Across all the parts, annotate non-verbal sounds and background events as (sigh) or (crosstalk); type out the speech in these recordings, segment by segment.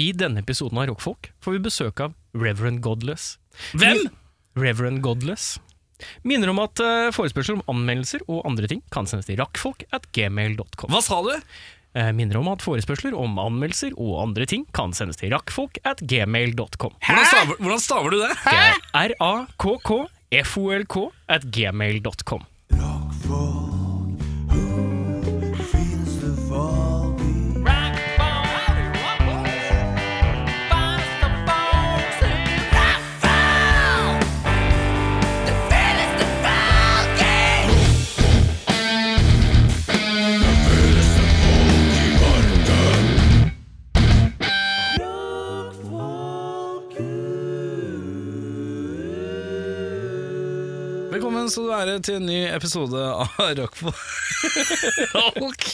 I denne episoden av Rockfolk får vi besøk av Reverend Godless. Hvem? Reverend Godless. Minner om at eh, forespørsel om anmeldelser og andre ting kan sendes til rakkfolk at gmail.com. Hva sa du? Eh, Minner om at forespørsler om anmeldelser og andre ting kan sendes til rakkfolk at gmail.com. Hvordan staver, hvordan staver du det? Det er r-a-k-k-f-o-l-k at gmail.com. Velkommen skal du være til en ny episode av Rockfolk.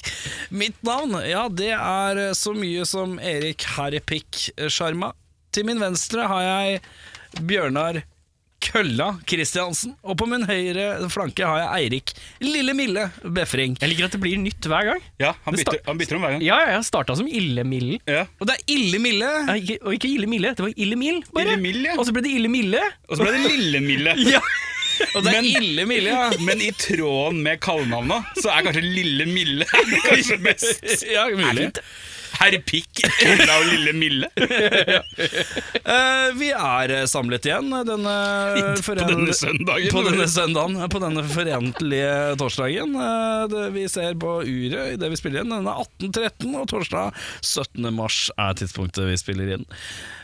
Mitt navn, ja det er eh, så mye som Erik Herpik Sjarma. Til min venstre har jeg Bjørnar Kølla Kristiansen. Og på min høyre flanke har jeg Eirik Lille Mille Befring. Jeg liker at det blir nytt hver gang. Ja, han Det bytter, sta- han bytter om hver gang. Ja, ja, jeg starta som Illemillen. Ja. Og det er Ille Mille! Nei, ikke- Og ikke Ille Mille, det var Ille Mill, bare. Ille Mill, ja. Og så ble det Ille Mille. Og så ble det (laughs) Lille-Mille. Ja. Og det er Men- Ille Mille, ja. Men i tråden med kallenavna, så er kanskje Lille-Mille (laughs) kanskje best. (laughs) ja mulig. Herr Pikk Ulla og Lille-Mille. Eh, vi er eh, samlet igjen denne, På denne søndagen. på denne søndagen, eh, på denne forentlige torsdagen. Eh, det, vi ser på uret idet vi spiller inn. Den er 18.13, og torsdag 17. mars er tidspunktet vi spiller inn.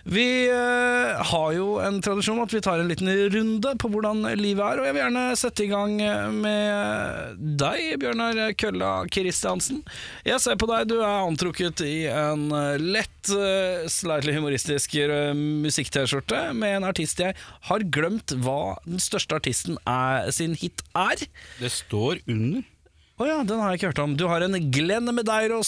Vi eh, har jo en tradisjon at vi tar en liten runde på hvordan livet er, og jeg vil gjerne sette i gang eh, med deg, Bjørnar Kølla Kristiansen. Jeg ser på deg, du er antrukket i en eh, lett, eh, slightly humoristisk eh, musikk-T-skjorte med en artist jeg har glemt hva den største artisten er, sin hit er. Det står under. Å ja, den har jeg ikke hørt om. Du har en Glenn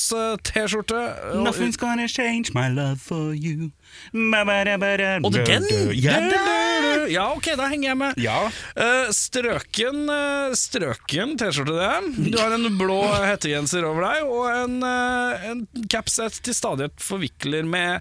Medeiros-T-skjorte. og- Nothing's gonna change my love for you. Og Og den! Ja, Ja, ok, da henger jeg med. Ja. Eh, strøken eh, Strøken T-skjorte, det. Du har en blå hettegenser over deg, og en, eh, en caps jeg til stadighet forvikler med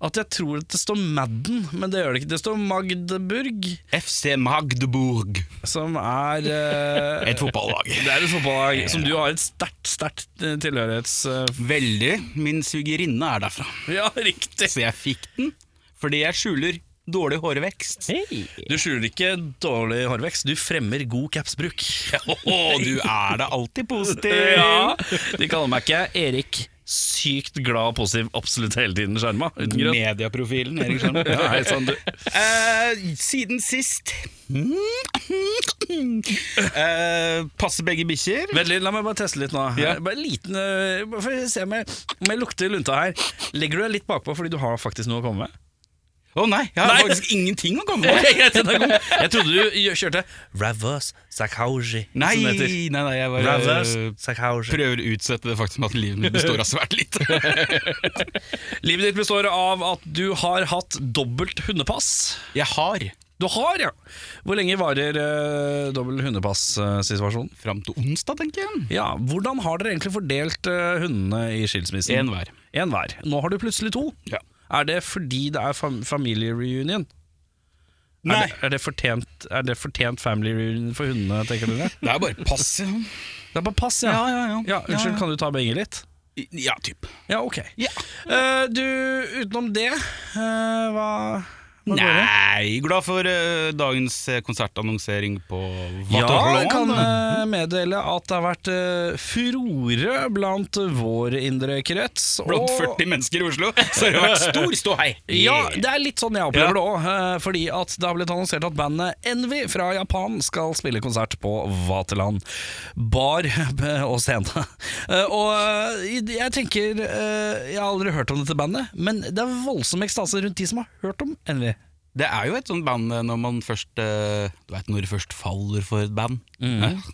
at jeg tror at det står Madden, men det gjør det ikke. Det står Magdeburg, FC Magdeburg. som er eh, Et fotballag. Det er et fotballag som du har et sterkt, sterkt eh, tilhørighets... eh, Veldig. Min sugerinne er derfra. ja, riktig. Så jeg fikk den fordi jeg skjuler dårlig hårvekst. Hei. Du skjuler ikke dårlig hårvekst, du fremmer god capsbruk. Å, du er da alltid positiv! Ja, (laughs) de kaller meg ikke Erik sykt glad og positiv absolutt hele tiden, skjerma. Uten grunn. Medieprofilen, Erik Skjerm. Ja, hei sann, du. Eh, siden sist eh, Passer begge bikkjer? Vent litt, La meg bare teste litt nå. Ja. Bare en liten, øh, bare for å se om jeg, om jeg lukter lunta her. Legger du deg litt bakpå fordi du har faktisk noe å komme (laughs) med? Å nei, jeg har Nei. faktisk ingenting å komme med! Jeg trodde du gjø- kjørte Reverse Sakhauji. Nei, nei, nei, jeg bare Reverse eh, Sakhauji. prøver å utsette det faktum at livet mitt består av svært lite. (laughs) Livet ditt består av at du har hatt dobbelt hundepass. Jeg har Du har, ja! Hvor lenge varer uh, dobbel hundepass-situasjonen? fram til onsdag, tenker jeg. Ja, Hvordan har dere egentlig fordelt eh, hundene i skilsmissen? En hver. En hver. Nå har du plutselig to. Ja. Er det fordi det er fam familiereunion? Er Nei, det, er, det fortjent, er det fortjent family reunion for hundene, tenker (laughs) dere? det er bare pass. Ja, Det er bare pass, ja. ja, ja. Ja, Unnskyld, ja. kan du ta begge litt? Ja, typ. Ja, ok. Ja. Eh, du, utenom det, eh, hva, hva går det? Nei, glad for eh, dagens eh, konsertannonsering på Ja, jeg kan Vaterland. eh, meddele at det har vært eh, furore blant vår indre krets. Blant og- 40 mennesker i Oslo, så har det vært stor ståhei. (laughs) Ja, det er litt sånn jeg opplever det òg. Fordi at det har blitt annonsert at bandet Envy fra Japan skal spille konsert på Vaterland bar (laughs) og scene. Eh, Og eh, jeg tenker eh, Jeg har aldri hørt om dette bandet, men det er voldsom ekstase rundt de som har hørt om Envy. Det er jo et sånt band eh, når man først eh, Du veit når du først faller for et band. Mm. Hæ?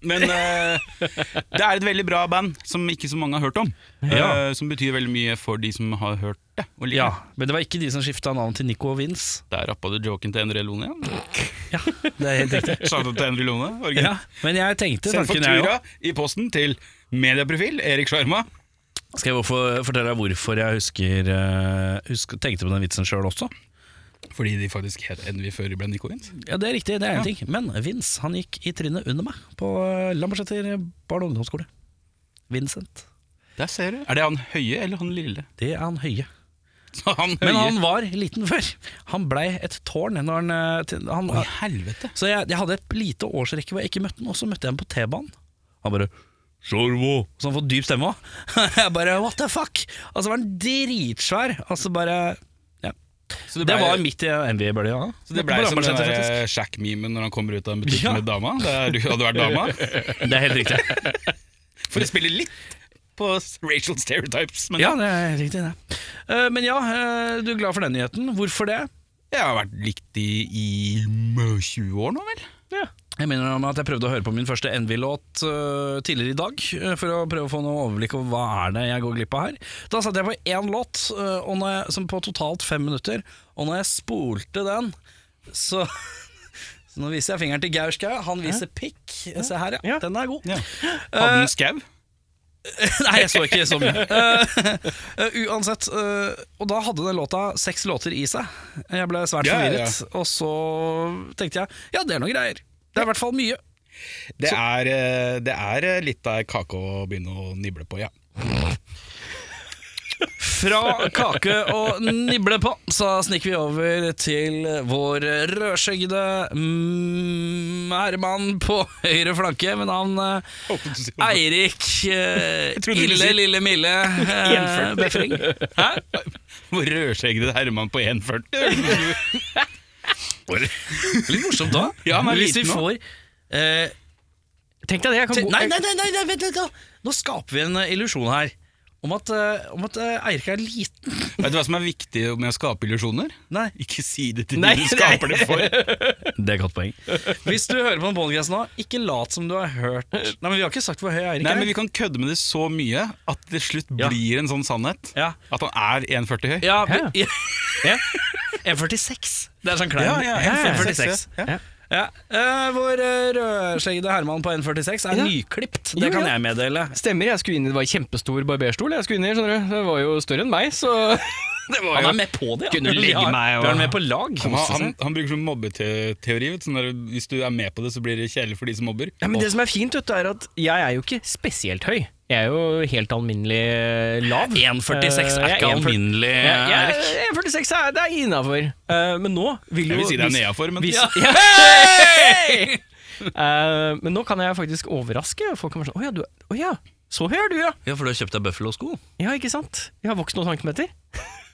(laughs) Men eh, det er et veldig bra band som ikke så mange har hørt om. Ja. eh, som betyr veldig mye for de som har hørt det. Og liker Ja, det. Men det var ikke de som skifta navn til Nico og Vince. Der rappa du joken til Endre Lone igjen. Det (laughs) er helt riktig. (laughs) Shout-out til Endre Lone. origin. Ja, men jeg tenkte Send tanken, jeg òg. faktura i posten til medieprofil Erik Sjarma. Skal jeg hvorfor, fortelle deg hvorfor jeg husker, eh, husker tenkte på den vitsen sjøl også? Fordi de faktisk het Envy før de ble Nico Vince. Ja, Det er riktig, det er en ting. Men Vince han gikk i trynet under meg på eh, Lambertseter barne- og ungdomsskole. Vincent. Der ser du. Er det han høye eller han lille? (laughs) Det er han høye. Så han høye. Men han var liten før. Han blei et tårn. Når han, eh, til- han, Å, i helvete. Så jeg, jeg hadde et lite årsrekke hvor jeg ikke møtte han, og så møtte jeg ham på T-banen. Han bare Sorvo! Så han får dyp stemme òg. (laughs) Jeg bare what the fuck? Altså var han dritsvær. Altså bare ja. Så Det, ble- var midt i NBA-bølja. da. så det ble På sånn, eh, som den Lambertseter, faktisk. der Shack-memen når han kommer ut av en butikk Ja. med dama. Der du hadde vært dama. (laughs) Det er helt riktig. For å spille litt på racial stereotypes. Men Ja, det er helt riktig det. Eh, Men ja, eh, du er glad for den nyheten. Hvorfor det? jeg har vært likt i, i mm, 20 år nå, vel? Jeg minner om at jeg prøvde å høre på min første Envy-låt øh, tidligere i dag, øh, for å prøve å få noe overblikk over hva er det jeg går glipp av her. Da satte jeg på én låt øh, og når jeg, som på totalt fem minutter, og når jeg spolte den, så (laughs) Så nå viser jeg fingeren til Gaur Skau, han viser pikk. Se her, ja. Ja. Den er god. Hadde den Eh, skau? Nei, jeg så ikke så mye. (laughs) Eh, eh, uansett, eh, og da hadde den låta seks låter i seg. Jeg ble svært Ja, ja, ja. forvirret, og så tenkte jeg ja, det er noen greier. Det er i hvert fall mye. Det er, eh, det er eh, litt av ei kake å begynne å nible på, ja. Fra kake og nible på, så snikker vi over til vår rødskjeggede mm, herremann på høyre flanke ved navn eh, Håpet du sier noe. Eirik eh, trodde du Ille skulle si- Lille (laughs) Mille eh, Gjenfødt. Befring. Hvor rødskjeggede Herman på 1,40. (laughs) Litt morsomt da. Ja, men Hvis vi liten nå. får eh, Tenk deg det, jeg kan til, gå nei, nei, nei, nei, nei, vent litt. da. Nå skaper vi en eh, illusjon her om at, eh, om at eh, Eirik er liten. Vet du hva som er viktig med å skape illusjoner? Nei. Ikke si det til Nei, de du skaper det for. Det er et godt poeng. Hvis du hører på den podcasten nå, ikke lat som du har hørt Nei, men Vi har ikke sagt hvor høy Eirik Nei, er. (laughs) men Vi kan kødde med det så mye at det til slutt Ja. blir en sånn sannhet. Ja. At han er 1,40 høy. Ja, Hæ? vi- ja. 1,46. Det er sånn klein. Ja, ja, 1,46. 1,46, Ja. ja. Eh, vår eh, rødskjeggede Herman på 1,46 er Ja. nyklipt. Ja, Det kan ja. jeg meddele. Stemmer, jeg skulle inn i det var en kjempestor barberstol. jeg skulle inn i, skjønner du. Det var jo større enn meg, så det var Han er med på det. ja. Kunne legge Ja, meg og- Du er med på lag. Han, han, han bruker sånn mobbeteori. vet du, Sånn der, hvis du er med på det, så blir det kjedelig for de som mobber. Ja, men Det som er fint, vet du, er at jeg er jo ikke spesielt høy. Jeg er jo helt alminnelig eh, lav. 1,46 er Eh, jeg ikke 1,40 alminnelig, Ja, ja, Eirik. 1,46 er, det er innafor. Eh, men nå vil jo Jeg vil si det er hvis- nedafor, men hvis- ja. Ja. (laughs) Eh, men nå kan jeg faktisk overraske. Folk kommer sånn Å ja, du, å ja, så høy er du, ja. Ja, for du har kjøpt deg Buffalo-sko. Ja, ikke sant? Jeg har vokst noen centimeter.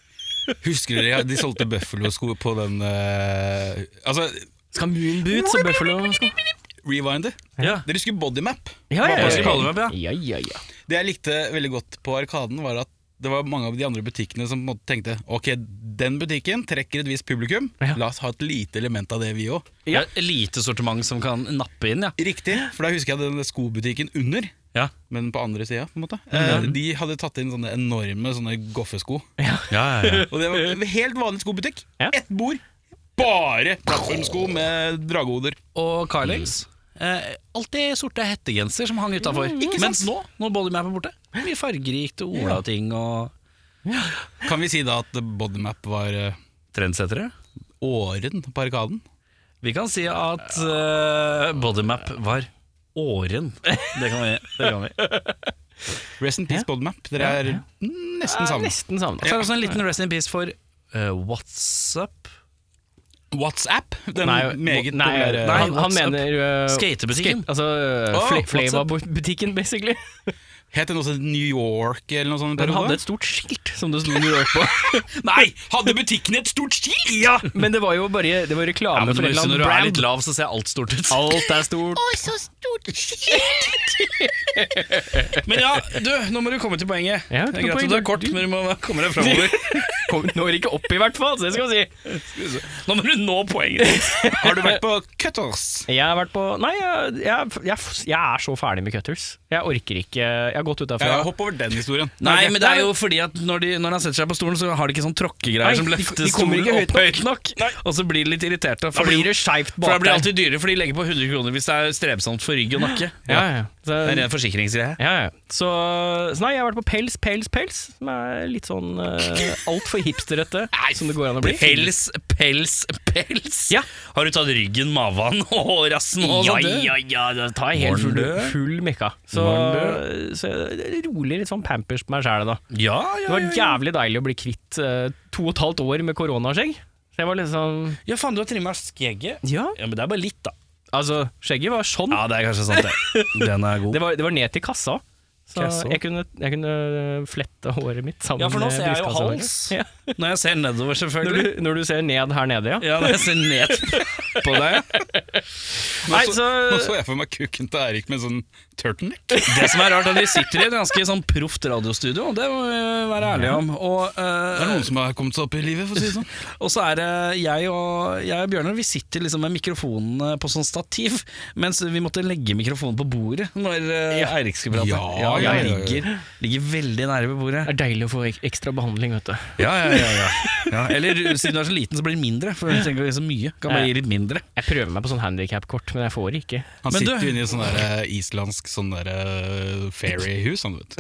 (laughs) Husker dere ja, de solgte Buffalo-sko på den eh, Altså, Skal moon boots og buffalo sko rewinder. Ja. Dere husker Bodymap? Ja, ja, Hva ja, skal vi kalle dem, ja? ja. ja, ja, ja. Det jeg likte veldig godt på Arkaden, var at det var mange av de andre butikkene som på en måte tenkte ok, den butikken trekker et visst publikum, Ja. la oss ha et lite element av det vi òg. Ja. Det er Et lite sortiment som kan nappe inn, ja. Riktig, for da husker jeg den skobutikken under, Ja, men på andre sida, på en måte. Eh, de hadde tatt inn sånne enorme sånne goffesko. ja, ja, Og det var en helt vanlig skobutikk. Ja. Ett bord, bare plattformsko med dragehoder. (laughs) Og Carlings. Mm. Eh, alltid sorte hettegenser som hang utafor. Mens nå, når Bodymap er borte, mye fargerikt og olating og Kan vi si da at Bodymap var eh, trendsettere. åren på Arkaden? Vi kan si at eh, Bodymap var åren. Det kan vi. Det (laughs) kan vi. Rest in peace, Bodymap. Dere er nesten Er savnet. nesten savna. Så er det også en liten rest in peace for eh, WhatsApp. WhatsApp? Altså, Den Nei, meget nei, populære nei, han, han WhatsApp. mener øh, Skatebutikken. skate- altså Å, fl WhatsApp. Flava-butikken, basically. Het den også New York eller noe sånt? Den i perioden? hadde et stort skilt som det sto New York på. Nei! Hadde butikken et stort skilt?! Ja! Men det var jo bare det var Ja, reklame men du for må en eller huske, annen når du er litt brand. lav, så ser alt stort ut. Alt er stort. Men ja, du, nå må du komme til poenget. Ja, det til er greit at poenget. du er kort, men du må komme deg framover. (laughs) Kom, når ikke opp, i hvert fall. Så det skal jeg si. Nå må du nå poenget ditt. Har du vært på Cutters? Jeg har vært på Nei, jeg, jeg, jeg, jeg er så ferdig med Cutters. Jeg orker ikke Jeg har gått ut derfra. Ja, Hopp over den historien. Nei, men det er jo fordi at når, de, når han setter seg på stolen, så har de ikke sånn tråkkegreier Nei, som de- løfter de kommer stolen ikke opp høyt nok. Og så blir de litt irriterte. Da For, blir de, det skeivt for det blir bak der. alltid dyrere, for de legger på 100 kroner hvis det er strevsomt for rygg og nakke. Ja, ja. Så, Det er en ren forsikringsgreie. ja, ja. Så, så nei, jeg har vært på Pels, Pels, Pels, som er litt sånn uh, (laughs) altfor hipsterete som det går an å bli. Pels, pels, pels! Ja. Har du tatt ryggen, maven (laughs) og rassen? og sånn? Ja, sånt, du? ja, ja, da tar jeg helt full, Morn, du. full mekka. Så, Morn, du. så jeg- rolig litt sånn pampers på meg sjæl, da. ja, Det ja, var ja, ja. jævlig deilig å bli kvitt eh, to og et halvt år med koronaskjegg. Så jeg var liksom ja, faen, du har trimma skjegget. Ja. Ja, Men det er bare litt, da. Altså, skjegget var sånn. Ja, det er kanskje sant, det. Den er god. Det, var, det var ned til kassa. Så Kassa. jeg kunne, jeg kunne eh, flette håret mitt sammen Ja, for nå med ser jeg jo brystkassa i dag. hals. Ja. Når jeg ser nedover, Når, selvfølgelig. du, når du ser ned her nede, ja. Ja, når jeg ser ned på deg. Nei, så- Nå så så jeg for meg kukken til Eirik med sånn turtleneck. Det som er rart, er at vi sitter i et ganske sånn proft radiostudio, det må vi være ærlige om. Og, Det er eh, noen som har kommet seg opp i livet, for å si (laughs) det sånn. og så er det jeg og, jeg og Bjørnar, vi sitter liksom med mikrofonene på sånn stativ, mens vi måtte legge mikrofonen på bordet når eh, Eirik skulle prate. Ja, ja, jeg ja, ja, ja. ligger, ligger veldig nære ved bordet. Det er deilig å få ek- ekstra behandling, vet du. Ja, ja, ja, ja. ja. Eller siden du er så liten, så blir det mindre. For du trenger ikke så mye. Kan bare gi litt mindre. Jeg prøver meg på sånn handikap-kort, men jeg får det ikke. Han Men sitter du- jo inne i sånn der eh, islandsk sånn der eh, fairyhus, han vet.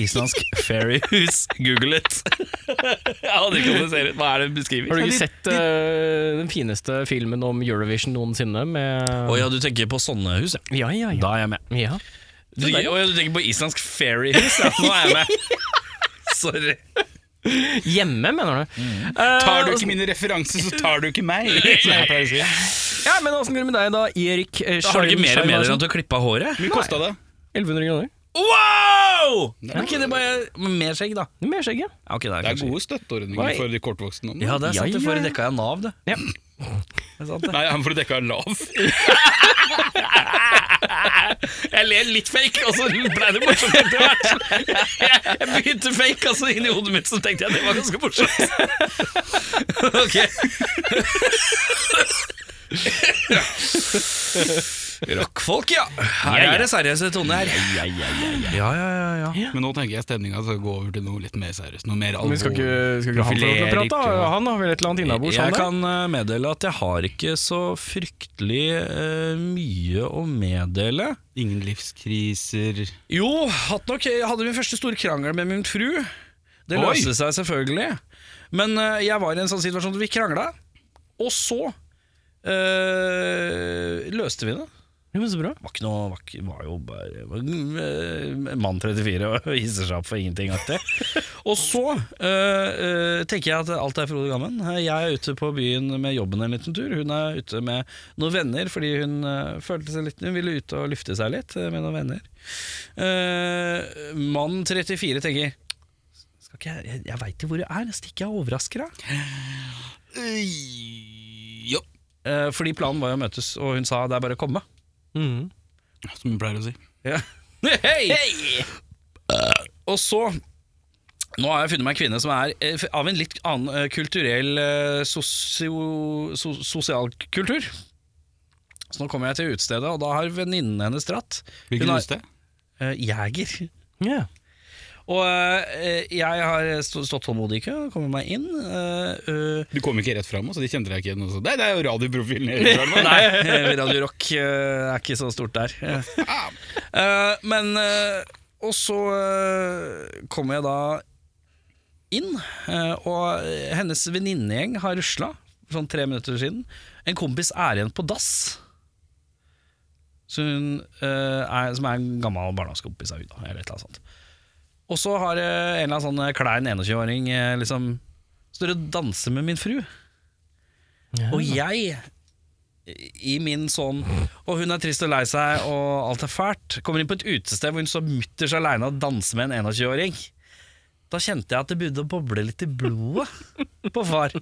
Islandsk fairyhus. (laughs) Google it. Jeg aner ikke hvordan det ser ut. Hva er det du beskriver? Har du ikke sett eh, den fineste filmen om Eurovision noensinne? Med Å ja, du tenker på sånne hus, ja. ja, ja, ja. eh, Da er jeg med. ja. Du, å ja, du tenker på islandsk fairyhus, ja. Nå er jeg (laughs) med. Sorry. Hjemme, mener du? Eh, Mm. Tar du åssen- altså- ikke mine referanser, så tar du ikke meg. liksom. (laughs) som jeg pleier å si. Ja, men åssen går det med deg da, Erik? eh, Da har du Scheim- ikke mer medier enn Scheimarsen? at du har klippa håret? Hvor mye kosta det? 1100 kroner. Wow! Ok, det er bare men Mer skjegg, da. Det er Mer skjegg, ja. Ja, Ok, det Det er er kanskje- gode støtteordninger for de kortvokste. nå. Ja, det er sant. Ja, Det får ja, ja. dekka jeg Nav, det. Ja. Det er sant, det. Nei, han får dekka lav. Jeg ler litt fake, og så ble det morsomt etter hvert. Jeg, jeg begynte fake, og så inni hodet mitt så tenkte jeg det var ganske morsomt. Ok. Rockfolk, ja. Her Ja, ja. er det seriøse tone her. Ja, ja, ja, ja. (laughs) Men nå tenker jeg stemninga skal gå over til noe litt mer seriøst. Noe mer alvor. Men skal ikke, skal ikke han få lov til å Profilerer prate? ikke. Han har vel et eller annet innabords? han Jeg der? kan eh, meddele at jeg har ikke så fryktelig eh, mye å meddele. Ingen livskriser. Jo, hatt nok. Jeg hadde min første store krangel med min fru. Det Oi. løste seg selvfølgelig. Men eh, jeg var i en sånn situasjon hvor vi krangla, og så eh, løste vi det. Jo, men så bra. Det var ikke noe var, ikke- var jo bare var, eh, Mann 34 og (laughs) hisser seg opp for ingenting-aktig. og så eh, eh, tenker jeg at alt er frode gammen. Eh, Jeg er ute på byen med jobben en liten tur. Hun er ute med noen venner fordi hun eh, følte seg litt Hun ville ut og lufte seg litt eh, med noen venner. Eh, mann 34 tenker skal ikke jeg, jeg, jeg veit jo hvor du er, stikker jeg og overrasker deg? Jo, Eh, fordi planen var jo å møtes, og hun sa det er bare å komme. Mhm. som vi pleier å si. Ja. (laughs) Hei! Eh, Og så Nå har jeg funnet meg en kvinne som er eh, av en litt annen eh, kulturell eh, sosio, so, sosial kultur. Så nå kommer jeg til utestedet, og da har venninnen hennes dratt. Hun Hvilket har- hus det? Eh, Jæger. Ja. Og eh, jeg har stå- stått tålmodig i kø, kommer meg inn. eh, eh, Du kom ikke rett fram, så de kjente deg ikke igjen. og så, Nei, det er jo radioprofilen. (laughs) i Erik Solheim». Nei, eh, Radio Rock eh, er ikke så stort der. Eh, Men eh, Og så eh, kommer jeg da inn, eh, og hennes venninnegjeng har rusla sånn tre minutter siden. En kompis er igjen på dass. Så hun, eh, er, som er en gammel barndomskompis av Uda, eller et eller annet sånt. Og så har eh, en eller annen sånn klein 21-åring eh, liksom Står og danser med min fru. Og jeg i min sånn Og hun er trist og lei seg, og alt er fælt. Kommer inn på et utested hvor hun står mutters aleine og danser med en 21-åring. Da kjente jeg at det begynte å boble litt i blodet på far.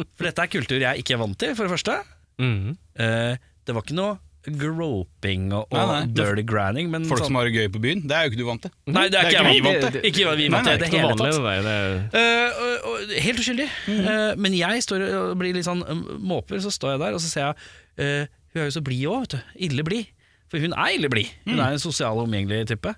For dette er kultur jeg ikke er vant til, for det første. Mhm. Eh, det var ikke noe groping og, og Nei, nei. dirty granning, men Folk sånn- som har det gøy på byen. Det er jo ikke du vant til. Nei, det er ikke vi jeg vant vant til. til. Ikke vi Nei, vant nei, til i det hele tatt. det der. Eh, og, og, helt uskyldig. Eh, men jeg står og blir litt sånn eh, måper, så står jeg der og så ser jeg eh, Hun er jo så blid òg, vet du. Ille blid. For hun er ille blid. Hun er en sosial og omgjengelig type.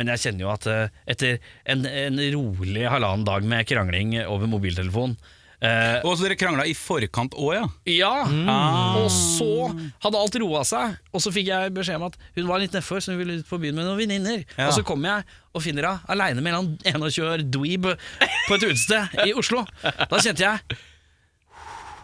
Men jeg kjenner jo at eh, etter en, en rolig halvannen dag med krangling over mobiltelefon Eh, Og så dere krangla i forkant òg, ja? Ja, Mm. og så hadde alt roa seg, og så fikk jeg beskjed om at hun var litt nedfor, så hun ville ut på byen med noen venninner. Ja. Og så kom jeg og finner henne aleine med en eller annen 21 år dweeb på et utested i Oslo. Da kjente jeg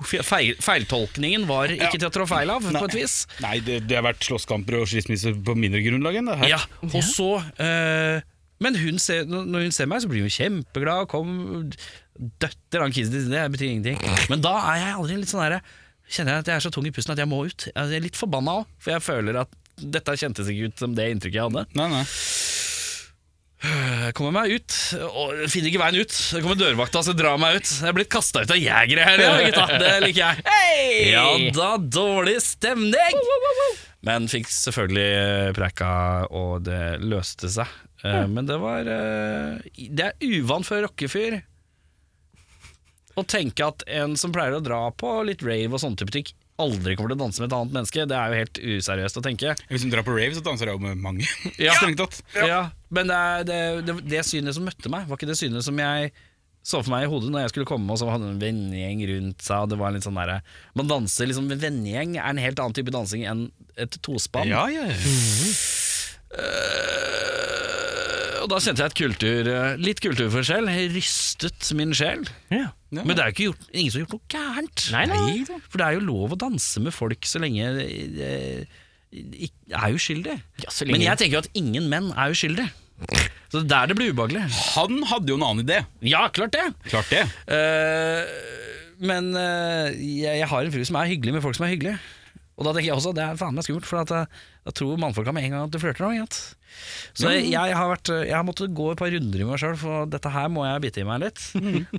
fe- feil, Feiltolkningen var ikke til å trå feil av, på et vis. Nei, det, det har vært slåsskamper og skilsmisser på mindre grunnlag enn det her. Ja, og så eh, Men hun ser, når når hun ser meg, så blir hun kjempeglad. Kom, døtter han kisen til side, det betyr ingenting. Men da er jeg aldri litt sånn herre Kjenner jeg at jeg er så tung i pusten at jeg må ut. Altså, Jeg er litt forbanna òg, for jeg føler at dette kjentes ikke ut som det inntrykket jeg hadde. Nei, nei. Jeg eh, kommer meg ut, og jeg finner ikke veien ut. Det kommer dørvakta og drar meg ut. Jeg er blitt kasta ut av jegere her, ja, gutta. Det liker jeg. Ja da, dårlig stemning! Men fikk selvfølgelig eh, prekka, og det løste seg. Eh, Men det var eh, Det er uvant for en rockefyr å tenke at en som pleier å dra på litt rave og sånne type ting, aldri kommer til å danse med et annet menneske. Det er jo helt useriøst å tenke. Hvis du drar på rave, så danser jeg jo med (laughs) mange. Ja. Strengt tatt. Ja. Men det, er- det, det, det synet som møtte meg, var ikke det synet som jeg så for meg i hodet når jeg skulle komme, og så hadde en vennegjeng rundt seg, og det var litt sånn derre Man danser liksom med vennegjeng, er en helt annen type dansing enn et tospann. Ja, ja, ja. Og da kjente jeg et kultur, eh, litt kulturforskjell. Jeg rystet min sjel. Ja. Ja. Men det er jo ikke gjort, ingen som har gjort noe gærent. Nei, nei. For det er jo lov å danse med folk så lenge eh, ikk- er uskyldig. Ja, så lenge- Men jeg tenker jo at ingen menn er uskyldige. Så det er der det blir ubehagelig. Han hadde jo en annen idé. Ja, klart det! Klart det. Eh, men eh, jeg, jeg har en fru som er hyggelig med folk som er hyggelige. Og da tenker jeg også det er faen meg skummelt, for at jeg, jeg tror mannfolka med en gang at du flørter. nå, ikke sant? Så jeg, jeg, har vært, eh, jeg har måttet gå et par runder i meg sjøl, for dette her må jeg bite i (laughs) meg litt.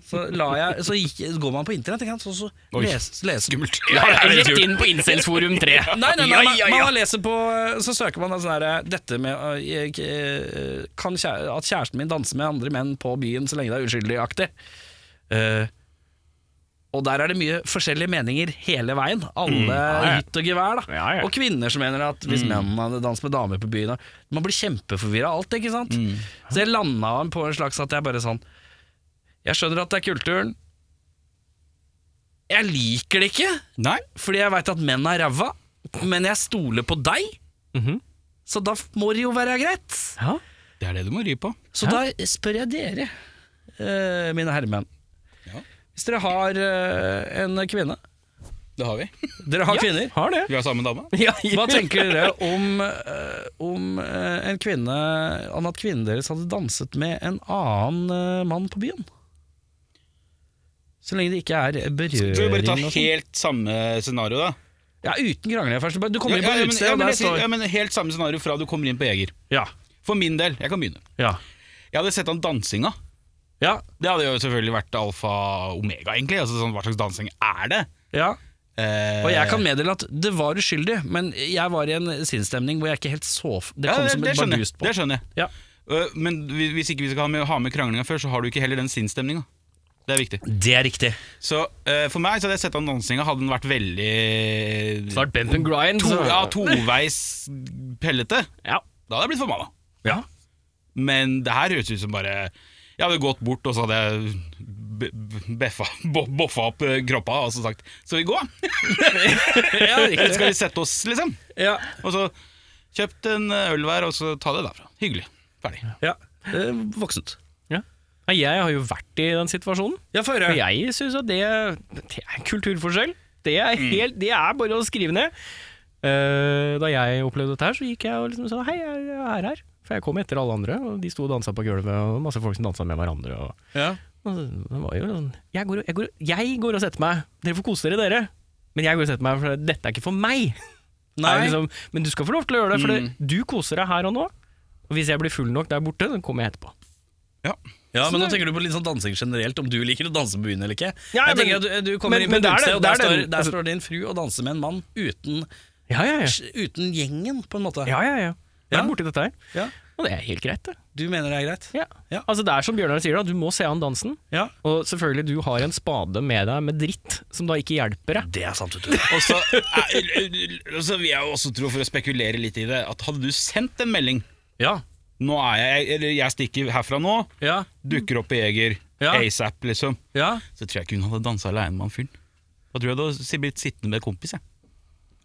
Så, la jeg, så gikk, går man på internett, ikke sant? så, så Oi. les, leser Skummelt. Rett inn på Incelsforum 3. Nei, nei, nei, Ja, ja, man- ja. Man leser på Så søker man da sånn her Dette med øh, jeg, øh, kan kjære, At kjæresten min danser med andre menn på byen Så lenge det er uskyldig-aktig Eh, Og der er det mye forskjellige meninger Hele veien Alle Mm. ja. hytt og gevær da Ja, Mm. ja. Og kvinner som mener at Hvis mennene hadde danset med damer på byen da- Man blir kjempeforvirret av alt, ikke sant? Mm. Så jeg landet på en slags At jeg bare sånn Jeg skjønner at det er kulturen Jeg liker det ikke Nei. fordi jeg veit at menn er ræva, men jeg stoler på deg. Mhm. Så da må det jo være greit. Ja. Det er det du må ry på. Så da spør jeg dere, eh, mine herremenn. Ja. Hvis dere har eh, en kvinne Det har vi. Dere har (laughs) kvinner. Har det. Vi har samme (laughs) dame. Ja, Hva tenker dere om, eh, om eh, en kvinne Om at kvinnen deres hadde danset med en annen eh, mann på byen? Så lenge det ikke er berøring Skal vi bare ta og sånn. sånt. helt samme scenario, da? Ja, uten krangling først. Du kommer inn på Ja, ja, men- utestedet, ja, og men der jeg sier- står ja, men Helt samme scenario fra du kommer inn på Jeger. Ja. For min del, jeg kan begynne. Ja. Jeg hadde sett han dansinga. Ja. Det hadde jo selvfølgelig vært alfa og omega, egentlig. Altså, sånn, hva slags dansing er det? ja. Eh, Og jeg kan meddele at det var uskyldig, men jeg var i en sinnsstemning hvor jeg ikke helt så f- Det ja, kom som et skjønner jeg, bardust på. Det skjønner jeg. Ja. Eh, Men vi- hvis ikke vi skal ha med, ha med kranglinga før, så har du ikke heller den sinnsstemninga. Det er viktig. Det er riktig. Så eh, for meg så hadde jeg sett han dansinga, hadde den vært veldig Svart bump (laughs) and grind. to, så- Ja, toveis pellete. Ja. Da hadde jeg blitt forbanna. Ja. Men det her høres ut som bare Jeg hadde gått bort og så hadde jeg be- be- beffa, bo, boffa opp eh, kroppa og så sagt Skal vi gå? Eller skal vi sette oss, liksom? Ja. Og så kjøpt en eh, øl hver, og så ta det derfra. Hyggelig. Ferdig. ja. Eh, Voksent. Ja. Nei, Jeg har jo vært i den situasjonen, Ja, få og jeg syns at det, det er en kulturforskjell. Det er, helt, det er bare å skrive ned. Eh, da jeg opplevde dette her, så gikk jeg og liksom sa hei, jeg er her. For jeg kom etter alle andre, og de sto og dansa på gulvet, og masse folk som dansa med hverandre. Og Ja. Og Det var jo sånn jeg går, jeg, går, jeg går og setter meg, dere får kose dere, dere. Men jeg går og setter meg, for dette er ikke for meg. Det Nei. er Liksom, men du skal få lov til å gjøre det, for det, du koser deg her og nå. Og hvis jeg blir full nok der borte, så kommer jeg etterpå. Ja, men nå tenker du på litt sånn dansing generelt, om du liker å danse på byen eller ikke. Ja, jeg men- tenker at du, du kommer men- inn på men et det er utested, det- og det der, er står, den- der altså- står din fru og danser med en mann uten, Ja, ja, ja. uten gjengen, på en måte. ja, ja, ja. Jeg Ja. er borti dette her. Ja. Og det er helt greit, det. Du mener det er greit? Ja. Ja. Altså, det er som Bjørnar sier, da, du må se an dansen. Ja. Og selvfølgelig, du har en spade med deg med dritt som da ikke hjelper deg. Det er sant, vet du. Og så, eh, og så vil jeg jo også tro, for å spekulere litt i det, at hadde du sendt en melding Ja. Nå er jeg Eller jeg stikker herfra nå, Ja. dukker opp i Jeger. Ja. ASAP, liksom. Ja, Så tror jeg ikke hun hadde dansa aleine med han fyren. Da tror jeg det hadde blitt sittende med en kompis. Jeg.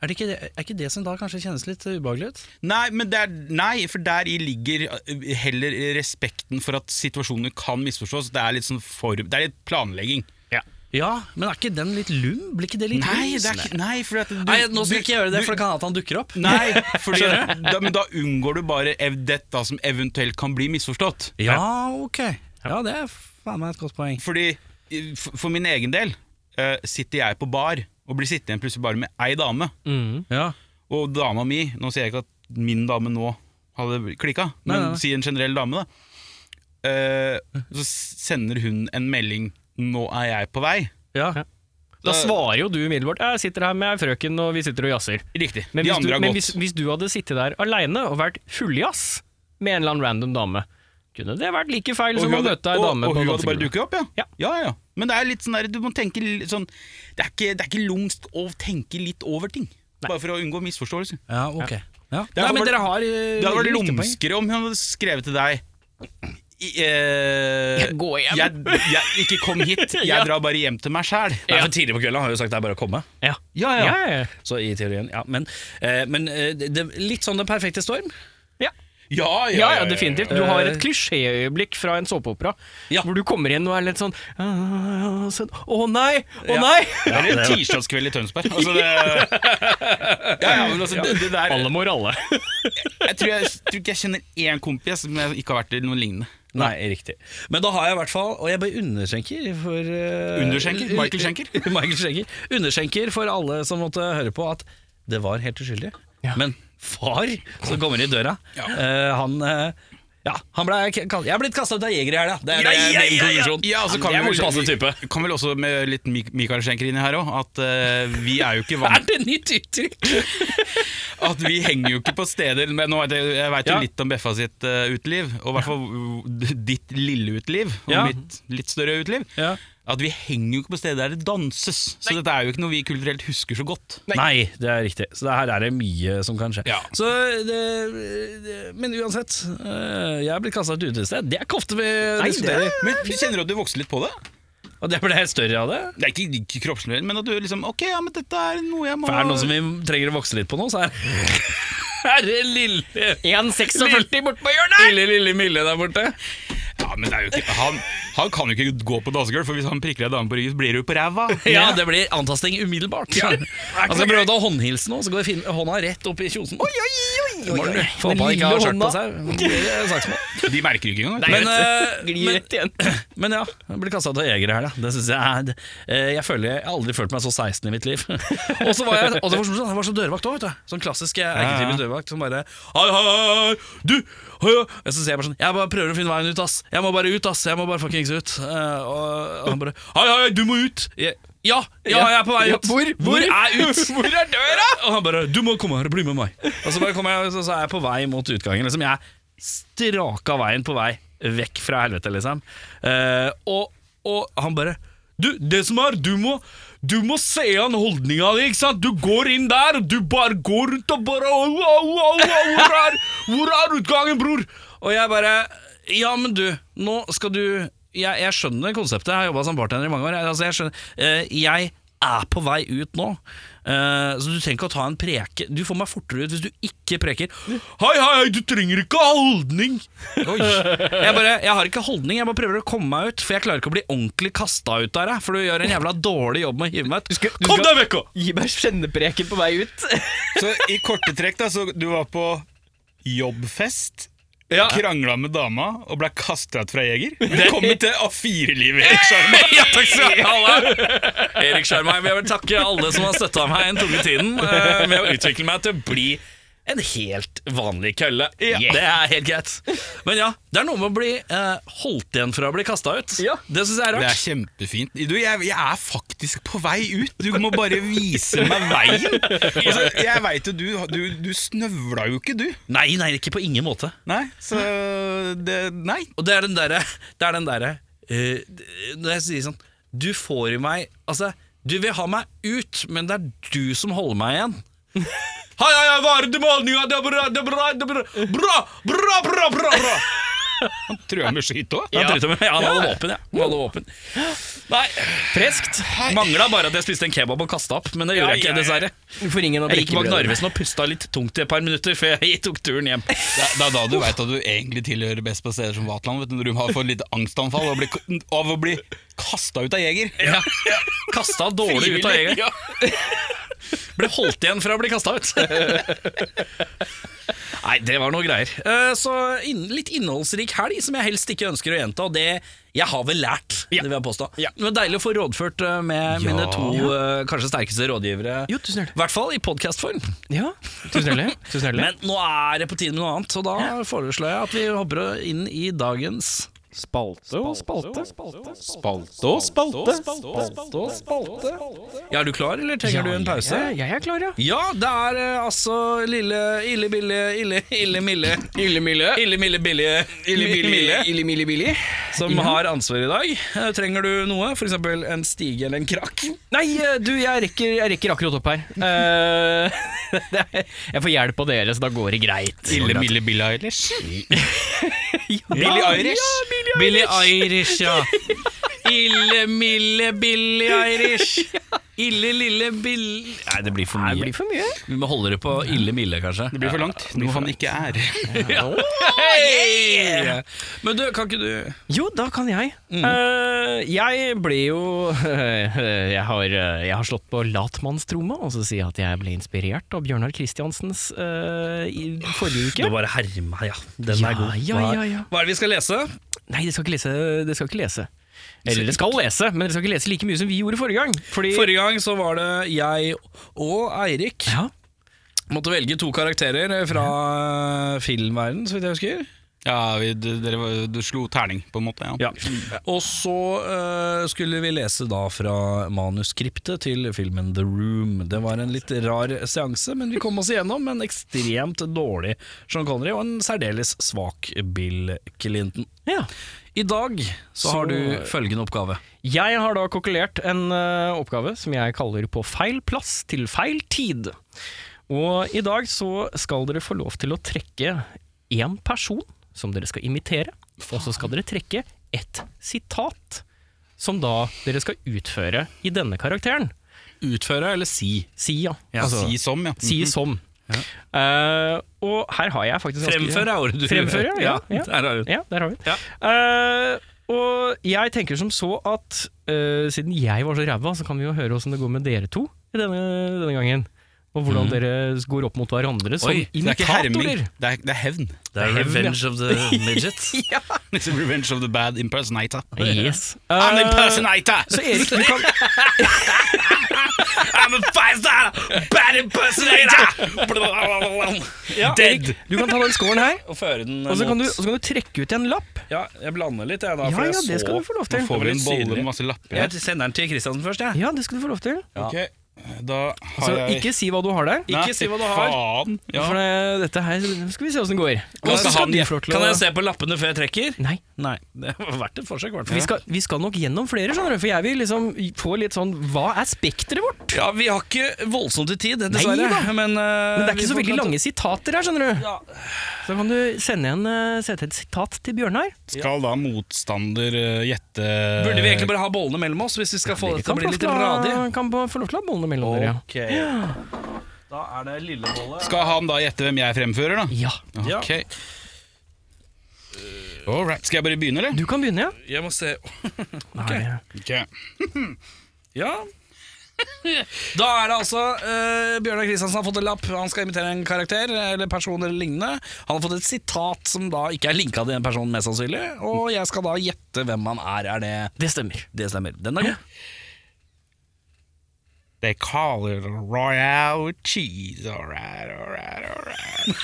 er det, ikke det, er ikke det som da kanskje kjennes litt eh, ubehagelig ut? Nei, men der, nei, for der i ligger eh, heller respekten for at situasjoner kan misforstås. Det er litt sånn form, det er litt planlegging. Ja, men er ikke den litt lum? Blir ikke det litt Nei, lum? det er, ikke- nei for at du, Nei, nå skal du- jeg ikke gjøre det, du- for det kan hende at han dukker opp. Nei, fordi, da, men da unngår du bare ev dette som eventuelt kan bli misforstått. Ja, ok. Ja, det er faen meg et godt poeng. Fordi eh, for, for min egen del eh, sitter jeg på bar og blir sittende igjen plutselig bare med ei dame. Ja, Og dama mi Nå sier jeg ikke at min dame nå hadde klikka, men nei, nei. si en generell dame, da. Eh, så s- sender hun en melding 'Nå er jeg på vei'. ja. Da svarer jo du umiddelbart Jeg sitter her med frøken, og vi sitter og jazzer. Riktig. Men, De hvis du, andre har men hvis, gått. hvis du hadde sittet der aleine og vært fulljass med en eller annen random dame, kunne det vært like feil Og som å hun hadde, møte ei og, dame og på hun hadde bare dansegulvet. dukket opp, Ja. ja. ja, ja. Men det er litt sånn der, du må tenke litt sånn Det er ikke, det er ikke lumsk å tenke litt over ting. Bare for å unngå misforståelser. ja ok. Ja. Det hadde Nei, men vært- dere har eh, Det hadde veldig vært viktige poeng. lumskere om hun hadde skrevet til deg i, eh, Jeg går hjem. Jeg, jeg, ikke kom (laughs) hit, Ja. jeg drar bare hjem til meg sjæl. Nei, for tidlig på kvelden har jeg jo sagt det er bare å komme. Ja. Ja, Ja, ja. ja, ja. Så i teorien, ja. Men, eh, men eh, det, det, litt sånn den perfekte storm. Ja, Ja, ja, definitivt. Du har et Eh. klisjéøyeblikk fra en såpeopera. Ja. Hvor du kommer inn og er litt sånn «Ah, sånn, Å nei! Å Ja. nei! Eller en tirsdagskveld i Tønsberg. Altså, det, ja, (laughs) ja, men altså, det, det der Alle må ralle. Jeg tror, jeg tror ikke jeg kjenner én kompis som jeg ikke har vært i noe lignende. Nei, riktig. Men da har jeg i hvert fall, og jeg bare underskjenker for eh, Underskjenker? Michael Schenker? (laughs) Michael Schenker. Underskjenker for alle som måtte høre på at det var helt uskyldig. Men far som kommer i døra, eh, han eh, ja, han ble, kall- jeg er blitt kasta ut av jeger i helga. Det er det er min konklusjon. Ja, og så kan Det er vi vel vel- passe type. Vi kan vel også med litt Mik- Mikael Schenker inn her òg, at eh, vi er jo ikke (laughs) vant Er det nytt uttrykk? At vi henger jo ikke på steder men nå vet Jeg, jeg veit jo Ja. litt om Beffa sitt eh, uteliv, og i hvert fall uh, ditt lille uteliv, og Ja. mitt litt større uteliv. Ja. At vi henger jo ikke på steder der det danses. Så dette er jo ikke noe vi kulturelt husker så godt. Nei. det er riktig. Så det her er det mye som kan skje. Ja. Så det, det, men uansett, øh, jeg er blitt kasta ut utested. Det er ikke ofte vi diskuterer. Men Kjenner du at du vokser litt på det? Og det ble større av det. Det er ikke, ikke kroppslig, men at du liksom Ok, ja, men dette er noe jeg må For er det noe som vi trenger å vokse litt på nå, så er (laughs) er det lille, 1,46 bortpå hjørnet! lille, lille Mille der borte. Ja, men det er jo ikke Han, han kan jo ikke gå på dansegulv, for hvis han prikker ei dame på ryggen, så blir du jo på ræva. (laughs) Ja, det blir antasting umiddelbart. Han skal prøve å ta håndhilsen nå, så går fin- hånda rett opp i kjosen. Oi, oi, oi, oi, oi. Få Den på deg lille ikke har skjørt på hånda. seg. Blir det (laughs) saksmål. De merker jo ikke engang. Men, Glir øh, men, rett igjen. men ja, jeg ble kasta ut av jeger her, da. Det synes jeg er eh, Jeg føler jeg har aldri følt meg så 16 i mitt liv. (laughs) og så var jeg og det var sånn, jeg var så dørvakt òg, vet du. Sånn klassisk jeg er ikke typisk dørvakt som bare Hei, hei, hei, du! Hei, hei. Og Så sier jeg bare sånn Jeg bare prøver å finne veien ut, ass. Jeg må bare ut, ass. Jeg må bare fuckings ut. Eh, og, og han bare Hei, hei, du må ut! Jeg, ja, ja, jeg er på vei Ja, ut. hvor? hvor er ut? (laughs) Hvor er døra? Og han bare 'du må komme her og bli med meg'. Og så, bare kommer jeg, så, så er jeg på vei mot utgangen. Liksom. Jeg er straka veien på vei vekk fra helvete, liksom. Eh, og, og han bare 'Du, det som er, du må du må se an holdninga di, ikke sant? Du går inn der, og du bare går rundt og bare au, au, au, au, hvor, er, hvor er utgangen, bror? Og jeg bare Ja, men du, nå skal du Jeg, jeg skjønner konseptet, jeg har jobba som bartender i mange år. Jeg, altså, jeg skjønner eh, Jeg er på vei ut nå, eh, så du trenger ikke å ta en preke. Du får meg fortere ut hvis du ikke preker. Hei, hei, hei, du trenger ikke ha holdning! Oi. Jeg, bare, jeg har ikke holdning, jeg bare prøver å komme meg ut, for jeg klarer ikke å bli ordentlig kasta ut der, jeg, for du gjør en jævla dårlig jobb med å hive meg ut. skal- du Kom skal- deg vekk! også! Gi meg kjennepreken på vei ut. Så i korte trekk, da, så du var på jobbfest. Ja. Krangla med dama og ble kasta ut fra Jeger. Velkommen til A4-livet, Erik Sjarma. Ja, takk skal du ha. Erik Skjermheim, jeg vil takke alle som har støtta meg den tunge tiden eh, med å utvikle meg til å bli en helt vanlig kølle. Det er helt greit. Men ja, det er noe med å bli eh, holdt igjen fra å bli kasta ut. Ja. Det syns jeg er Det er rart. kjempefint. Du, jeg, jeg er faktisk på vei ut. Du må bare vise meg veien. Altså, jeg veit jo du, du Du snøvla jo ikke, du. Nei, nei, ikke på ingen måte. Nei, så det, Nei. Og det er den derre Det er den derre eh, Når jeg sier sånn Du får i meg Altså, du vil ha meg ut, men det er du som holder meg (laughs) igjen. Hei, hei, hei, hva er det med holdninga? Det er bra, det er bra, det er bra. Bra, bra, bra, bra, bra. Han trua med skyt òg. Han trynet meg. Ja, han hadde våpen, ja. Han hadde våpen. Nei, freskt. Mangla bare at jeg spiste en kebab og kasta opp, men det gjorde jeg ikke, dessverre. For ingen av Jeg dere gikk bak Narvesen og pusta litt tungt i et par minutter før jeg tok turen hjem. Det er det er da du veit at du egentlig tilhører best på steder som Vatland. Vet du, når du har fått litt angstanfall av å bli, av å bli kasta ut av jeger. Ja. Kasta dårlig ut av jegeren. Ja. (laughs) Ble holdt igjen fra å bli kasta ut. (laughs) Nei, det var noe greier. Eh, Så inn, litt innholdsrik helg som jeg helst ikke ønsker å gjenta, og det jeg har vel lært, det vil jeg påstå. Det var deilig å få rådført eh, med mine to eh, kanskje sterkeste rådgivere. Jo, tusen hjertelig. I hvert fall i podkastform. Ja, tusen hjertelig. Tusen hjertelig. Men nå er det på tide med noe annet, så da foreslår jeg at vi hopper inn i dagens Spalte og spalte. Spalte og spalte. Spalte og spalte. Ja, Er du klar, eller trenger du en pause? Ja, jeg er klar, ja. Ja, det er eh, altså lille ille bille ille ille mille Ille Mille. Ille mille billige ille bille mille Ille Mhm. Mille Billy. som har ansvar i dag. Eh, Trenger du noe? F.eks. en stige eller en krakk? Nei, eh, du, jeg rekker, jeg rekker akkurat opp her. Eh, (laughs) det er- jeg får hjelp av dere, så da går det greit. Ille Mille Billie Eilish. Billie Eilish. Billie Irish, ja. Ille mille Billie Irish. Ille lille bill... Nei, det blir for Det mye. blir for mye. Vi må holde det på ille mille, kanskje. Det blir for langt. Noe han ikke er. Hei! Men du, kan ikke du Jo, da kan jeg. Eh, jeg ble jo (laughs) jeg, har, eh, jeg har slått på latmannstromma og så sier jeg at jeg ble inspirert av Bjørnar Kristiansens eh, i forrige uke. bare herma, ja. Den Ja, ja, ja, ja. Hva er det vi skal lese? Nei, det skal ikke lese. Det skal ikke lese. Eller det skal lese, men dere skal ikke lese like mye som vi gjorde forrige gang. Fordi Forrige gang så var det jeg og Eirik ja. måtte velge to karakterer fra eh, filmverden, så vidt jeg husker. Ja, vi, du, dere, var- du slo terning, på en måte. Ja. Ja. Og så eh, skulle vi lese da fra manuskriptet til filmen The Room. Det var en litt rar seanse, men vi kom oss igjennom. En ekstremt dårlig Sean Connery og en særdeles svak Bill Clinton. ja. I dag så, Så- har du følgende oppgave. Jeg har da kokkelert en eh, oppgave som jeg kaller På feil plass til feil tid. Og i dag så skal dere få lov til å trekke én person som dere skal imitere, og så skal dere trekke ett sitat som da dere skal utføre i denne karakteren. Utføre eller si? Mhm. Si ja. Altså, si som, ja. Si som. Eh, og her har jeg faktisk ganske- Fremføre er ordet du Fremføre, ja, ja. der har du det. Ja, der har vi den. Eh, og jeg tenker som så at eh, siden jeg var så ræva, så kan vi jo høre åssen det går med dere to i denne, denne gangen. Og hvordan dere går opp mot hverandre som Oi, så Mhm. Det er ikke herming, imitatorer. (laughs) det er, det er hevn. Det er Revenge of the (laughs) Midget. It's a revenge of the bad impersonator. Yes. I'm Eh, an impersonator! så Erik, du kan I'm a five-star bad impersonator! Dead! Du kan ta den scoren her, Og føre den eh, og så kan, mot- du- og så kan du trekke ut en lapp. Ja, jeg blander litt, jeg da. Ja, for jeg ja, det så- skal du få lov til. Man får vel en bolle med masse lapper her. Jeg sender den til Kristiansen først, jeg. Ja, det skal du få lov til. Ok, da har Så jeg ikke si hva du har der. Nei, Ikke si hva du har. Faen! Ja. For det, dette her nå skal vi se åssen det går. Kan Og så jeg- skal du få lov til å- Kan jeg se på lappene før jeg trekker? Nei. Nei, (laughs) det var verdt et forsøk, i hvert For vi, skal, vi skal nok gjennom flere, skjønner du. For jeg vil liksom få litt sånn Hva er spekteret vårt? Ja, vi har ikke voldsomt i tid, Nei dessverre. da. Men, eh, Men det er ikke så veldig lange sitater her, skjønner du. Så kan du sende, en, eh, sette et sitat til Bjørnar. Skal da motstander eh, gjette Burde vi egentlig bare ha bollene mellom oss, hvis vi skal få Dere dette til å Eh. kan, få bli litt lov til å- radig? kan få få lov til å ha bollene mellom dere. ja. Da er det lille bolle. Skal han da gjette hvem jeg fremfører, da? Ja. Ja. Ok. Eh, All right. Skal jeg bare begynne, eller? Du kan begynne, ja. Jeg må se Nei, Ok. Ja. Da er det altså eh, Bjørnar Kristiansen har fått en lapp. Han skal imitere en karakter eller person eller lignende. Han har fått et sitat som da ikke er linka til den personen, mest sannsynlig. Og jeg skal da gjette hvem han er. Er det det stemmer. Det stemmer. Den er god. They call it royal cheese. All right, all right, all right.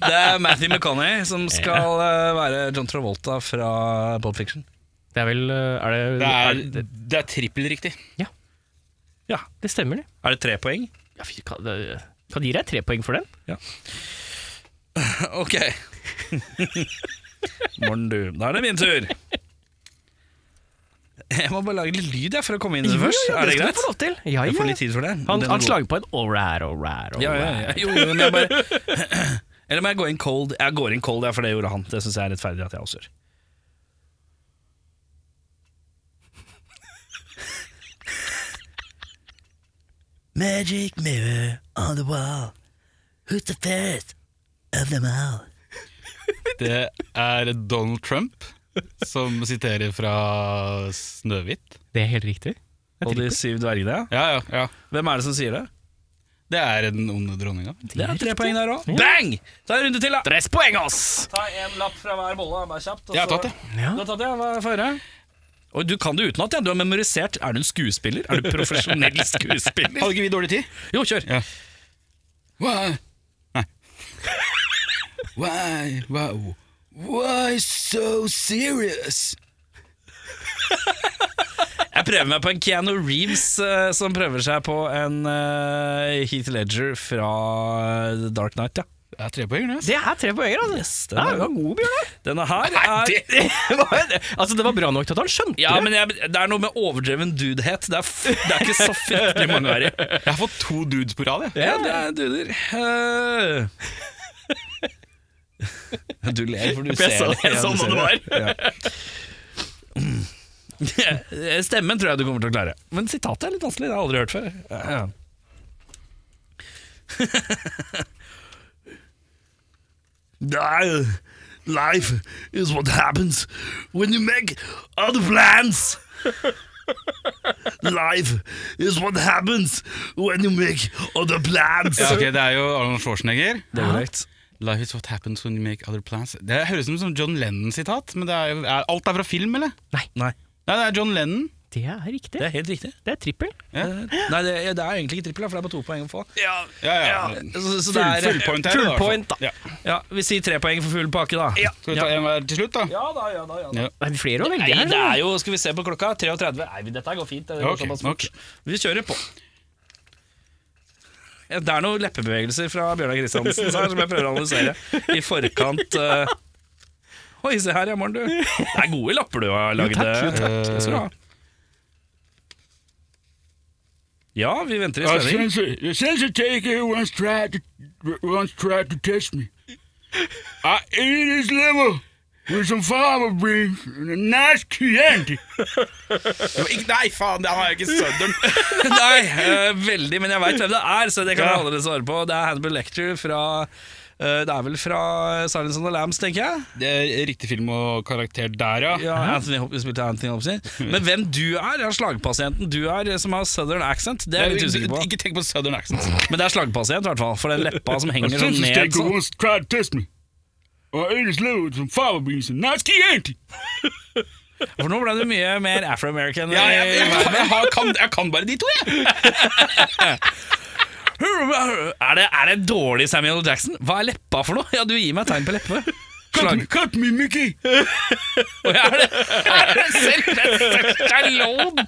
Det er Matthew McConney som skal eh, være John Travolta fra Pop Fiction. Det er vel eh, Er det Det er, er, det er trippelriktig. Ja. Det stemmer, det. Er det tre poeng? Ja, fy, kan, det- kan de gi deg tre poeng for den? (laughs) (laughs) Ok. Morten, du. Da er det min tur. Jeg må bare lage litt lyd jeg, for å komme inn i det først. Jo, jo, er det skal greit? du få lov til. Ja, Jeg får litt ja. tid for det. Han, Den er han god. slager på en all right, all right, all Ja, ja, right. ja. Jo, jo, men jeg bare (clears throat) Eller må jeg gå inn cold? Jeg går inn cold, ja, for det gjorde han. Det syns jeg er rettferdig at jeg også gjør. Magic mirror on the wall. Who's the first of them all? Det er Donald Trump som siterer fra Snøhvit. Det er helt riktig. Og de syv dvergene? Ja, ja, ja. Hvem er det som sier det? Det er den onde dronninga. Det er tre poeng der òg. Bang! Ta en runde til, da. Dress poeng, ass! Ta en lapp fra hver bolle, bare kjapt. Jeg har tatt det. Du har tatt det, hva får jeg høre? Og du kan det utenat, ja. Du har memorisert. Er du en skuespiller? Er du profesjonell skuespiller? Hadde ikke vi dårlig tid? Jo, kjør. Ja. Why? Nei. Why, why, why so serious? Jeg prøver meg på en Keanu Reeves eh, som prøver seg på en eh, Heath Ledger fra The Dark Knight, ja. Det er tre poeng, det. Det er tre poenger, altså. den Nei, er- du var god, Bjørnar. Denne her er (laughs) Det var- altså, det var bra nok til at han skjønte (laughs) Ja, det. men jeg, det er noe med overdreven dudehet. Det er, f det er ikke så fryktelig mange å være i. Jeg har fått to dudes på rad. jeg. Ja, det er duder. Eh. Du ler, for du For jeg ser sa det, jeg Ja, så du hva ser det Ja. Mm. Stemmen tror jeg du kommer til å klare. Men sitatet er litt vanskelig. Det har jeg aldri hørt før. Ja. (laughs) Die. Life is what happens when you make other plans. (laughs) Life is what happens when you make other plans. Ja, ok, det er jo Arnold Schwarzenegger. Det er korrekt. Life is what happens when you make other plans. Det høres ut som John Lennon-sitat, men det er, jo- er, alt er fra film, eller? Nei, Nei, det er John Lennon. Det er riktig. det er helt riktig. Det er trippel. Nei, det, det er egentlig ikke trippel, da, for det er bare to poeng å få. Ja, ja. Så, så det Full, er, full point her. full i hvert fall. point, da. Ja. ja, vi sier tre poeng for full pakke, da. Skal vi ta en hver til slutt, da? Ja, Det er flere å velge Nei, her. det er jo, skal vi se på klokka, 33. Nei, men dette går fint. Det går såpass fort. nok. Vi kjører på. Ja, Det er noen leppebevegelser fra Bjørnar Kristiansen så her, som jeg prøver å analysere i forkant. eh. Oi, se her, ja, Maren, du. Det er gode lapper du har eh. lagd. takk, jo, takk. Det skal du ha. Ja, vi venter i Uh, spenning. sensei- the sensei taker once tried to once tried to test me. I ate his liver with some fava beans and a nice Chianti. Nei, faen, det har jeg ikke sønderen. Nei, eh, veldig, men jeg veit hvem det er, så det kan jeg allerede svare på. Det er Hannibal Lecture fra eh, Det er vel fra Silence of the Lambs, tenker jeg. Det er riktig film og karakter der, ja. Mm. Ja, Anthony Hopkins spilte Anthony Hopkins. Men hvem du er, ja, slagpasienten du er, eh, som har southern accent, det er jeg litt usikker på. Ikke tenk på Southern accent. Men det er slagpasient, i hvert fall. For den leppa som The henger sånn sensei ned. taker Sånn. once tried to test me. I ate his liver with some fava beans and a nice Chianti. For nå ble det mye mer afro-american. Ja, jeg, i- jeg, jeg, jeg, har- kan, jeg kan bare de to, jeg. (laughs) Er, det, er det dårlig Samuel Jackson? Hva er leppa for noe? Ja, du gir meg tegn på leppe. Slag. Cut me, Mickey. Og Er det, er det selv den største loven?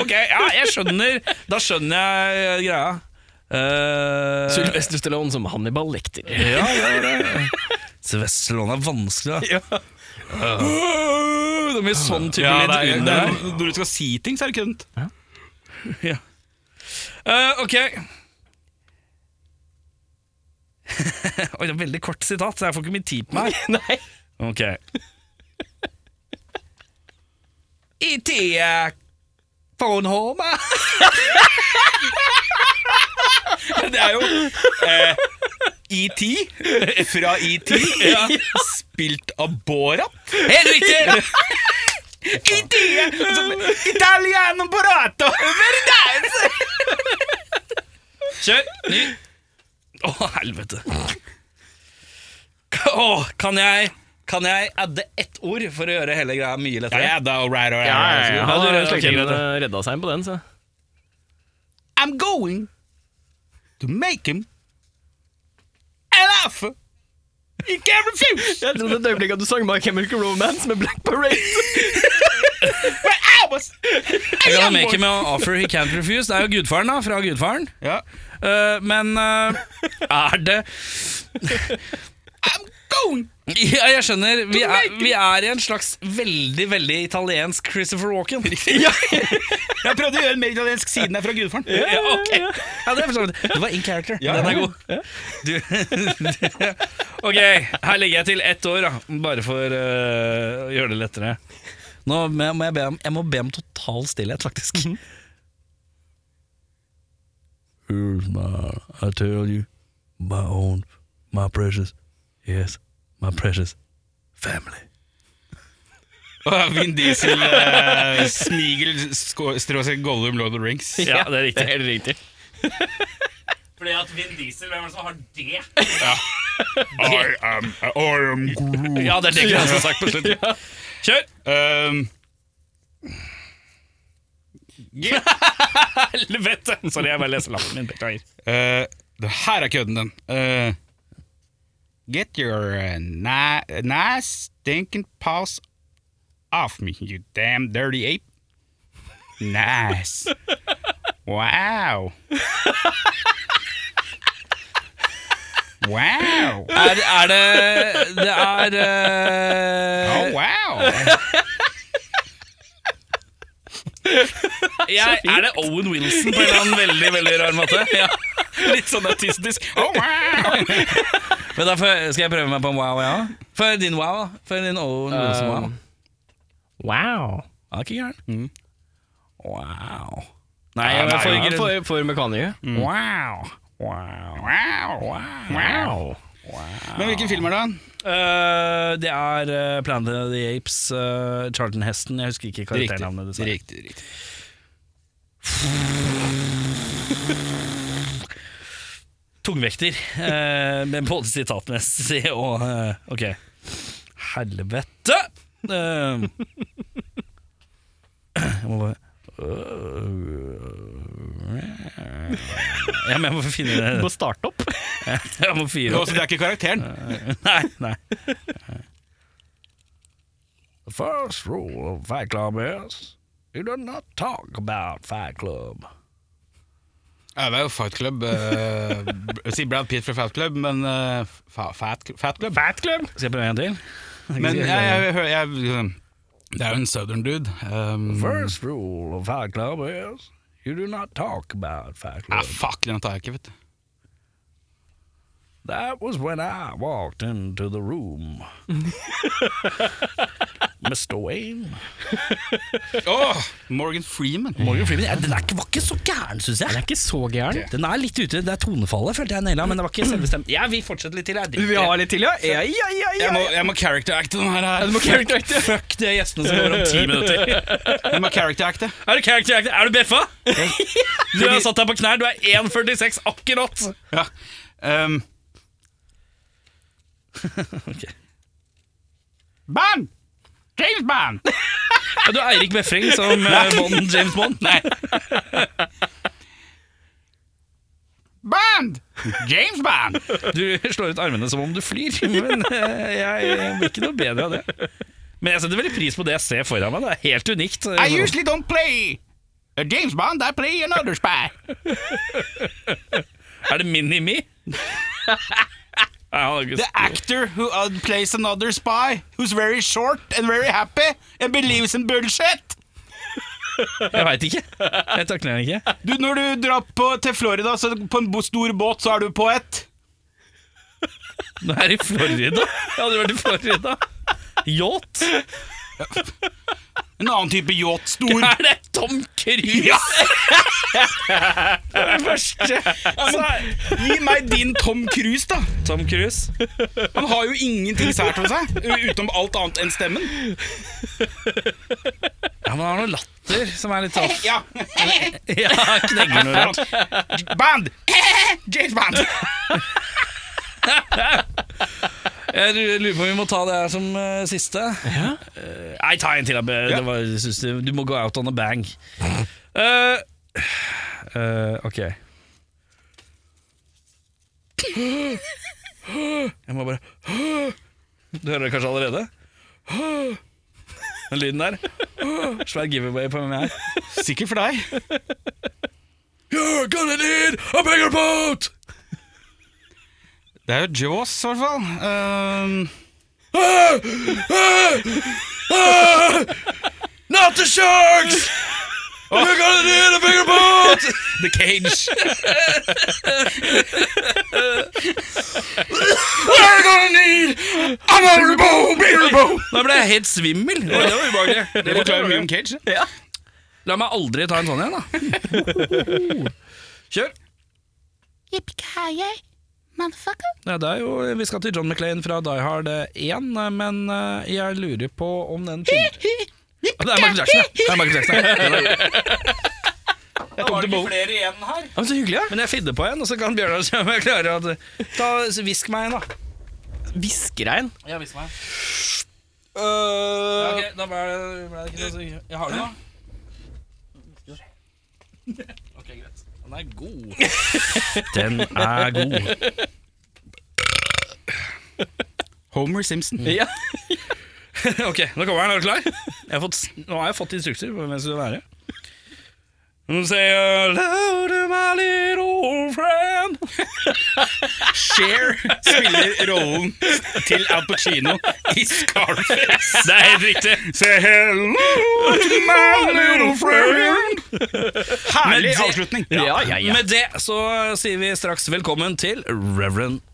Ok, ja, jeg skjønner. Da skjønner jeg eh, greia. Uh, (laughs) Sylvester Stallone som Hannibal (laughs) Lekter. Ja, det er det. Sylvester Stallone er vanskelig, da. Øh, Det blir sånn type Ja, det lyd er, det under er, her. når du skal si ting, så er det kønt. Eh, ok. (laughs) Oi, det er veldig kort sitat, så jeg får ikke mye tid på meg. Nei. Ok. E.T. er Phone (laughs) home. Det er jo eh, E ET fra ET, spilt av Borat. Helt (laughs) riktig! E ET! Italiano Borato! Kjør! Ny. Å, helvete. Å, kan jeg Kan jeg adde ett ord for å gjøre hele greia mye lettere? Ja, da, all right, all right, all Ja, right. du- ja, ok, Slektningen greit. eh, redda seg inn på den, så. I'm going to make him an offer you can't (laughs) refuse. Jeg trodde et øyeblikk at du sang My Chemical Romance med Black (laughs) Parade. But I was Jeg kan make him an offer he can't refuse. Det er jo gudfaren, da. Fra gudfaren. ja. Eh, men eh, er det I'm going Ja, jeg skjønner. Vi er, vi er i en slags veldig, veldig italiensk Christopher Walken. Ja. Jeg prøvde å gjøre en mer italiensk siden jeg er fra gudfaren. Ja, ok ja, det, er for så vidt- det var in character. Den er god. Du, (laughs) ok, her legger jeg til ett år, da. Bare for eh, å gjøre det lettere. Nå må må jeg be om, jeg må be om total stillhet, faktisk. Here's my, I tell you, my own, my precious, yes, my precious family. Og Vin Diesel, eh, Smigel, sko- stråsett Gollum, Lord of the Rings. Ja, det er riktig. Helt riktig. Fordi at Vin Diesel, hvem er det som har det? I am, I am Groot. Ja, det er det jeg har sagt på slutten. Kjør! Um, Helvete! Sorry, jeg bare leser lappen min. Beklager. Eh, det her er kødden den. Eh, get your eh, na nice stinking paws off me, you damn dirty ape. Nice. Wow. Wow. Er, er det Det er eh, Oh, wow. jeg, Er det Owen Wilson på en eller annen veldig veldig rar måte? Ja. Litt sånn autistisk. Oh, (laughs) wow. Men da får, Skal jeg prøve meg på en wow, ja? For din wow, da. For din Owen Wilson-wow. Um, Wow. Er ikke gæren. Wow. Nei, jeg får nei, nei. ikke- Ja, for, for mekanikere. Wow. Wow. Wow. Wow. Men hvilken film er det? Eh, det er eh, Planet of the Apes, eh, Charlton Heston. Jeg husker ikke karakternavnet. dessverre. Riktig, riktig. Tungvekter. eh, men både sitatmessig og eh, Ok. Helvete! Eh, jeg må bare ja, men jeg må finne På det. (laughs) startup. (laughs) Jeg må fyre opp. det er ikke karakteren. Nei, nei. The first rule of Fight Club is you do not talk about Fight Club. Ja, det er jo Fight Club. eh, Jeg sier Brad Pitt fra Fat Club, men eh, fa fat, fat Club? Fat Club. Skal jeg prøve en til? Men jeg, jeg, jeg, jeg, det er jo en southern dude. Um, First rule of Fight Club is you do not talk about Fight ah, Club. fuck, den tar jeg ikke, vet du. That was when I walked into the (laughs) room. Mr. Wayne. Åh, Morgan Freeman. Morgan Freeman ja, den er ikke, var ikke så gæren, syns Den jeg. er ikke så gæren. Den er litt ute. Det er tonefallet, følte jeg naila, men det var ikke selvbestemt. Ja, vi fortsetter litt til. jeg driter i det. litt til, ja? Ja, ja, ja, Jeg må, jeg må character acte den her. her. Du må character acte. Fuck de gjestene som kommer om ti minutter. Jeg må character acte. Er du character actor? Er du beffa? Du har satt deg på knær, du er 1,46 akkurat. Ja. (laughs) Um, Bond! James Bond! Er du Eirik Befring som eh, Bond, James Bond? Nei. Bond! James Bond! Du slår ut armene som om du flyr, men eh, jeg, jeg blir ikke noe bedre av det. Men jeg setter veldig pris på det jeg ser foran meg. Det er helt unikt. I usually don't play a James Bond, I play another spy. Er det Mini-Me? Nei, han har ikke- The actor who uh, plays another spy, who's very short and very happy and believes in bullshit. Jeg veit ikke. Jeg takler den ikke. Du, når du drar på, til Florida så på en bo- stor båt, så er du på ett. Nå er jeg i Florida. Jeg hadde vært i Florida. Yacht? En annen type yacht, stor. Er det Tom Cruise? Ja! det første. Gi meg din Tom Cruise, da. Tom Cruise. Han har jo ingenting sært ved seg, u- utenom alt annet enn stemmen. Ja, men han har noe latter som er litt off. Ja. (laughs) Ja, knegger noe rart. (laughs) Band! James Band! Jeg lurer på om vi må ta det her som eh, siste. Eh, nei, ta en til. da. Det var, jeg synes du, du må gå out on a (laughs) bang. Eh, eh, ok. Jeg må bare Du hører det kanskje allerede? Den lyden der. Svær giveaway på hvem jeg er. Sikkert for deg. You're gonna need a bigger boat! Det er jo Jaws, i hvert fall. Um, Not the sharks! Look at it in a bigger boat! The Cage. We're gonna need another boat, bigger boat! Da ble jeg helt svimmel. Oi, det var ubehagelig. Det forklarer mye om Cage. det. La meg aldri ta en sånn igjen, da. (laughs) Kjør. Ja, det er jo, vi skal til John McClane fra Die Hard 1, men eh, jeg lurer på om den filmen Ah, Det er Michael Jackson, ja. Det er Michael Jackson, ja. Jeg tok det bowl. flere igjen her? Ja, men så hyggelig, ja. Men jeg finner på en, og så kan Bjørnar se om jeg klarer å ta, så Hvisk meg en, da. Viskerein. Ja, vis meg. Øh, Ok, da ble det, ble det ikke det. så Jeg har det nå. Ok, greit. Den er god. Den er god. Homer Simpson. (laughs) ok, nå kommer den. Er du klar? Jeg har fått, nå har jeg fått instrukser på hvem jeg skal være. Say hello to my little friend. Cher spiller rollen til Al Pacino i Scarface. Det er helt riktig. Say hello to my little friend. Herlig avslutning. Ja, ja, ja. Med det så sier vi straks velkommen til Reverend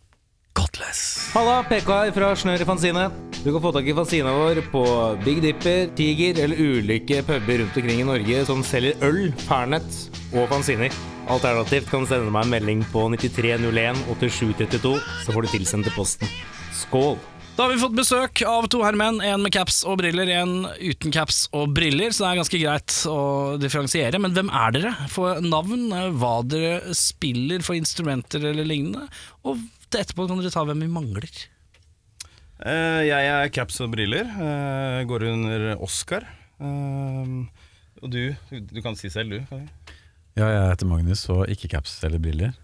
Godless. Halla, PK her fra Snør i Fanzine. Du kan få tak i fanzina vår på Big Dipper, Tiger eller ulike puber rundt omkring i Norge som selger øl, pernett og fanziner. Alternativt kan du sende meg en melding på 9301 8732, så får du tilsendt til posten. Skål! Da har vi fått besøk av to herremenn, en med caps og briller, en uten caps og briller, så det er ganske greit å differensiere. Men hvem er dere? For navn, eh, hva dere spiller for instrumenter eller lignende, og etterpå kan dere ta hvem vi mangler. Eh, jeg er caps og briller. eh, går under Oscar. Eh, og du, du kan si selv, du. kan du? Ja, jeg heter Magnus og ikke caps eller briller.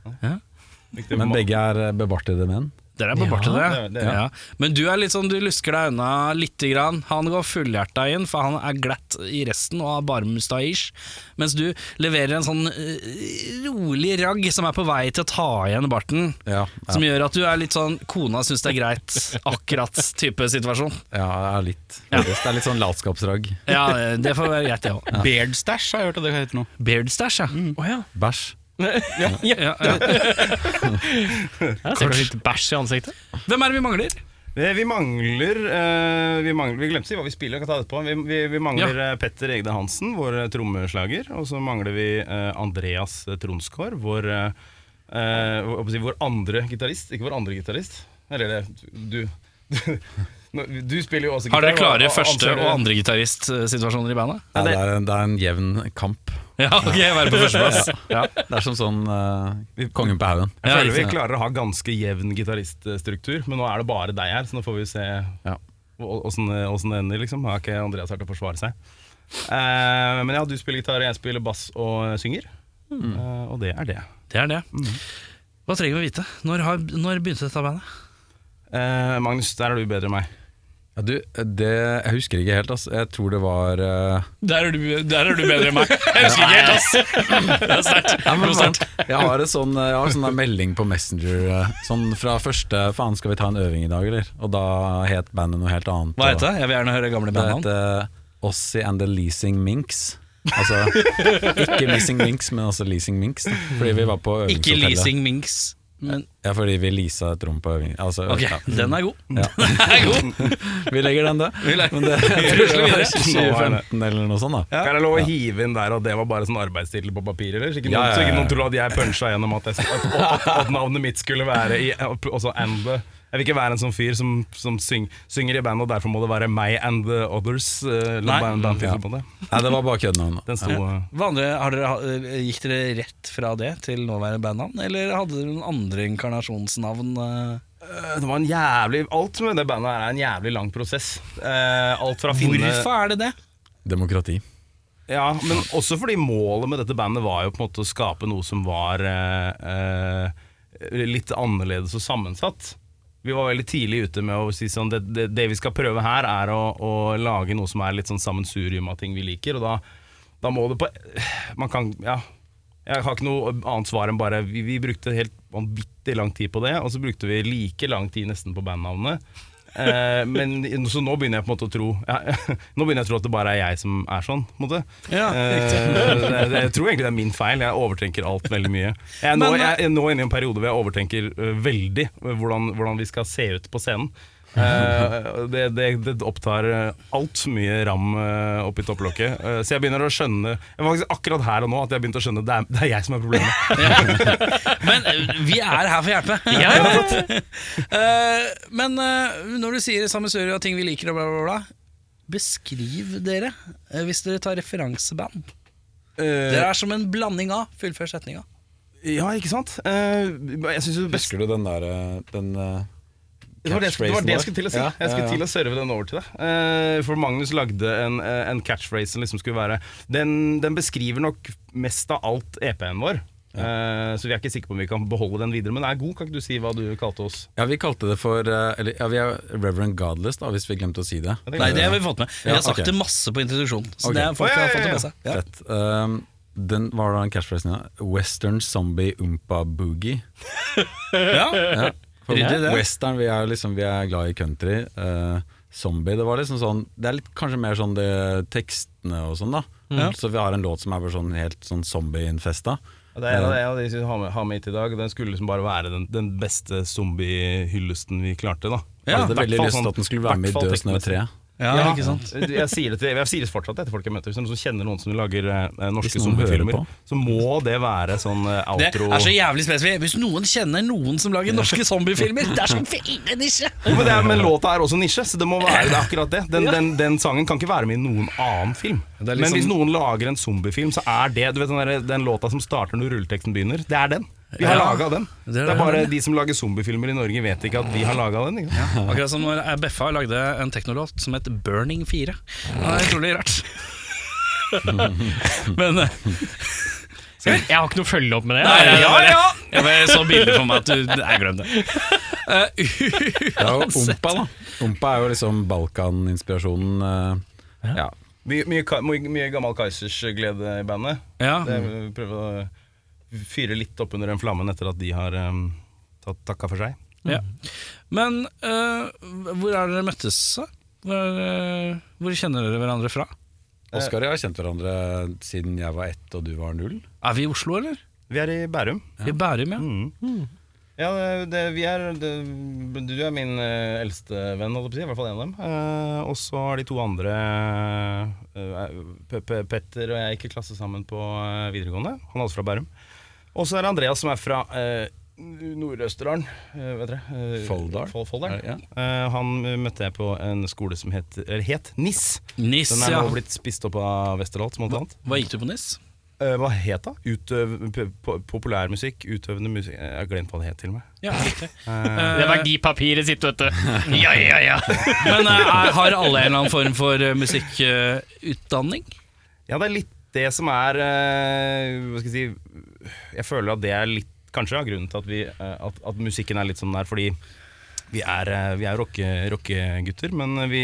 Riktig. Men begge er bebartede menn. Dere er på bartet, det er- det er- ja. Men du er litt sånn, du lusker deg unna lite grann. Han går fullhjerta inn, for han er glatt i resten og har bare mustaish. Mens du leverer en sånn eh, rolig ragg som er på vei til å ta igjen barten. Ja, ja, Som gjør at du er litt sånn kona syns det er greit, akkurat type situasjon. ja jeg er litt. Det er litt sånn latskapsragg. Ja, eh, det får være greit, det òg. Beard stash har jeg hørt at det heter nå. Beardstash, Mm. ja. Bæsj. (laughs) ja, ja. Jeg ser litt bæsj i ansiktet. Hvem er det vi mangler? Eh, Vi mangler, eh, vi mangler Vi glemte å si hva vi spiller. Jeg kan ta det på. Vi, vi, vi mangler eh, Petter Egde Hansen, vår eh, trommeslager. Og så mangler vi eh, Andreas Tronskår, vår, eh, eh, hva- hva skal jeg si, vår andre gitarist. Ikke vår andre gitarist. Eller det, du. (laughs) du Nå, Du spiller jo også Har gitar. dere klare og- og første- anser og det- andregitarist-situasjoner i bandet? Ja, det, er en, det er en jevn kamp. Ja, ok, være på førsteplass. Ja, det er som sånn eh, Kongen på haugen. Jeg Ja, føler vi riktig. klarer å ha ganske jevn gitariststruktur, men nå er det bare deg her, så nå får vi se Ja. åssen det ender, liksom. Har ikke Andreas vært til å forsvare seg. Eh, men ja, du spiller gitar, jeg spiller bass og synger. Mm. Eh, og det er det. Det er det. Hva trenger vi å vite? Når, har, når begynte dette bandet? Eh, Magnus, der er du bedre enn meg. Ja, du, det, jeg husker ikke helt, altså. Jeg tror det var eh, Der er du, bedre enn meg. Jeg husker ikke helt, ass. Det er sterkt. ja, men vent. Jeg har en sånn, jeg har en sånn der melding på Messenger eh, Sånn fra første Faen, skal vi ta en øving i dag, eller? Og da het bandet noe helt annet. Hva og- heter det? Jeg vil gjerne høre gamle Det bandnavn. heter eh, Ossie and the Leasing Minks. Altså, ikke Leasing Minks, men altså Leasing Minks. da. Fordi vi var på Ikke øvingshotellet. Leasing Minks. Men, Ja, fordi vi leasa et rom på øving. Altså, ok, ja. den er god. Ja. Den er god. Vi legger den, da. Men det, jeg tror det var 2015 eller noe sånt, da. Kan jeg lov å hive inn der at det var bare sånn arbeidstittel på papir, eller? Så ikke noen, Ja, ja, Så ikke ja. noen tror at jeg punsja gjennom at, jeg, at, at, at navnet mitt skulle være i, også and the jeg vil ikke være en sånn fyr som, som syng, synger i band, og derfor må det være meg and the others. eh, Nei. band- bandtittel på det. Nei, det var bare køddenavn. Den sto eh, Hva andre, har dere, ha- gikk dere rett fra det til nåværende bandnavn, eller hadde dere noen andre inkarnasjonsnavn? eh? Det var en jævlig Alt med det bandet her er en jævlig lang prosess. Eh, alt fra å finne Hvorfor er det det? Demokrati. Ja, men også fordi målet med dette bandet var jo på en måte å skape noe som var eh, eh, litt annerledes og sammensatt. Vi var veldig tidlig ute med å si sånn Det, det, det vi skal prøve her, er å, å lage noe som er litt sånn sammensurium av ting vi liker, og da, da må det på Man kan Ja. Jeg har ikke noe annet svar enn bare Vi, vi brukte helt vanvittig lang tid på det, og så brukte vi like lang tid nesten på bandnavnet. Eh, men, så nå begynner jeg på en måte å tro ja, (laughs) Nå begynner jeg å tro at det bare er jeg som er sånn. På en måte. Eh, (laughs) det, det, jeg tror egentlig det er min feil. Jeg overtenker alt veldig mye. Jeg er nå, jeg, er nå inne i en periode hvor jeg overtenker eh, veldig hvordan, hvordan vi skal se ut på scenen. Eh, det, det, det opptar altfor mye ram eh, oppi topplokket. Eh, så jeg begynner å skjønne jeg var faktisk akkurat her og nå at jeg begynte å skjønne at det er, det er jeg som er problemet. Men eh, vi er her for å hjelpe. Eh, men eh, når du sier sammensurium og ting vi liker og bla, bla, bla Beskriv dere, eh, hvis dere tar referanseband. Dere er som en blanding av Fullfør setninga. Eh, Ja, ikke sant? Eh, jeg synes jo best Husker du den der eh, den, eh, Det var det, jeg skulle- det var det jeg skulle til å si. Ja, Jeg skulle ja, ja. til å serve den over til deg. Eh, for Magnus lagde en, eh, en catchphrase som liksom skulle være Den, den beskriver nok mest av alt EP-en vår. Eh, så vi er ikke sikre på om vi kan beholde den videre. Men den er god, kan ikke du si hva du kalte oss? Ja, vi kalte det for eh, eller, ja, Vi er Reverend Godless, da, hvis vi glemte å si det. Jeg tenker- Nei, det har vi fått med. Vi Ja, har sagt ok. det masse på introduksjonen. Så Ok. det er folk Å, ja, har ja, fått det ja. med seg. Ja. Fett. Um, den hva var da den catchphrasen igjen? Western zombie umpa boogie. (laughs) ja. For Western, vi er, liksom, vi er glad i country. Eh, zombie, det var liksom sånn Det er litt, kanskje mer sånn det, tekstene og sånn, da. Mm. Så vi har en låt som er bare sånn helt sånn Ehm, zombieinfesta. Ja, Det er en av det- en av de som har med, har med hit i dag. og Den skulle liksom bare være den, den beste zombie-hyllesten vi klarte. da Jeg Altså, hadde i veldig hvert lyst fall til at den skulle være med i hvert fall Død snø teknisk. (laughs) 3. Ja, ikke sant? Jeg sier det, til, jeg sier det fortsatt til folk jeg møter. Hvis det er noen som kjenner noen som lager eh, norske Hvis noen hører zombiefilmer, på. så må det være sånn eh, Det outro. er så jævlig spesifikt. Hvis noen kjenner noen som lager norske zombiefilmer, det (laughs) er så fine nisje! Jo, men, det er, men låta er også nisje, så det må være det er akkurat det. Den, den, den sangen kan ikke være med i noen annen film. er Men liksom- hvis noen lager en zombiefilm, så er det du vet, den, der, den låta som starter når rulleteksten begynner. Det er den. Vi har Ja. laget laga den. Det Det er er, det. bare de som lager zombiefilmer i Norge, vet ikke at vi har laga den. Ikke? sant? Akkurat som når Beffa lagde en teknolåt som het Burning 4. Det er utrolig rart. (laughs) Men eh, Skal vi- Jeg har ikke noe følge opp med det. Nei, ja, ja, ja. Jeg bare så bilder for meg at du Nei, glem det. (laughs) Eh, Det er jo umpa, da. Umpa er jo liksom Balkan-inspirasjonen. eh, ja. Mye, mye, ka- mye, mye gammel Kaizers glede i bandet. ja. Det, vi prøver å eh, fyre litt opp under den flammen etter at de har um, tatt takka for seg. ja. Men eh, hvor er dere møttes? da? Hvor, eh, hvor kjenner dere hverandre fra? Eh. Oskar og jeg har kjent hverandre siden jeg var ett og du var null. Er vi i Oslo, eller? Vi er i Bærum. I Bærum, ja. Ja, det, det, vi er det, Du er min eh, eldste venn, holdt jeg på å si. I hvert fall en av dem. Eh, og så har de to andre eh, Pe- Pe- Petter og jeg gikk i klasse sammen på eh, videregående. Han er også fra Bærum. Og så er det Andreas som er fra eh, Nord-Østerdalen. eh, vet dere? eh, Folldal? Fol- Folldal. Eh, han eh, møtte jeg på en skole som het, eller het NIS. Nis, Den er ja. nå blitt spist opp av Westerdal, som alt annet. Hva gikk du på Nis? Eh, hva het det? Utøv, p- po- populærmusikk, utøvende musikk Jeg har glemt hva det het, til og med. Ja, riktig. Det verdipapiret sitt, (laughs) vet du. Ja, ja, ja. Men eh, (laughs) er, har alle en eller annen form for eh, musikkutdanning? Ja, det er litt det som er eh, Hva skal jeg si Jeg føler at det er litt Kanskje er grunnen til at, vi, eh, at, at musikken er litt sånn der, fordi vi er, eh, vi er rocke, rockegutter, men vi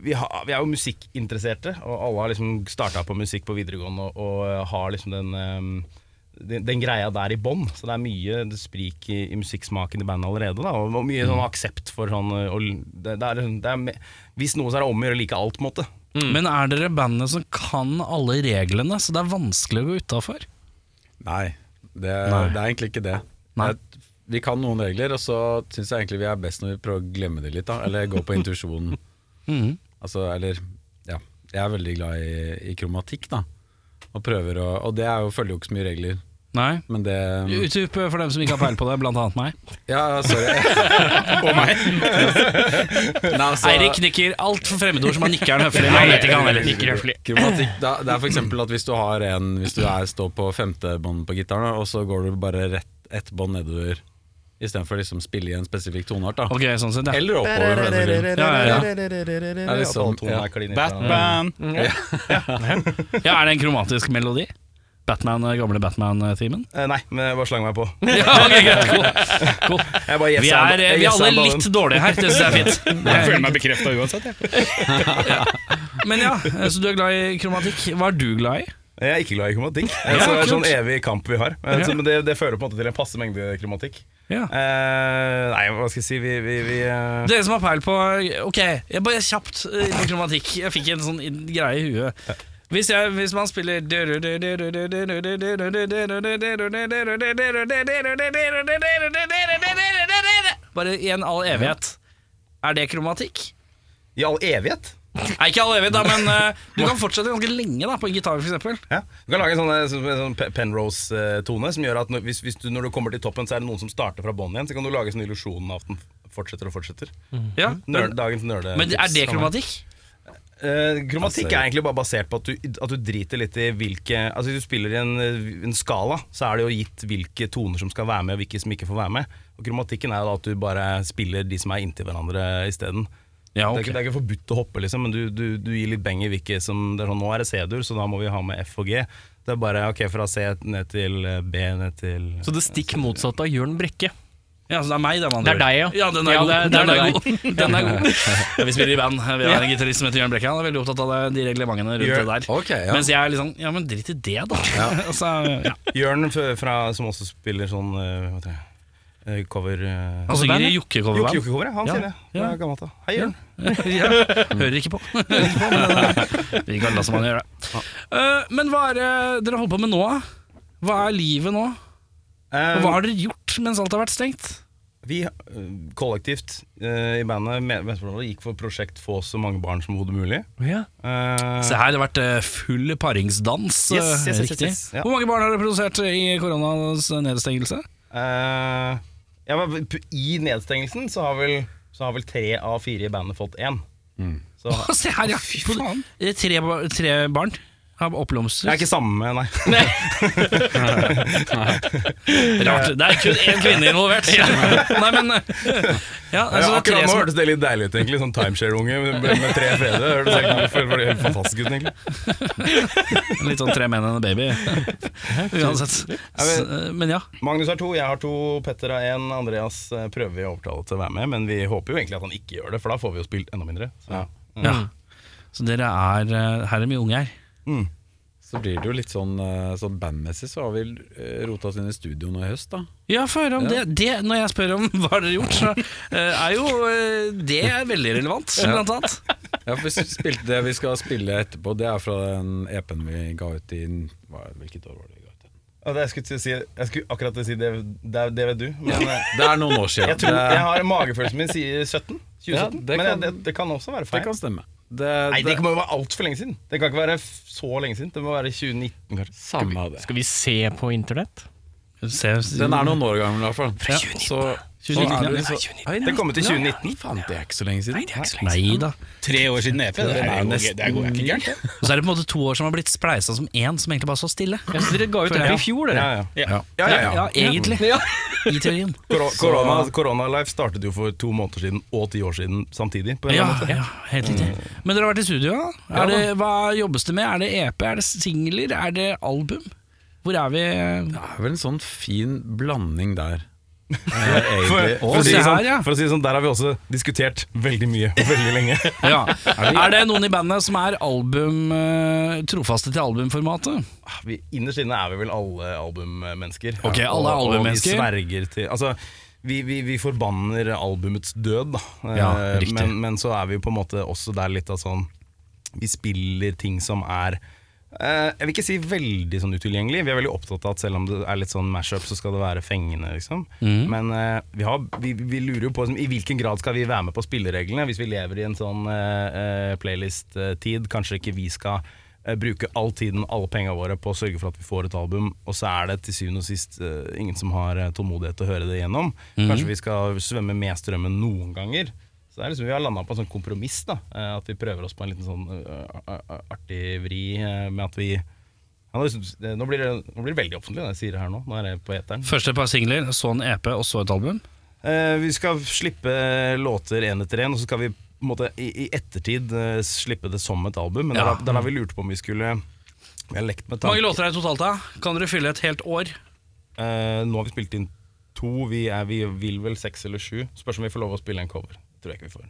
vi, har, vi er jo musikkinteresserte, og alle har liksom starta på musikk på videregående og, og har liksom den, eh, den, den greia der i bånn. Så det er mye sprik i, i musikksmaken i bandet allerede. Da, og, og mye sånn aksept for sånn eh, og, det, det er, det er, me- Hvis noe så er det om å gjøre å like alt, på en måte. Men er dere bandet som kan alle reglene, så det er vanskelig å gå utafor? Nei, det, det er egentlig ikke det. Nei. Det er- vi kan noen regler, og så syns jeg egentlig vi er best når vi prøver å glemme det litt. Da. Eller gå på (laughs) intuisjonen. Mm. Altså, eller Ja. Jeg er veldig glad i, i kromatikk, da. Og prøver å Og det er jo, følger jo ikke så mye regler, Nei. men det Utdyp eh, for dem som ikke har peil på det, blant annet meg. Ja, sorry. Og meg. (laughs) Nei, altså, (laughs) Eirik nikker altfor fremmedord som han nikker han høflig. men Han vet ikke han heller. Ikke røffelig. Kromatikk, da, det er for eksempel at hvis du har en Hvis du er, står på femte bånd på gitaren, da, og så går du bare rett ett bånd nedover istedenfor å liksom spille i en spesifikk toneart, da. Ok, sånn sett, ja. Eller oppover. for den saks skyld. Ja, ja, ja. Er liksom, det sånn, ja. Batman! ja, Er det en kromatisk melodi? Batman, eh, Gamle Batman-timen? Eh, Nei, men jeg bare slang meg på. (laughs) Ja, ok, greit, cool. cool. Jeg bare Vi er, eh, vi er alle litt dårlige her, det syns jeg er fint. Jeg føler meg bekrefta uansett. Jeg. Men (laughs) ja, eh, Så du er glad i kromatikk. Hva er du glad i? Jeg er ikke glad i kromatikk. Eh, så det er kult. altså, sånn evig kamp vi har. Eh, så- Men det, det fører på en måte til en passe mengde kromatikk. Ja. Eh, nei, hva skal jeg si? Vi, vi, vi eh, Dere som har peil på Ok, jeg bare kjapt eh, diplomatikk. Jeg fikk en sånn in- greie i huet. Hvis, jeg, hvis man spiller Bare i en all evighet. Er det kromatikk? I all evighet? Nei, ikke all evighet, da, men eh, du kan fortsette ganske lenge da på en gitar, f.eks. Ja. Du kan lage en sånn, eh, sånn, sånn Pe- Penrose-tone som gjør at når, hvis, hvis du, når du kommer til toppen, så er det noen som starter fra bånn igjen. Så kan du lage sånn illusjonen av at den fortsetter og fortsetter. Ja. Nør, Men, dagens nerde. men er det kromatikk? Eh, kromatikk Altså- er egentlig bare basert på at du, at du driter litt i hvilke Altså Hvis du spiller i en, eh, en skala, så er det jo gitt hvilke toner som skal være med, og hvilke som ikke får være med. Og Kromatikken er jo da at du bare spiller de som er inntil hverandre isteden. Ja, Det, er ikke- det er ikke forbudt å hoppe, liksom, men du, du, du gir litt beng i hvilke som det er sånn, Nå er det C-dur, så da må vi ha med F og G. Det er bare ok, fra C ned til eh, B, ned til Så det stikk motsatte av Jørn Brekke. Ja, så det er meg, det, man Det er deg, ja. Ja, den er Ja, god. det er- det er den, er deg. god. den er (laughs) god. Ja, Vi spiller i band. Vi har en gitarist som heter Jørn Brekke. Han er veldig opptatt av det- de reglementene rundt det der. Ok, ja. Mens jeg er litt sånn Ja, men drit i det, da. (laughs) altså, ja. Jørn f- fra, som også spiller sånn eh, hva heter det, eh, cover eh, Han synger i Jokke-coverband. Jokke-coveret, han Ja. sier det. Ja. Fra gammelt av. Hei, Jørn. (laughs) ja. Hører ikke på. (laughs) Hører ikke på men, eh, vi kan la som han gjør det. Eh, men hva er det dere holder på med nå? da? Hva er livet nå? Og hva har dere gjort mens alt har vært stengt? Vi eh, kollektivt eh, i bandet med- med- gikk for prosjekt få så mange barn som hodet mulig. Ja. Eh, Se her, det har vært eh, full paringsdans. eh, Yes, yes, yes, riktig. yes, ja. Hvor mange barn har dere produsert i koronas nedstengelse? eh, ja, men p- I nedstengelsen så har, vel, så har vel tre av fire i bandet fått én. Så Å, Se her, ja. Eh, Tre, ba- tre barn har det er oppblomstret. ikke samme, (laughs) nei. Rart. Det er kun én (laughs) kvinne involvert. Nei, men (laughs) eh, ja, altså, det er tre akkurat nå som, hørtes det litt deilig ut, egentlig. Sånn timeshare-unge med, med tre fedre. Det Hørtes helt, det var helt fantastisk ut, egentlig. Litt sånn tre menn og en (laughs) baby. (laughs) Uansett. S- eh, Men ja. Magnus har to, jeg har to, Petter har én. Andreas eh, prøver vi å overtale til å være med, men vi håper jo egentlig at han ikke gjør det, for da får vi jo spilt enda mindre. Så. ja. Så dere er eh, Her er mye unge her. Så blir det jo litt sånn, eh, sånn bandmessig så har vi eh, rota oss inn i studio nå i høst, da. Ja, få høre om det. det. Når jeg spør om hva dere har gjort, så eh, er jo eh, det er veldig relevant, blant annet. Ja, for vi spilte det vi skal spille etterpå, det er fra den EP-en vi ga ut i hva, Hvilket år var det vi ga ut? den? Ja, det, jeg, skulle til å si, jeg skulle akkurat til å si det, det, det vet du, men eh, Det er noen år siden. jeg, tror, det, jeg har magefølelsen min sier 17. 2017, Ja, det men kan- det, det kan også være det feil. kan stemme. Det, Nei, det, det må jo være altfor lenge siden. Det kan ikke være f- så lenge siden. Det må være 2019, kanskje. samme av det. Skal vi se på internett? Se, Den er noen år gammel, i hvert fall. Fra 2019. Så, så 2019, er ja. det liksom, Det kommer til 2019. Faen, det er ikke så lenge siden. Nei, det er ikke så lenge Nei da. Tre år siden EP, det, er jo nesten Det går ikke gærent. det. Og så er det på en måte to år som har blitt spleisa som én, som egentlig bare står stille. Ja, så dere ga ut EP i fjor, dere. Ja, ja. Ja. Ja, ja, ja. Ja, egentlig. I teorien. Koro- Korona, Koronalife startet jo for to måneder siden og ti år siden samtidig. På en (laughs) eller Ja, annen måte. ja, helt riktig. Men dere har vært i studio, Mm. da? Er det, hva jobbes det med? Er det EP, er det singler, er det album? Hvor er vi? Det er vel en sånn fin blanding der. Eh, egentlig. For, for, å se si det her, sånn, ja. for å si det sånn, der har vi også diskutert veldig mye og veldig lenge. (laughs) Ja. Er det noen i bandet som er album eh, trofaste til albumformatet? Ah, vi, innerst inne er vi vel alle albummennesker. Ok, alle er Og- albummennesker. Og vi sverger til Altså, vi, vi, vi forbanner albumets død, da. Ja, Eh, riktig. men, men så er vi jo på en måte også der litt av sånn Vi spiller ting som er eh, jeg vil ikke si veldig sånn utilgjengelig. Vi er veldig opptatt av at selv om det er litt sånn mash-up, så skal det være fengende. liksom Mhm. Men eh, vi, har, vi, vi lurer jo på liksom, i hvilken grad skal vi være med på spillereglene hvis vi lever i en sånn eh, eh, playlist-tid. Kanskje ikke vi skal eh, bruke all tiden, alle pengene våre på å sørge for at vi får et album, og så er det til syvende og sist eh, ingen som har eh, tålmodighet til å høre det igjennom. Kanskje vi skal svømme med strømmen noen ganger. Så det er liksom, Vi har landa på en sånn kompromiss, da eh, at vi prøver oss på en liten sånn eh, a- a- artig vri eh, med at vi ja, nå, synes- det- nå, blir det, nå blir det veldig offentlig, det jeg sier det her nå. Nå er det på (laughs) eteren. Først et par singler, så en EP, og så et album. Eh, vi skal slippe eh, låter én etter én, og så skal vi på en måte, i, i ettertid eh, slippe det som et album. Men Ja. da, da, da vi lurte på om vi skulle Vi har lekt med Hvor tanken mange låter er det totalt, da? Kan dere fylle et helt år? Eh, nå har vi spilt inn to. Vi, er, vi vil vel seks eller sju. Spørs om vi får lov å spille en cover. Tror jeg ikke vi får.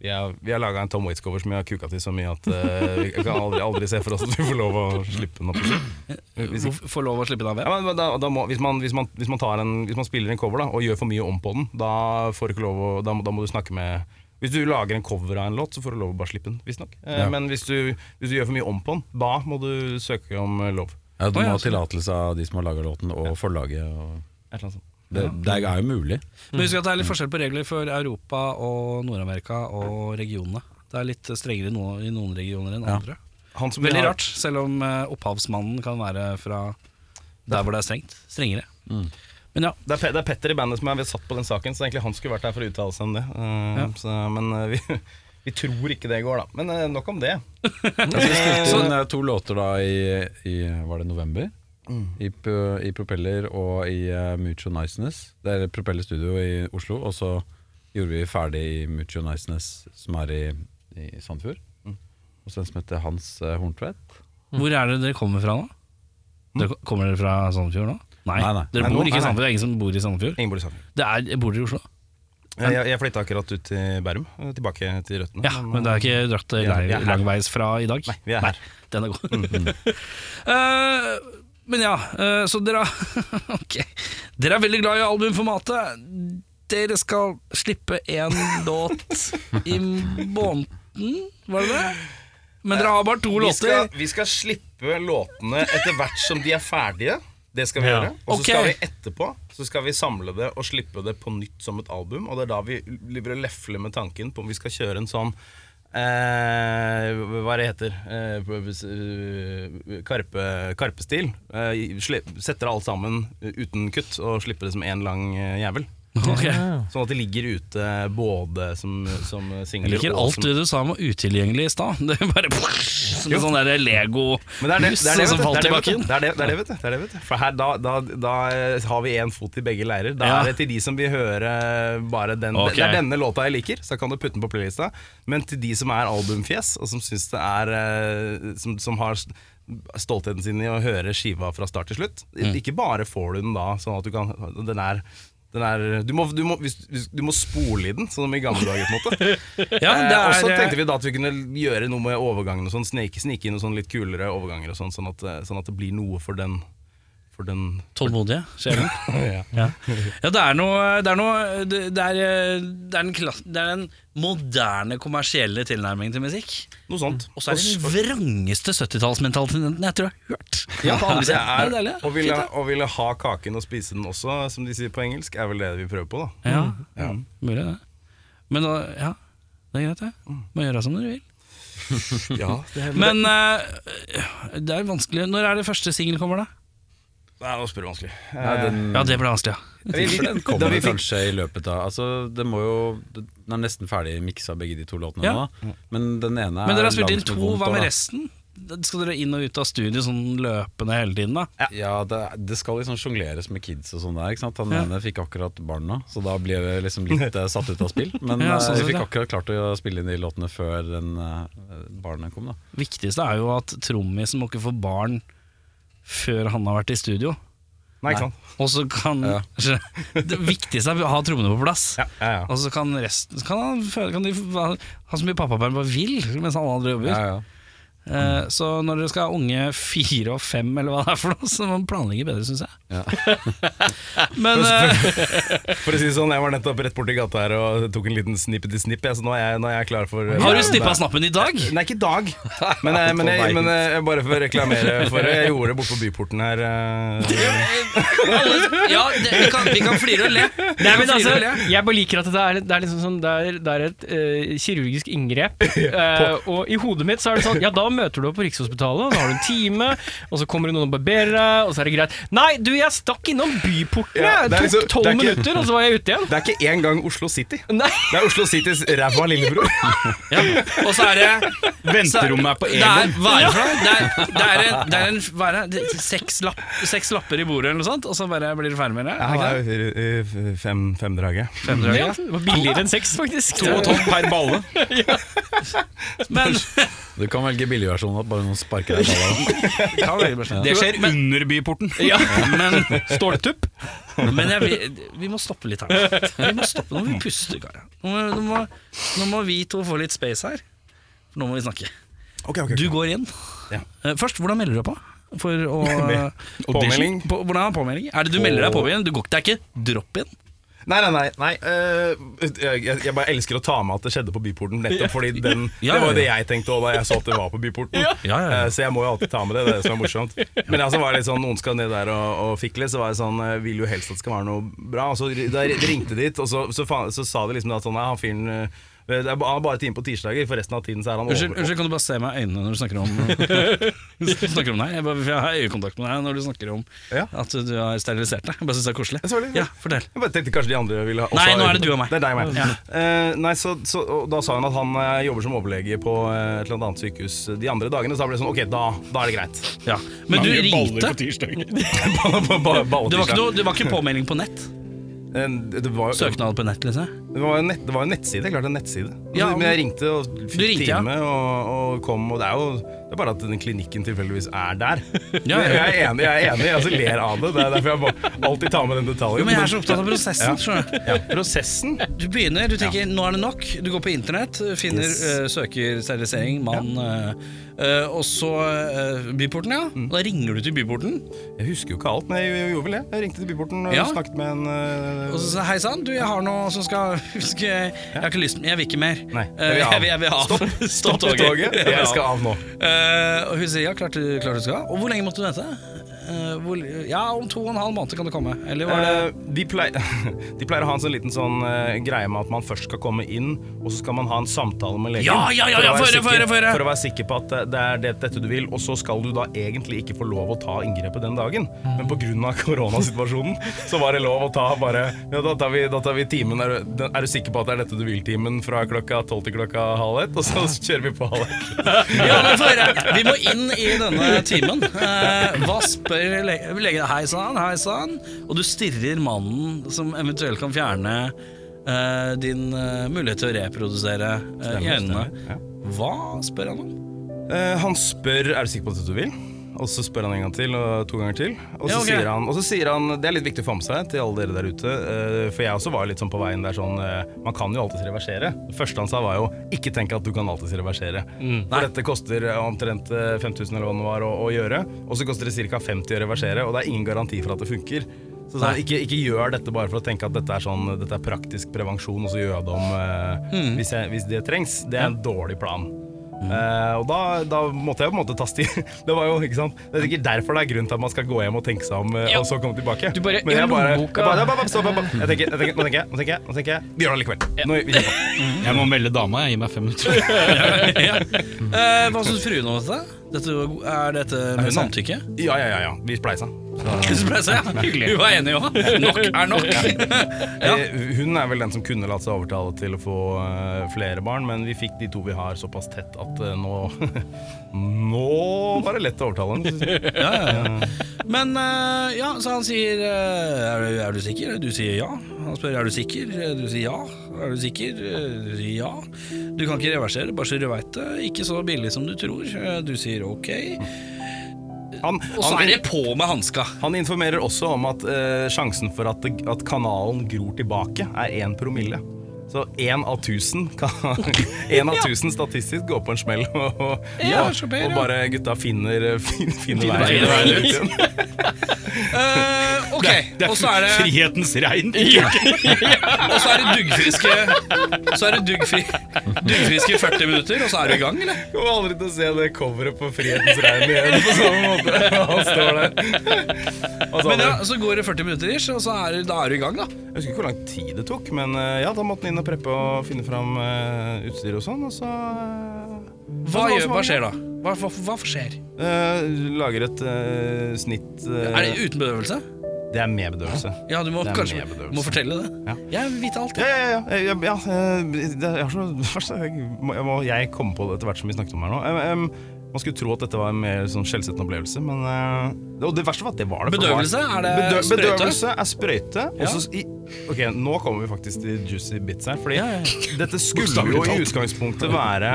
Vi har, vi har laga en Tom Waits-cover som vi har kuka til så mye at eh, vi kan aldri, aldri se for oss at vi får lov å slippe den opp. (laughs) Hvis, Hvorfor- Får lov å slippe den av hvem? ja, men da, da må, hvis, man, hvis, man, hvis, man tar en, hvis man spiller en cover da, og gjør for mye om på den, da, får du ikke lov å, da, må- da må du snakke med Hvis du lager en cover av en låt, så får du lov å bare slippe den, visstnok. Eh, Men hvis du, hvis du gjør for mye om på den, da må du søke om eh, lov. Ja, du må ha tillatelse av de som har laga låten, og forlaget. Og Et eller annet sånt. det, det er jo mulig. Men husk at det er litt forskjell på regler for Europa og Nord-Amerika og regionene. Det er litt strengere i noen, i noen regioner enn andre. Han som vi Veldig har- rart, selv om eh, opphavsmannen kan være fra der hvor det er strengt. Strengere. Men ja, Det er, Pe- det er Petter i bandet som er ved- satt på den saken, så egentlig han skulle vært her for å uttale seg om det. Eh, så, men eh, vi, vi tror ikke det går, da. Men eh, nok om det. Eh, Så det er eh, to låter da i, i Var det november? Mm. I, P- I Propeller og i eh, Mutual Niceness. Det er Propeller Studio i Oslo. Og så gjorde vi ferdig i Mutual Niceness, som er i, i Sandefjord. Mm. Og så en som heter Hans eh, Horntvedt. Hvor er det dere kommer fra nå? Dere, kommer dere fra Sandefjord nå? Nei, Nei, nei. dere Nei, nå- bor ikke i nei, nei. Sandefjord. Det er ingen som bor i Sandefjord. Ingeborg Sandefjord. Det er, bor dere i Oslo? Jeg, jeg flytta akkurat ut til Bærum, eh, tilbake til røttene. Ja, men det er ikke dratt eh, vi er- vi er her. langveis fra i dag. Nei, vi er her. Mhm. den er god. (laughs) Eh, men ja, eh, så dere (laughs) Ok. Dere er veldig glad i albumformatet. Dere skal slippe (laughs) én låt i måneden, var det det? Men dere har bare to Eh, Vi skal, låter. vi skal slippe låtene etter hvert som de er ferdige. Det skal vi gjøre. Og så Ok. skal vi etterpå Så skal vi samle det og slippe det på nytt som et album. Og det er da vi driver og lefler med tanken på om vi skal kjøre en sånn eh, hva det heter eh, karpe, Karpestil. Eh, sli- setter alt sammen uten kutt og slipper det som én lang eh, jævel. (laughs) Ok. Sånn at det ligger ute både som, som Jeg singler liker og alt som det du sa om utilgjengelig i stad. (laughs) Det er bare som en sånn der Men det er det, Lego-hus det, er det, som vet du. falt i det, er det, vet bakken. du. det, er det, det, er det, vet du. det, er det, vet du. For her, da, da, da eh, har vi én fot i begge leirer. Da Ja. er det til de som vil høre bare den Ok. Det er denne låta jeg liker, så kan du putte den på playlista. Men til de som er albumfjes, og som syns det er eh, som, som har st- stoltheten sin i å høre skiva fra start til slutt. Mm. Ikke bare får du den da, sånn at du kan Den er den er, du, må, du, må, hvis, hvis, du må spole i den, sånn som i gamle dager. på en måte (laughs) Ja, det Eh, og så er- tenkte vi da at vi kunne gjøre noe med overgangen og sånn, sneke, snike inn noen sånn litt kulere overganger og sånn, sånn at, eh, sånn at det blir noe for den for den Tålmodige sjelen. (laughs) ja. ja, det er noe Det er, noe, det det er, eh, det er, en, klass, det er den moderne kommersielle tilnærmingen til musikk. Noe sånt. Og så er (laughs) det den vrangeste 70-tallsmentaliteten jeg tror jeg har hørt. Ja, det (laughs) det er er, deilig. og ville, og ville ha kaken og spise den også, som de sier på engelsk, er vel det vi prøver på, da. Ja, mulig det. Men da, ja, det er greit, det. Må gjøre som dere vil. Ja, (laughs) det er, Mm. Men eh, det er vanskelig Når er det første singel kommer, da? det er å spørre vanskelig. Nei, den, Ja, det ble vanskelig, ja. Eh, Vi- vi- den da kommer vi det fikk- kanskje i løpet av altså, Den må jo Den er nesten ferdig miksa, begge de to låtene Ja. nå. Mm. Men den ene Men er dere har spilt inn langt to, vondt hva år, med da. resten? Skal dere inn og ut av studio sånn løpende hele tiden, da? Ja, det, det skal liksom sjongleres med kids og sånn der. ikke sant? Han Ja. ene fikk akkurat barna, så da blir det liksom litt eh, satt ut av spill. Men Ja, eh, sånn sett, vi fikk ja. akkurat klart å spille inn de låtene før den eh, barna kom, da. Viktigste er jo at trommisen må ikke få barn før han har vært i studio. Nei, ikke sant. Og så kan Ja. (laughs) Det viktigste er å ha trommene på plass. Ja, ja, ja. Og så kan resten så kan han, føle- kan de, ha så mye pappaperm bare vil mens alle andre jobber. Ja, ja. Eh, så når dere skal ha unge fire og fem, eller hva det er for noe, så må man planlegge bedre, syns jeg. (laughs) Men eh, For å si det sånn, jeg var nettopp rett borti gata her og tok en liten snippeti-snipp, jeg, så nå er jeg, nå er jeg klar for har du snippa snappen i dag? Nei, ikke i dag, men, jeg, men, jeg, men jeg, bare for å reklamere for det. Jeg gjorde det borte på Byporten her. eh. Ja, det, vi, kan, vi kan flire og le. Nei, men altså, jeg bare liker at det er, det er liksom sånn Det er, det er et eh, kirurgisk inngrep. Eh, og i hodet mitt så er det sånn Ja, da møter du opp på Rikshospitalet, og så har du en time, og så kommer det noen og barberer deg, og så er det greit. Nei, du, jeg stakk innom byporten, Ja, jeg. det er tok liksom- tolv det er ikke- minutter, og så var jeg ute igjen. Det er ikke engang Oslo City. Nei, Det er Oslo Citys ræva lillebror. Og så er det (laughs) Venterommet er på Det er, Egon. hva er det for noe? Det er, det er, en, det er en hva er det? Det- Seks, lapp, seks lapper i bordet, eller noe sånt, og så bare blir du ferdig med det? Er det ikke det? Fem, femdraget. Femdraget? ja, det var billigere enn sex, faktisk. To og tolv per balle. Men Du kan velge billigversjonen at bare noen sparker deg i balla. Det skjer under byporten. Ja, men, Ståltupp? men jeg, vi, vi må stoppe litt her. Vi må stoppe, Nå må vi puste, karer. Nå, må- nå, må- nå må vi to få litt space her. For nå må vi snakke. Du går inn. Eh, Først, hvordan melder du deg på? For å Påmelding? På, hvordan er påmelding? Er det du melder deg på igjen? Du går ikke, det er ikke drop-in? Nei, nei, nei. nei. eh, jeg, jeg bare elsker å ta med at det skjedde på Byporten. Nettopp fordi den, (laughs) Ja, ja, Det var jo det ja. jeg tenkte også da jeg så at det var på Byporten. (laughs) Ja, ja, ja. Eh, så jeg må jo alltid ta med det. Det er det som er morsomt. Men altså var det litt sånn, noen skal ned der og, og fikle, så var jeg sånn eh, Vil jo helst at det skal være noe bra. Og så da jeg ringte dit, og så, så, faen, så sa de liksom da at sånn Nei, han fyren eh, det er ba- Han er bare time på tirsdager, for resten av tiden så er han over. Unnskyld, unnskyld, kan du bare se meg i øynene når du snakker om (laughs) Når du snakker om deg? Jeg, bare, for jeg har øyekontakt med deg når du snakker om Ja. at du har sterilisert deg. Jeg bare syns det er koselig. Ja, selvfølgelig. Ja, fortell. Jeg bare tenkte kanskje de andre ville ha også Nei, ha nå er øyekontakt. det du og meg. Det er deg og meg. Eh, nei, så, så, og da sa hun at han eh, jobber som overlege på eh, et eller annet sykehus de andre dagene, så da ble det sånn Ok, da, da er det greit. (laughs) Ja. Men du Mange baller liksom. ringte. på tirsdager. Det var, ikke noe, det var ikke påmelding på nett? Eh, Det var jo Søknad på nett, liksom? det var jo nett, det var jo en nettside. Klart en nettside. Ja, men jeg ringte og fikk ringte, ja. time og, og kom, og det er jo det er bare at den klinikken tilfeldigvis er der. Ja, ja. (laughs) Jeg er enig, jeg er enig, jeg altså ler av det. Det er derfor jeg bare alltid tar med den detaljen. Jo, men jeg er så opptatt av prosessen. skjønner du. ja, prosessen. Du begynner, du tenker nå er det nok. Du går på internett, finner, eh, søker sterilisering, mann, eh, eh, og så eh, byporten, ja. Da ringer du til byporten. Jeg husker jo ikke alt, men jeg, jeg gjorde vel det. Jeg ringte til Byporten og Ja. snakket med en eh, Og så sa jeg, hei sann, du, jeg har noe som skal (laughs) huske Jeg har ikke lyst, jeg vil ikke mer. Nei, Eh, jeg vil av. jeg, vil, jeg vil av. (laughs) Stopp, på (laughs) toget. Jeg skal av. av nå. og hun sier ja, klart du, klart du skal. Og hvor lenge måtte du vente? Eh, hvor, ja, om to og en halv måned kan du komme. Eller var det Eh, de, pleier, (laughs) de pleier å ha en sånn liten sånn eh, greie med at man først skal komme inn, og så skal man ha en samtale med legen. Ja, ja, ja, ja, for, å få høre, være få høre, sikker, få høre. for å være sikker på at det- det er det, dette du vil, og så skal du da egentlig ikke få lov å ta inngrepet den dagen. Mm. Men pga. koronasituasjonen så var det lov å ta bare ja, da, tar vi, da tar vi timen er, du- er du sikker på at det er dette du vil-timen fra klokka tolv til klokka halv ett, og så (laughs) kjører vi på halv ett. Eh. Ja, men få høre. Vi må inn i denne timen. Eh, hva spør le- legen? Hei sann, hei sann. Og du stirrer mannen som eventuelt kan fjerne eh, din eh, mulighet til å reprodusere eh, i øynene. Ja. Hva spør han om? Eh, han spør er du sikker på at du vil, og så spør han en gang til og to ganger til. Og så, Ja, ok. sier, han, og så sier han Det er litt viktig å få med seg til alle dere der ute, eh, for jeg også var litt sånn på veien der sånn eh, Man kan jo alltids reversere. Det første han sa var jo ikke tenk at du kan alltids reversere. For dette koster omtrent eh, 5000 eller hva det var å, å gjøre, og så koster det ca. 50 å reversere, og det er ingen garanti for at det funker. Så sa han, ikke, ikke gjør dette bare for å tenke at dette er, sånn, dette er praktisk prevensjon, og så gjør jeg det om eh, hvis, jeg, hvis det trengs. Det er en dårlig plan. Eh, og da, da måtte jeg på en måte ta stil. Det var jo, ikke sant Det er sikkert derfor det er grunn til at man skal gå hjem og tenke seg om, eh, og så komme tilbake. Du bare- Men jeg bare, jeg lommeboka. bare, jeg bare, stopp, jeg bare Jeg tenker, jeg tenker, nå tenker jeg, nå tenker jeg, nå tenker jeg. Vi gjør det allikevel. Nå, vi kjører på. Jeg må melde dama, jeg. Gi meg fem minutter. (laughs) Eh, hva syns fruen om dette? dette? Er dette med samtykke? Ja, ja, ja, ja. Vi spleisa. Så ble jeg så, ja. Hun var enig òg. Nok er nok. (laughs) Ja. Eh, Hun er vel den som kunne latt seg overtale til å få eh, flere barn, men vi fikk de to vi har såpass tett at eh, nå (laughs) Nå var det lett å (laughs) overtale henne. Men eh, ja, så han sier eh, er, du, er du sikker? Du sier ja. Han spør er du sikker? Du sier ja. Er du sikker? Du sier ja. Du kan ikke reversere, bare så du veit det. Ikke så billig som du tror. Eh, Du sier ok. Han, Og så han, er det på med hanska. han informerer også om at eh, sjansen for at, det- at kanalen gror tilbake, er én promille. Så én av tusen kan (laughs) en av tusen statistisk går på en smell og, og, Ja, og, så ber, ja. bare gutta finner, (laughs) fin, finner veien. veien veien ut igjen. Eh, ok, og så er det Frihetens regn. Og så er det duggfriske Så er det duggfri, duggfriske 40 minutter, og så er du i gang, eller? Kommer aldri til å se det coveret på Frihetens regn igjen på samme måte. Han står der. Og så Men ja, hadde- Så går det 40 minutter ish, og så er, du- da er du i gang, da. Jeg husker ikke hvor lang tid det tok, men eh, ja, da måtte han inn og preppe og finne fram eh, utstyr og sånn, og så eh, Hva, og så- gjør, hva skjer da? Hva, hva, hva skjer? Eh, lager et eh, snitt eh, Er det uten bedøvelse? Det er med bedøvelse. Ja, du må Det er kanskje med bedøvelse. må fortelle det. Ja. Jeg vil vite alt. Ja, ja, ja. ja, ja, ja eh, det- jeg, har så, (laughs) først, jeg, må, jeg, må, jeg kom på det etter hvert som vi snakket om her nå. Em, em, man skulle tro at dette var en mer sånn skjellsettende opplevelse, men eh, Og det verste var at det var det. for det var- Bedøvelse? Er det Bedø sprøyte? Bedøvelse er sprøyte. og så i, ok, (laughs) nå kommer vi faktisk til juicy bits her. Fordi dette skulle jo i utgangspunktet være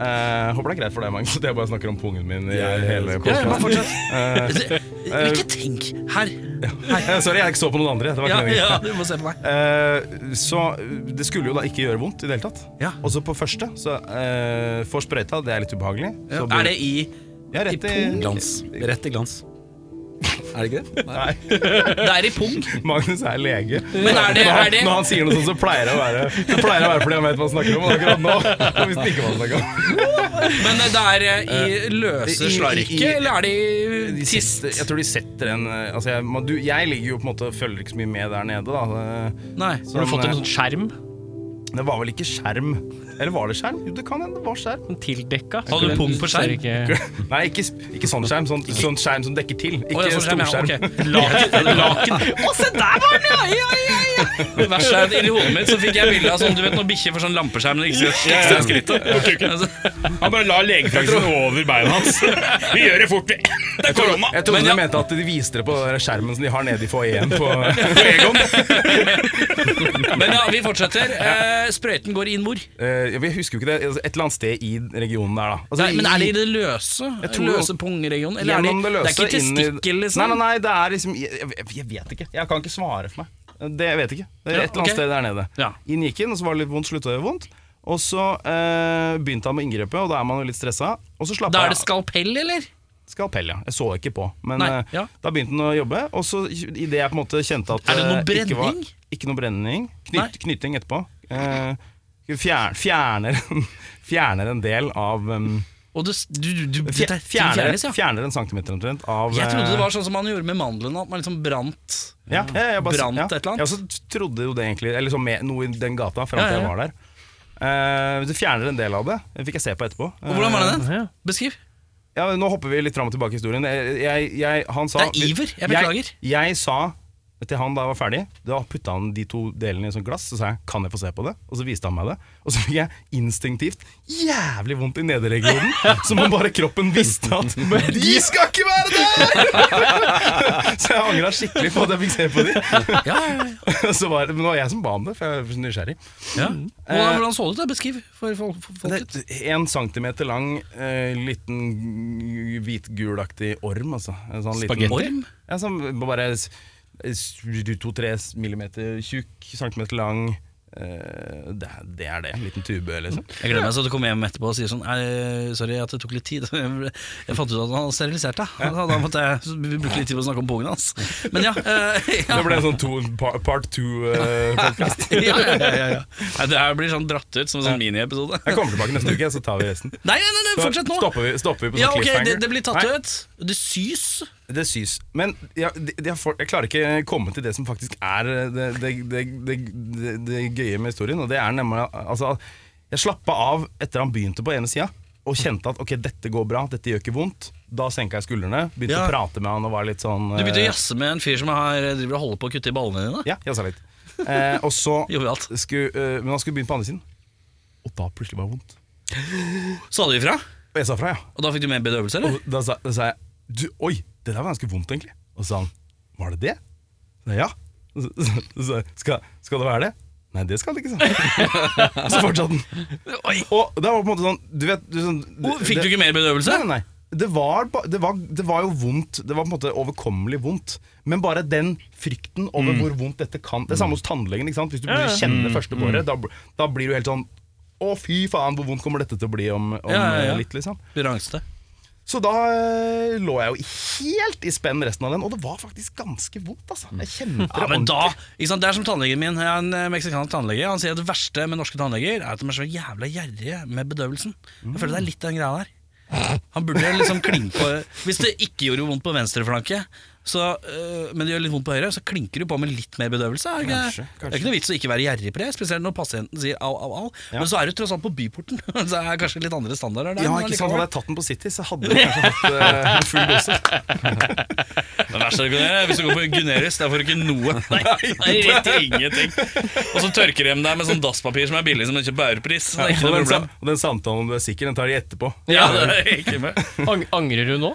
Eh, håper det er greit for deg, Magnus, at jeg bare snakker om pungen min i hele ja, podcasten. bare fortsett. Ikke tenk her. Eh, (laughs) Sorry, jeg så på noen andre. Det var Ja, ikke meningen. ja, du må se på meg. Eh, så det skulle jo da ikke gjøre vondt i det hele tatt. Ja. Og så på første, så eh, får sprøyta, det er litt ubehagelig. Så blir- Er det i ja, rett i, Glans. Rett i glans. Er det ikke det? Nei. Det er i pung. (laughs) Magnus er lege. Men er det, er det Når han sier noe sånt, så pleier det å være Det pleier det å være fordi han vet hva han snakker om. Og akkurat nå (laughs) og visste ikke hva han snakker om. Men det er eh, i I- i- løse slarket, i- eller er det i tist? Jeg tror de setter en eh, altså jeg, man- du, jeg ligger jo på en måte og følger ikke så mye med der nede, da. Eh, Nei. Har du fått en eh, sånn skjerm? Det var vel ikke skjerm? Eller var det skjerm? Jo, det kan hende det var skjerm. En tildekka? Har du pung på skjerm? Ikke... Nei, ikke, sp- ikke sånn skjerm. Sånn, sånn skjerm som dekker til. Ikke Å, ja, sånn skjerm, ja, storskjerm. ok. Laken. Laken. Å, se der var den, ja! ja, ja, ja. Det verste er at inni hodet mitt så fikk jeg bilde av sånn, du vet når bikkjer får sånn lampeskjerm når de ikke skal stikke seg i skrittet. Altså, Han bare la legefraksen over beina hans. Vi gjør det fort, vi. Det er korona. Jeg trodde Men du ja. mente at de viste det på den der skjermen som de har nede (laughs) i foajeen på Men ja, vi fortsetter. Eh, sprøyten går inn hvor? Eh, Jeg husker jo ikke det. Altså, Et eller annet sted i regionen der, da. Altså, Nei, men er det i- i det løse? tror- Løse pungregionen? Eller er det, gjennom det løse det er ikke inn i- testikkel, liksom? Nei, nei, nei, det er liksom jeg, jeg- jeg vet ikke. Jeg kan ikke svare for meg. Det jeg vet ikke. Det er Ja, et eller ok. annet sted der nede. Ja. Inn gikk inn, og så var det litt vondt, slutta å gjøre vondt. Og så eh, begynte han med inngrepet, og da er man jo litt stressa. Og så slappa Da jeg er det skalpell, eller? Skalpell, ja. Jeg så ikke på. Men Nei, eh, ja. da begynte den å jobbe. Og så idet jeg på en måte kjente at Er det noe eh, ikke var- brenning? Ikke noe brenning. Nei. Knyt, knytting etterpå. Eh, fjern, fjerner, (laughs) fjerner en del av um, Og du, du, du, du, det fjer, er- fjerner, fjernes, ja. fjerner en centimeter omtrent av Jeg trodde eh, det var sånn som man gjorde med mandlene, at man liksom brant. ja, ja, jeg bare, brant ja. et eller annet. Jeg også trodde jo det egentlig Eller liksom med, noe i den gata fram til Ja, ja, jeg ja. var der. Eh, du fjerner en del av det. Det fikk jeg se på etterpå. Og hvordan var det den? Ja. Beskriv. Ja, Nå hopper vi litt fram og tilbake i historien. Jeg, jeg, jeg, han sa, Det er iver, jeg beklager. Jeg, jeg sa til han da jeg var ferdig, da putta han de to delene i et sånt glass. Så sa jeg 'kan jeg få se på det?' Og så viste han meg det. Og så fikk jeg instinktivt jævlig vondt i nederregionen. (laughs) som om bare kroppen visste at Men de skal ikke være der! (laughs) så jeg angra skikkelig på at jeg fikk se på de. (laughs) så var, det- men det var jeg som ba om det, for jeg var så nysgjerrig. (laughs) Hvordan, hvordan så det ut? da? Beskriv for folk, for folket. Det er En centimeter lang, eh, liten hvit-gulaktig orm, altså. En sånn liten- Orm? Ja, sånn bare s- s- to-tre millimeter tjukk, centimeter lang. Eh, det, er- det er det. En liten tube, liksom. Jeg gleder meg så du kommer hjem etterpå og sier sånn «Nei, Sorry at det tok litt tid. (laughs) Jeg fant ut at han hadde sterilisert deg. Da da måtte jeg bruke litt tid på å snakke om pungen hans. (laughs) Men ja. eh, ja. Det ble en sånn to, par- part eh, (laughs) two-podkast. ja, ja, ja, ja, ja. Nei, Det her blir sånn dratt ut som en sånn miniepisode. jeg kommer tilbake neste uke, så tar vi resten. Nei, nei, nei, nei, Så fortsett nå! Stopper vi, stopper vi på sånn Ja, ok, cliffhanger. det, det blir tatt Nei, ut. Det sys. Det sys. Men jeg, det- det- jeg, får, jeg klarer ikke komme til det som faktisk er eh, det, det, det, det, det, det gøye med historien. Og det er nemlig altså, Jeg slappa av etter han begynte på ene sida, og kjente at ok, dette går bra, dette gjør ikke vondt. Da senka jeg skuldrene, begynte Ja. å prate med han og var litt sånn Du begynte å eh, jazze med en fyr som har, eh, driver og holder på å kutte i ballene dine. Ja, jazza litt. Eh, (laughs) og så Jovialt. skulle, eh, Men han skulle begynne på andre siden, og da plutselig var det vondt. Sa du ifra? Og jeg sa fra, ja. Og da fikk du mer bedøvelse, eller? Og da sa, da sa jeg du, Oi, det der var ganske vondt, egentlig. Og så sa han Var det det? Så, jeg, ja. Så, så, så, skal, skal det være det? Nei, det skal det ikke, sa han. Så fortsatte han. Og det var på en måte sånn Du vet du, sånn, Oh, Fikk du det- ikke mer bedøvelse? Nei, nei, nei. Det var, ba- det, var, det var jo vondt. Det var på en måte overkommelig vondt. Men bare den frykten over Mm. hvor vondt dette kan Det er samme hos tannlegen. ikke sant? Hvis du plutselig kjenner det første mm. båret, da, bl- da blir du helt sånn Å, fy faen, hvor vondt kommer dette til å bli om, om Ja, ja, ja. eh, litt, liksom. Du rangste. Så da eh, lå jeg jo helt i spenn resten av den, og det var faktisk ganske vondt. altså Jeg kjente det Ja, men da, ordentlig. ikke sant? Det er som tannlegen min. Jeg er en eh, meksikansk tannlege. Han sier at det verste med norske tannleger er at de er så jævla gjerrige med bedøvelsen. Jeg føler det er litt den greia der. Han burde liksom klinke på Hvis det ikke gjorde vondt på venstre flanke, så, eh, men det gjør litt vondt på høyre, så klinker du på med litt mer bedøvelse. Er det, ikke, det er ikke noe vits å ikke være gjerrig på det, spesielt når pasienten sier au, au, au. Men så er du tross alt på byporten, (laughs) så det er kanskje litt andre standarder der. Ja, men ikke sant, allikevel. (laughs) Hadde jeg tatt den på City, så hadde jeg kanskje hatt eh, full dose. Det verste du kan gjøre, er hvis du går på Gunerius, der får du ikke noe. Nei, rett til ingenting. Og så tørker de deg med sånn dasspapir som er billig som du kjøper på europris. Det er ikke Og noe den, sam- problem. og den samtalen om du er sikker, den tar de etterpå. Ja, det er ikke med. Ang angrer du nå?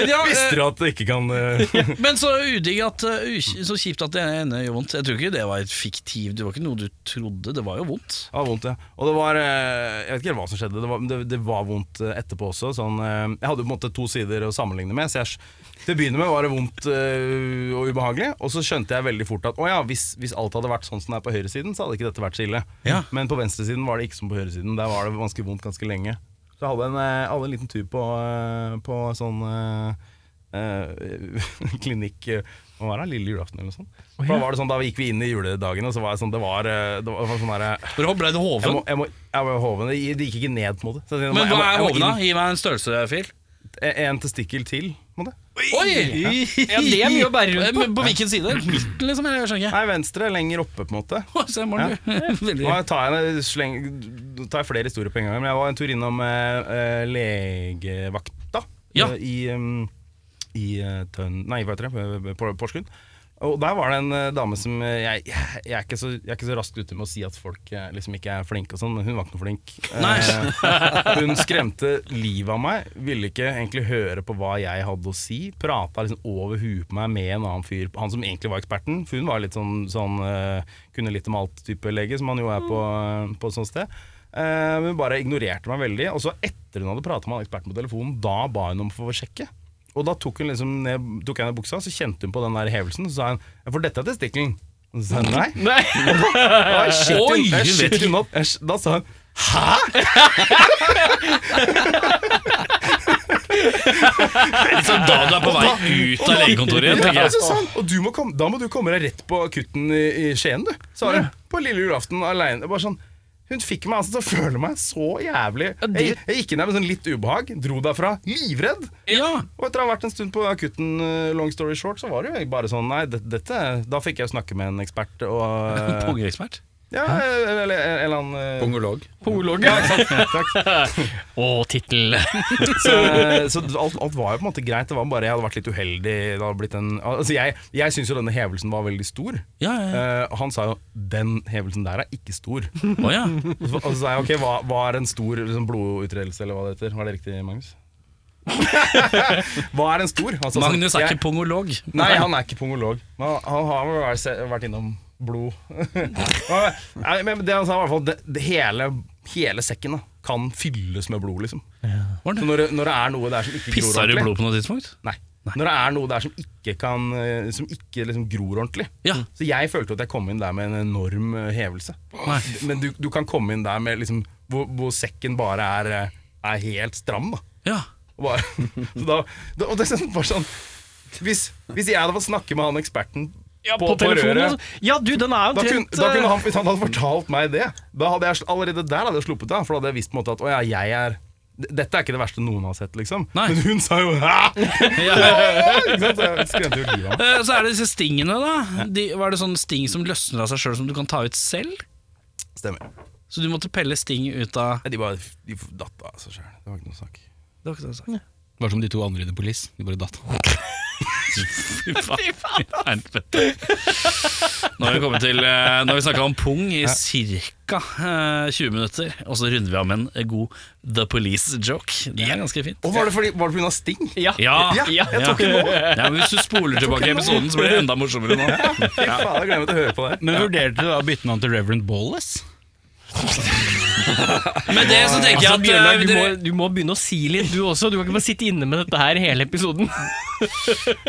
Men ja, Visste eh, du at det ikke kan eh, men så udigg at eh, ukj- Så kjipt at det ene gjør vondt. Jeg tror ikke det var et fiktiv Det var ikke noe du trodde. Det var jo vondt. Det var vondt, ja. Og det var eh, Jeg vet ikke helt hva som skjedde, det var, det, det var vondt eh, etterpå også. Sånn, eh, jeg hadde på en måte to sider å sammenligne med. Så jeg, skj- til å begynne med var det vondt eh, og ubehagelig, og så skjønte jeg veldig fort at å ja, hvis, hvis alt hadde vært sånn som det er på høyresiden, så hadde ikke dette vært så ille. Ja. Men på venstresiden var det ikke som på høyresiden. Der var det ganske vondt ganske lenge. Så jeg hadde en, eh, hadde en liten tur på, eh, på sånn eh, eh, (laughs) klinikk eh, Hva var det? Lille julaften eller noe sånt? Da, var det sånn, da gikk vi inn i juledagen, og så var det sånn Det var, eh, det var sånn derre Hvor ble det jeg hoven? må, jeg må, jeg må hoven, det det gikk ikke ned på en måte. Så jeg- jeg må- Men jeg hva må- er jeg må hoven, da? inn- Gi meg en størrelsesfil. En testikkel til, på en måte. Oi! Eh, Ja, det er mye å bære rundt på. Men På hvilken side? Midten, liksom? Jeg skjønner ikke. Nei, venstre lenger oppe, på en måte. Oi, (laughs) Se, Morten, du. Veldig Nå tar jeg, en- sleng, nå tar jeg flere historier på en gang, men jeg var en tur innom eh, eh, legevakta Ja. eh, i, eh, i eh, Tønn... Nei, hva heter det? På- På Porsgrunn. Og der var det en eh, dame som eh, jeg, jeg, jeg, er ikke så, jeg er ikke så raskt ute med å si at folk eh, liksom ikke er flinke og sånn, men hun var ikke noe flink. Eh, (laughs) hun skremte livet av meg, ville ikke egentlig høre på hva jeg hadde å si. Prata liksom over huet på meg med en annen fyr, han som egentlig var eksperten. For hun var litt sånn, sånn eh, kunne litt om alt-type lege, som han jo er på, på et sånt sted. Eh, men hun bare ignorerte meg veldig. Og så etter hun hadde prata med han eksperten på telefonen, da ba hun om å få sjekke. Og da tok hun liksom ned, tok jeg ned buksa, så kjente hun på den der hevelsen, så sa hun «Ja, For dette er testikkelen. Og Så sa hun nei. Nei. Og jeg skjøt hun- Oi, jeg hun vet skjøt hun opp. Jeg skj- Da sa hun Liksom da du er på vei ut av legekontoret igjen, tenker Ja, jeg. så sa hun, Og du må komme, da må du komme deg rett på akutten i, i Skien, du. Sa hun. På lille julaften aleine. Bare sånn hun fikk meg altså til å føle meg så jævlig jeg, jeg gikk inn der med sånn litt ubehag, dro derfra livredd. Ja. Og etter å ha vært en stund på akutten, eh, long story short, så var det jo bare sånn Nei, det- dette Da fikk jeg snakke med en ekspert (laughs) og Pungeekspert. Ja, eller eller en eller annen eh, Pongolog. Polog. (laughs) Å, tittel. Så, eh, så alt, alt var jo på en måte greit. Det var bare jeg hadde vært litt uheldig. Det hadde blitt en, altså jeg jeg syns jo denne hevelsen var veldig stor. Ja, ja, Eh, og han sa jo 'den hevelsen der er ikke stor'. Å (laughs) ja. Og så, og så sa jeg ok, hva, hva er en stor liksom, blodutredelse, eller hva det heter? Var det riktig, (laughs) Magnus? hva er en stor? Han sa sånn, Magnus er jeg- ikke pongolog. Nei, han er ikke pongolog. Men han- han har vel vært- se- vært innom blod. (laughs) Nei, men det han sa, var i hvert fall det, det hele, hele sekken da, kan fylles med blod, liksom. Så når, det- når det er noe der som ikke gror Pissa du ordentlig blod på noe tidspunkt? Nei. Når det er noe der som ikke, kan, eh, som ikke liksom gror ordentlig. Ja. Så jeg følte at jeg kom inn der med en enorm eh, hevelse. Nei. Men du, du kan komme inn der med liksom, hvor, hvor sekken bare er, eh, er helt stram, da. Ja. Og, bare, (laughs) så da, da, og det er sånn- bare sånn hvis, hvis jeg hadde fått snakke med han eksperten Ja, på, telefonen. altså. Ja, du, den er da kunne, omtrent da kunne eh, han, Hvis han hadde fortalt meg det Da hadde jeg sl- Allerede der hadde jeg sluppet det For da hadde jeg visst på en måte at Å ja, jeg er d- Dette er ikke det verste noen har sett liksom Nei. Men hun sa jo (laughs) Hæ? Ikke sant? Så jeg skremte jo livet av meg. Eh, Så er det disse stingene, da. De, var det sånn sting som løsner av seg sjøl, som du kan ta ut selv? Stemmer Så du måtte pelle sting ut av Nei, De bare De f- datt av seg selv Det var ikke noe sak Det var ikke det jeg sa. Det var som de to andre i The Police. De bare datt. (laughs) Fy faen. Nå har vi kommet til eh, Nå har vi snakka om pung i ca. 20 minutter. Og så runder vi av med en god The Police-joke. Det er ganske fint. Og var det fordi Var det på grunn av sting? ja. Ja, Ja, jeg ja. tok ikke nå Ja, men Hvis du spoler tilbake i episoden, så blir det enda morsommere nå. Fy faen, jeg glemmer til å høre på det Men vurderte du da å bytte navn til Reverend Ballas? Med det så tenker jeg Altså, at Bjørnar, eh, du, må, dere, (laughs) du må begynne å si litt, du også. Du kan ikke bare sitte inne med dette her hele episoden.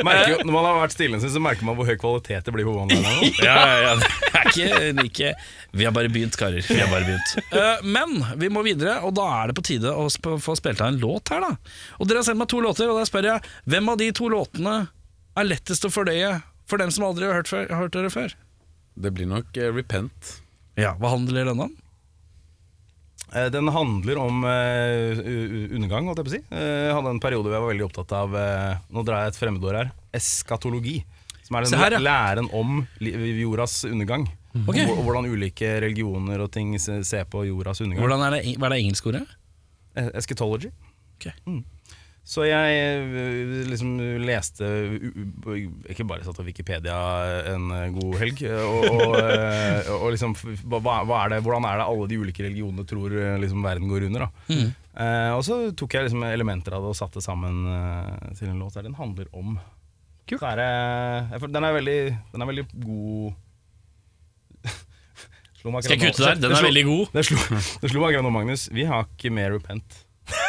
Merker jo Når man har vært stille en stund, Så merker man hvor høy kvalitet det blir på one liner ja, ja, ja, det (laughs) er ikke like Vi har bare begynt, karer. Vi har bare begynt. Eh, men vi må videre, og da er det på tide å sp få spilt av en låt her, da. Og dere har sendt meg to låter, og da spør jeg hvem av de to låtene er lettest å fordøye for dem som aldri har hørt, før, hørt dere før? Det blir nok eh, Repent. Ja, Hva handler den om? Eh, Den handler om eh, u- u- undergang, holdt jeg på å si. Eh, jeg hadde en periode hvor jeg var veldig opptatt av eh, Nå drar jeg et fremmedår her. Eskatologi. Som er Se den her, ja. læren om li jordas undergang. Ok. Og, og hvordan ulike religioner og ting se- ser på jordas undergang. Hvordan er det, hva er det engelske ordet? Eh, Eschatology. Ok. Mm. Så jeg eh, liksom leste u- u- Ikke bare satt på Wikipedia en god helg. eh, Og, og, eh, og liksom f- hva, hva er det, Hvordan er det alle de ulike religionene tror eh, liksom, verden går under? da Mm. eh, Og så tok jeg liksom elementer av det og satte sammen eh, til en låt der den handler om. Kult. Så er det, jeg føler- den, er veldig, den er veldig god (laughs) Slo meg Skal jeg akkurat kutte nå. der? Den er slo- veldig god. det slo, det slo meg akkurat nå, Magnus. Vi har ikke mer repent. Det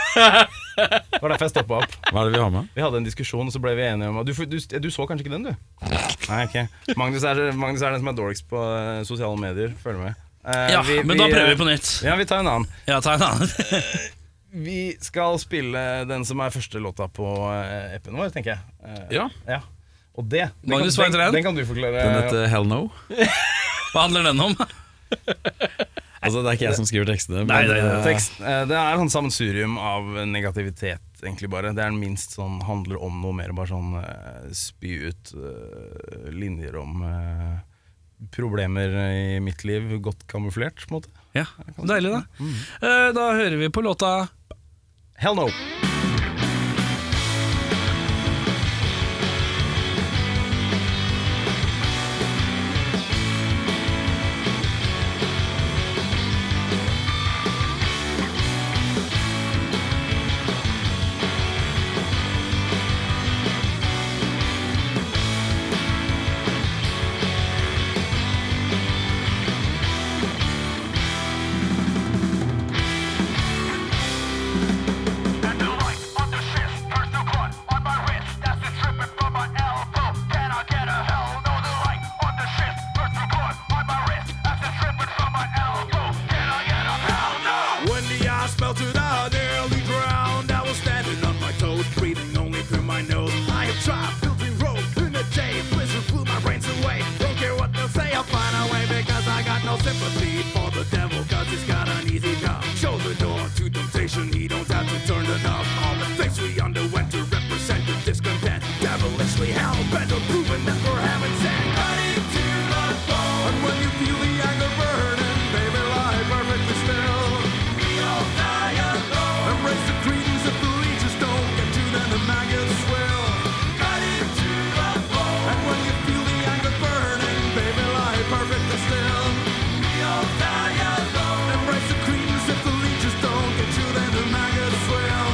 var derfor jeg stoppa opp. Hva er det vi har med? Vi hadde en diskusjon, og så ble vi enige om at du, du, du så kanskje ikke den, du? Nei, ok Magnus er, Magnus er den som er dårligst på eh, sosiale medier. Følg med. Eh, Ja, vi- men da vi, eh, prøver vi på nytt. Ja, vi tar en annen. Ja, ta en annen. (laughs) Vi skal spille den som er første låta på eh, appen vår, tenker jeg. Eh, Ja. Og det den Magnus, hva kan, heter den, den? den kan du forklare. Den heter Hell No. Hva handler den om? Altså, det er ikke jeg som skriver tekstene. Nei, men, nei, nei. eh, Tekst, eh, det er sånn sammensurium av negativitet, egentlig bare. Det er den minst sånn handler om noe mer, bare sånn eh, spy ut eh, linjer om eh, problemer i mitt liv, godt kamuflert, på en måte. Ja, Deilig, da. Eh, Da hører vi på låta Hell no! When the eyes fell to the nearly ground, I was standing on my toes, breathing only through my nose. I have tried filtering road in a day, blizzard blew my brains away. Don't care what they'll say, I'll find a way because I got no sympathy for the devil, cause he's got an easy job. Show the door to temptation, he don't have to turn it up. All the things we underwent to represent the discontent, devilishly hell bent on proving that we're having sin. Cutting to the bone, and when you feel the anger burning, baby, lie perfectly still. Embrace the credence of the legions, don't get tuned and the maggots will. Cut it to the bone. And when you feel the anger burning, baby, lie perfectly still. You'll die alone. Embrace the credence of the legions, don't get tuned and the maggots will.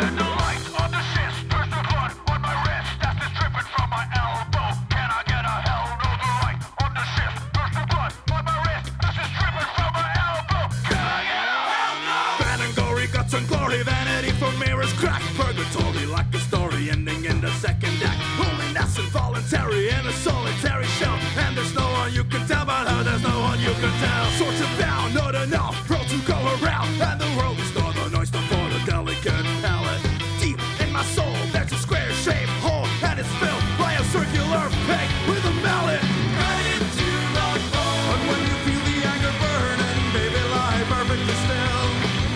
And the light on the shins turns to blood on my wrist. That's the dripping from my elbow. Can I get a hell no? The light on the shins turns to blood on my wrist. That's the dripping from my elbow. Can I get a hell no? Vanaglory, guts and glory, vanity for mirrors, crack purgatory, like a story ending in the second act. Holiness involuntary in a solitary shell, and there's no one you can tell about her. There's no one you can tell. Sorts of bound, not enough, pro to go around, and the world is not the noise, not for the delicate palate. Deep in my soul, there's a square shaped hole, and it's filled by a circular peg with a mallet. Right into the bone. And when you feel the anger burning, baby, lie perfectly still.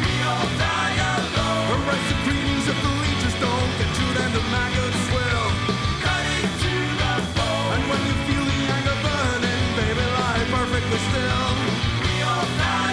We all die alone. Erase the dreams of the leeches, don't get chewed and the maggots will. Cut into the bone. And when you feel the anger burning, baby, lie perfectly still. We all die alone.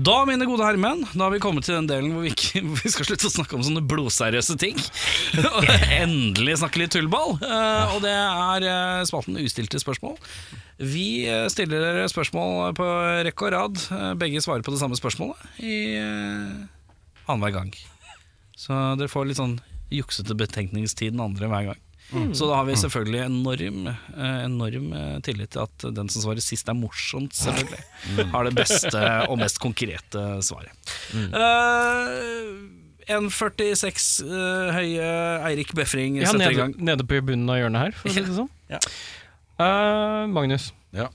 Da, mine gode herremenn, da har vi kommet til den delen hvor vi, ikke, (laughs) hvor vi skal slutte å snakke om sånne blodseriøse ting. Og endelig snakke litt tullball. Eh, og det er eh, spalten Ustilte spørsmål. Vi eh, stiller dere spørsmål på rekke og rad. Eh, begge svarer på det samme spørsmålet i uh, annenhver gang. Så dere får litt sånn juksete betenkningstid den andre hver gang. Så da har vi selvfølgelig enorm, eh, enorm eh, tillit til at den som svarer sist, er morsomt, selvfølgelig. Har det beste og mest konkrete svaret. Eh, 1,46 eh, høye Eirik Befring Ja, setter i nede, gang. nede på bunnen av hjørnet her, for å si det sånn. Ja. Eh, Magnus, Ja.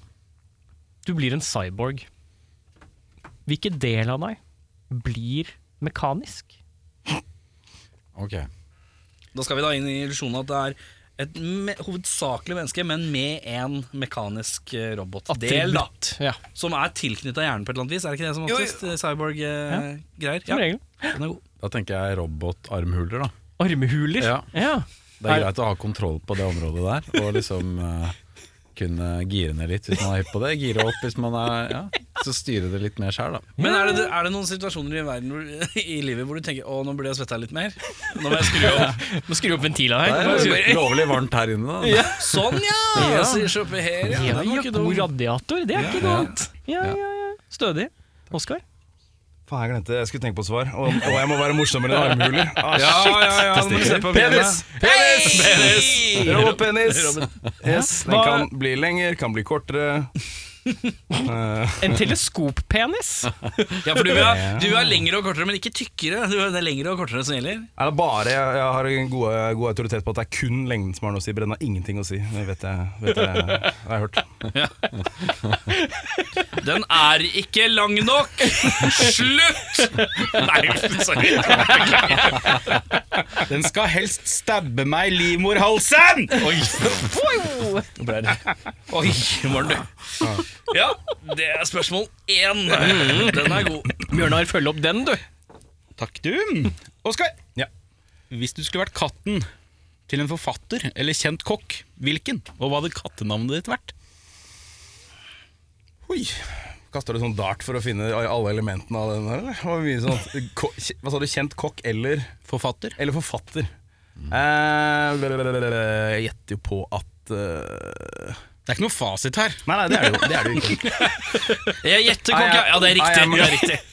du blir en cyborg. Hvilken del av deg blir mekanisk? Ok. Da skal vi da inn i illusjonen at det er et me hovedsakelig menneske, men med en mekanisk eh, robotdel, da. Ja, Som er tilknytta hjernen på et eller annet vis. Er det ikke det som Jo, jo. oftest eh, cyborg-greier? som regel. den er god. Da tenker jeg robotarmhuler, da. Armhuler. Ja. Ja. Det er Er- greit å ha kontroll på det området der, og liksom eh, kunne gire ned litt hvis man er hypp på det. Gire opp hvis man er Ja, så styre det litt mer sjøl, da. Men er det, er det noen situasjoner i verden hvor, (laughs) i livet hvor du tenker Å, nå burde jeg svetta litt mer? Nå må jeg skru opp. Nå skrur du opp ventila Det her. er jo lovlig varmt her inne, da. Sånn, (laughs) ja! Sier Shoppe her, ja. Ja, Den var ja, ikke dum. god radiator, det er ikke noe annet. Ja, ja, ja. Stødig. Oskar? Faen, jeg glemte Jeg skulle tenke på svar. Og, og jeg må være morsom med noen armhuler. Ah, Ja, ja, ja, nå må du se på Penis! Penis! Penis! Robotpenis! Yes, den kan bli lenger, kan bli kortere. En teleskoppenis? Ja, for du vil ha, du vil ha lengre og kortere, men ikke tykkere. Du vil ha det lengre og kortere som gjelder. Er det bare jeg, jeg har en god, god autoritet på at det er kun lengden som har noe å si. Brenna har ingenting å si. Det vet jeg, vet jeg, har jeg hørt. Den er ikke lang nok! Slutt! Nei, sorry. Den skal helst stabbe meg i livmorhalsen! Oi. Oi, var den død? Ja, det er spørsmål én. Den er god. Bjørnar, følg opp den, du. Takk, du. Oskar, hvis du skulle vært katten til en forfatter eller kjent kokk, hvilken? Og hva hadde kattenavnet ditt vært? Oi. Kaster du sånn dart for å finne alle elementene av den her? eller? Det var mye sånn, ko- hva sa du? Kjent kokk eller Forfatter? Eller forfatter. Eh, jeg gjetter jo på at eh, Det er ikke noe fasit her. Nei, nei, det er det jo, det er det jo ikke. Jeg gjetter kokk, ja. Ja, det er I am- riktig. Det er riktig.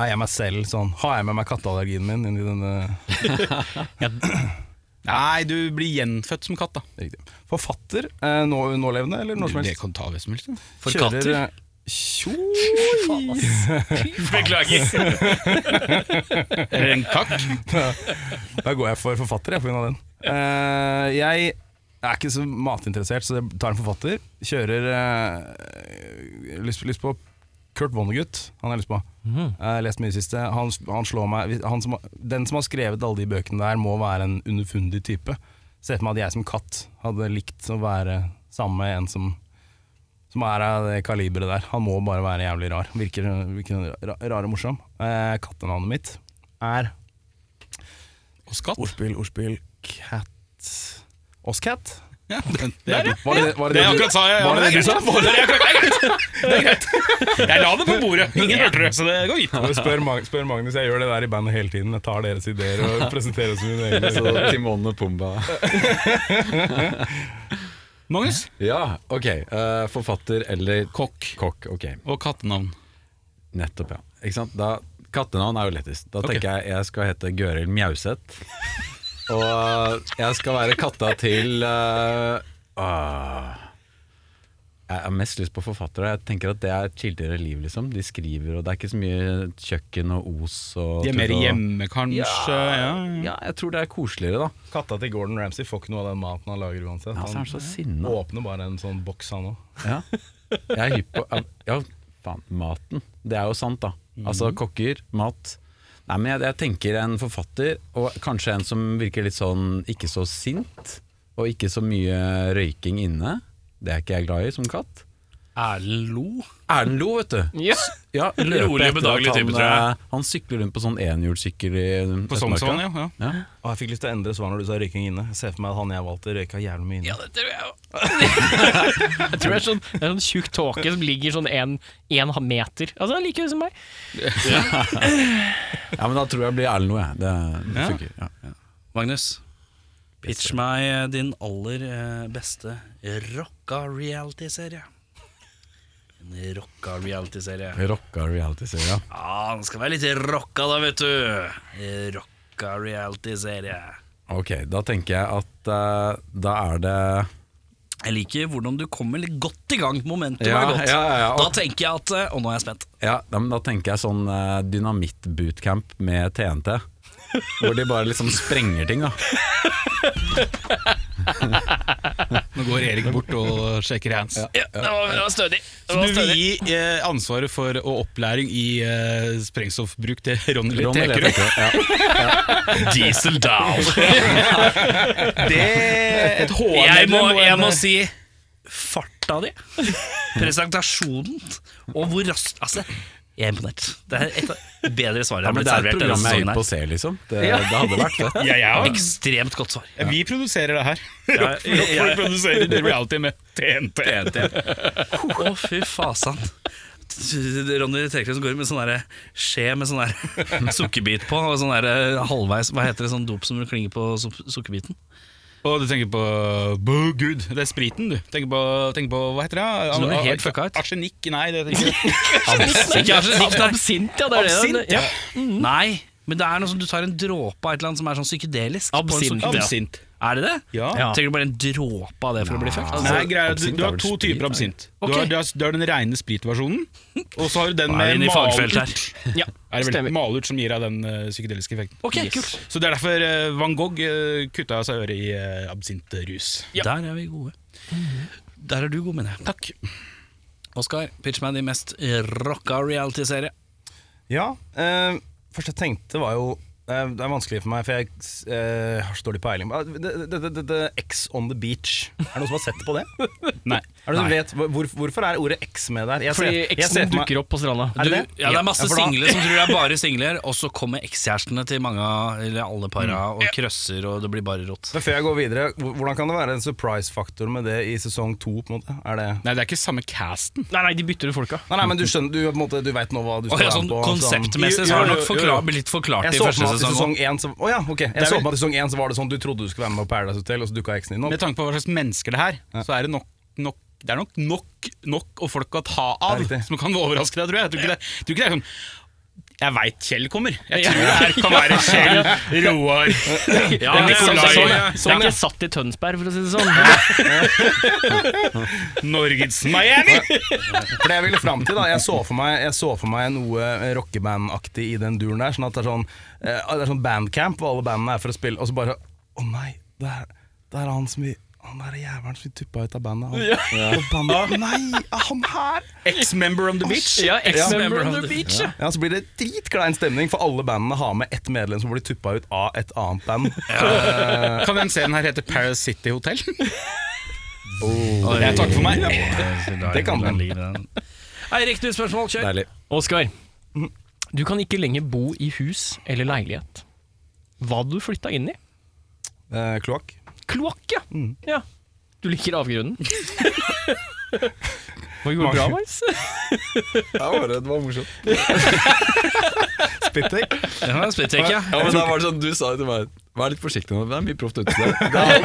Er jeg meg selv sånn? Har jeg med meg katteallergien min inn i denne Nei, du blir gjenfødt som katt, da. Riktig. Forfatter? Eh, nå, nålevende, eller når som Det helst? kan du ta hvem som helst. da. For Kjører, katter? eh, Tjo! Beklager. Eller en kakk. Da går jeg for forfatter, jeg, på grunn av den. Eh, jeg er ikke så matinteressert, så jeg tar en forfatter. Kjører eh, lyst, lyst på Kurt Vonnegut. Han har jeg lyst på. Mhm. Jeg har lest mye i det siste. Han, han slår meg hvis- han som, har- Den som har skrevet alle de bøkene der, må være en underfundig type. Ser for meg at jeg som katt hadde likt å være sammen med en som som er av det kaliberet der. Han må bare være jævlig rar. Virker, virker ra- rar og morsom. Eh, kattenavnet mitt er Hos katt. Ordspill, ordspill Cat Oscat? Ja, den, det er det. Var det var Det det, jeg du- akkurat sa jeg. Ja, var men det det er det du sa? greit. Det er greit. Det er greit. Jeg la det på bordet. (laughs) Ingen hørte det, så det går gitt. Bare Spør, Mag spør Magnus, jeg gjør det der i bandet hele tiden. Jeg tar deres ideer (laughs) og presenterer som mine egne. Så Timon og Pumba. Magnus Ja, ok. eh, forfatter eller Kokk. Kokk, ok. og kattenavn. Nettopp, ja. Ikke sant? Da, kattenavn er jo lettest. Da Ok. tenker jeg jeg skal hete Gøril (laughs) Mjauseth. Og jeg skal være katta til eh, ah. Jeg har mest lyst på forfattere. Jeg tenker at det er et chillere liv, liksom. De skriver, og det er ikke så mye kjøkken og os og De er mer tull og- hjemme, kanskje. Ja. Ja, jeg tror det er koseligere, da. Katta til Gordon Ramsay får ikke noe av den maten han lager uansett. Ja, så er han Han så sinna. åpner bare en sånn boks, han òg. Ja. Jeg er hypp på Ja, faen, maten. Det er jo sant, da. Altså kokker, mat. Nei, men jeg, jeg tenker en forfatter, og kanskje en som virker litt sånn ikke så sint, og ikke så mye røyking inne. Det er ikke jeg glad i som katt. Erlend Lo? Erlend Lo, vet du. Ja. Ja, løper Rolig, etter at bedagelig type, han, tror jeg. eh, Han sykler rundt på sånn enhjulssykkel i På Sognsvann, ja. ja. Å, jeg fikk lyst til å endre svar når du sa røyking inne. Jeg ser for meg at han jeg valgte, røyka jævlig mye inne. Jeg tror det er sånn, det er sånn tjukk tåke som ligger sånn en, en meter. Altså, han er like høy som meg. Ja, men da tror jeg det blir Erlend Lo, jeg. Det, det funker. Ja. Magnus, pitch meg eh, din aller eh, beste rocka reality-serie. En rocka reality-serie. Rocka reality-serie. ja. Ja, den skal være litt rocka da, vet du. Rocka reality-serie. Ok, da tenker jeg at eh, da er det Jeg liker hvordan du kommer litt godt i gang. Momentum Ja, er godt. ja, ja, ja. Da tenker jeg at eh, Og nå er jeg spent. ja, ja, men Da tenker jeg sånn eh, dynamitt-bootcamp med TNT. Hvor de bare liksom sprenger ting, da. Nå går Erik bort og sjekker hands. Ja, det var, det var stødig. Det Så var du vil stødig. gi eh, ansvaret for og opplæring i eh, sprengstoffbruk til Ronny Litt Ronny Tekerud? Letekerø, ja. Diesel (laughs) down. Et Jeg må, HR-medlem og jeg en må si farta di, presentasjonen og hvor raskt Altså, jeg er imponert. Det er et av bedre svar jeg har Ja, men blitt det er et servert denne program jeg sesongen. gikk på å se, liksom. Det, det hadde vært fett. ja, ja. her. Ekstremt godt svar. Vi produserer det her. Rock- Rockfolk produserer det reality med TNT. Å, fy fasan. Ronny Tekrø som går med sånn der skje med sånn der sukkerbit på, og sånn der halvveis Hva heter det, sånn dop som klinger på su- sukkerbiten? Og du tenker på Boo Good. Det er spriten, du. Tenker på, tenker på hva heter det? Så nå er det helt Ar- fucka ut. Arsenikk? Nei, det tenker jeg Ikke absint, nei. Absint, ja. Det er det. Absint, (laughs) ja. Nei, men det er noe som du tar en dråpe av et eller annet som er sånn psykedelisk. på en Absint. sukker- Absint. Er det det? Ja. Trenger du bare en dråpe av det for å bli fucked? Nei, greia, er at du, absint du er har vel to sprit, typer er absint. det? Du, har, Ok. du, har, du har den reine spritversjonen, og så har du den Nå er vi med inne i fagfelt her. malurt. Ja, er det Stemmer. vel malurt som gir deg den eh, psykedeliske effekten. Ok, kult. Så det er derfor eh, van Gogh eh, kutta seg øret i eh, absintrus. Der er vi gode. Der er du god, mener jeg. Takk. Oskar, pitch meg din mest rocka reality-serie. Ja, eh, først jeg tenkte var jo eh, Det er vanskelig for meg, for jeg eh, har så dårlig peiling. Ah, Det, det, det, det, det, X on the beach. Er det noen som har sett på (laughs) det? Nei. Er det noen som vet, hvor, hvor- hvorfor er ordet X med der? Jeg Fordi jeg ser eksen for meg- dukker opp på stranda. Du, Er det ja, det? det er masse Ja, for da- singler som tror det er bare singler, og så kommer ekskjærestene til mange av- eller alle para og krøsser, og det blir bare rått. Mm. Men før jeg går videre, hvor- hvordan kan det være en surprise-faktor med det i sesong to? på en måte? Er det... Nei, det er ikke samme casten. Nei, nei, de bytter ut folka. Nei, nei, men du skjønner, du, på en måte, du vet nå hva du Og skal ja, sånn på. Konseptmessig så Jo, jo, har det nok jo, jo. forklart, blitt forklart Jeg i så for første meg at sånn- i sesong. sesong én så, å ja, ok. jeg så vel- for meg at i sesong én så var det sånn du trodde du skulle være med på Paradise Hotel, og så dukka eksen din opp. Med tanke på hva slags mennesker det er, så er det nok, nok det er nok nok, nok og folk å ta av Det er riktig. som kan overraske deg, tror jeg. Jeg tror ikke det, jeg tror ikke det er sånn Jeg veit Kjell kommer. Jeg tror det her (laughs) kan være Kjell, Roar Ja, det, er Nikolai. sånn, sånn, Ja, det er ikke satt i Tønsberg, for å si det sånn. Norges Miami! For det jeg ville fram til, da. Jeg så for meg, jeg så for meg noe eh, rockeband-aktig i den duren der. Sånn at det er sånn, eh, det er sånn bandcamp hvor alle bandene er for å spille, og så bare Å nei, det er, det er han som vi han der jævelen som vi tuppa ut av bandet. Han, og bandet nei, han her! Ex-member on the beach. Ja, Ex-member on the beach. ja. Ja, Så blir det dritklein stemning, for alle bandene har med ett medlem som blir tuppa ut av et annet band. Kan den serien her hete Paris City Hotel? (laughs) Jeg takker for meg. Det kan den. Eirik, nytt spørsmål, kjør! Deilig. Oskar, Mhm. du kan ikke lenger bo i hus eller leilighet. Hva du flytta inn i? Eh, kloakk. Kloakk, ja. Mhm. ja. Du liker (laughs) avgrunnen. Hva går bra, Magnus? det var morsomt. Spittek. Ja, det er splittjekk, ja. Ja, men da var det sånn, Du sa det til meg Vær litt forsiktig nå, det er mye proft (laughs) ute der.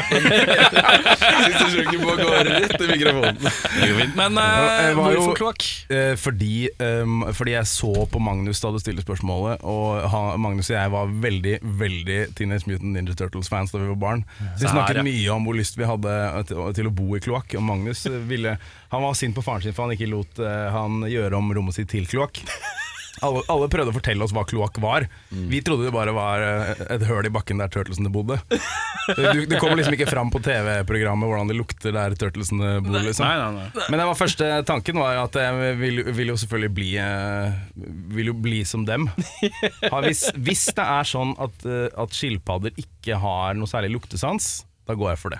Siste sjuken på å gå rett i mikrofonen. Det går fint. Men Ja, eh, jeg var jo- hvorfor kloakk? Eh, fordi, ehm, fordi jeg så på Magnus da du stilte spørsmålet, og han, Magnus og jeg var veldig veldig Teenage Mutant Ninja Turtles-fans da vi var barn. Så vi snakket mye om hvor lyst vi hadde eh, til, til å bo i kloakk. Og Magnus eh, ville Han var sint på faren sin for han ikke lot eh, han gjøre om rommet sitt til kloakk. Alle, alle prøvde å fortelle oss hva kloakk var. Vi trodde det bare var eh, et høl i bakken der turtlesene bodde. Du, det kommer liksom ikke fram på TV-programmet hvordan det lukter der turtlesene bor. Liksom. Men det var første tanken var at jeg vil, vil jo selvfølgelig bli eh, Vil jo bli som dem. Har, hvis, hvis det er sånn at, eh, at skilpadder ikke har noe særlig luktesans, da går jeg for det.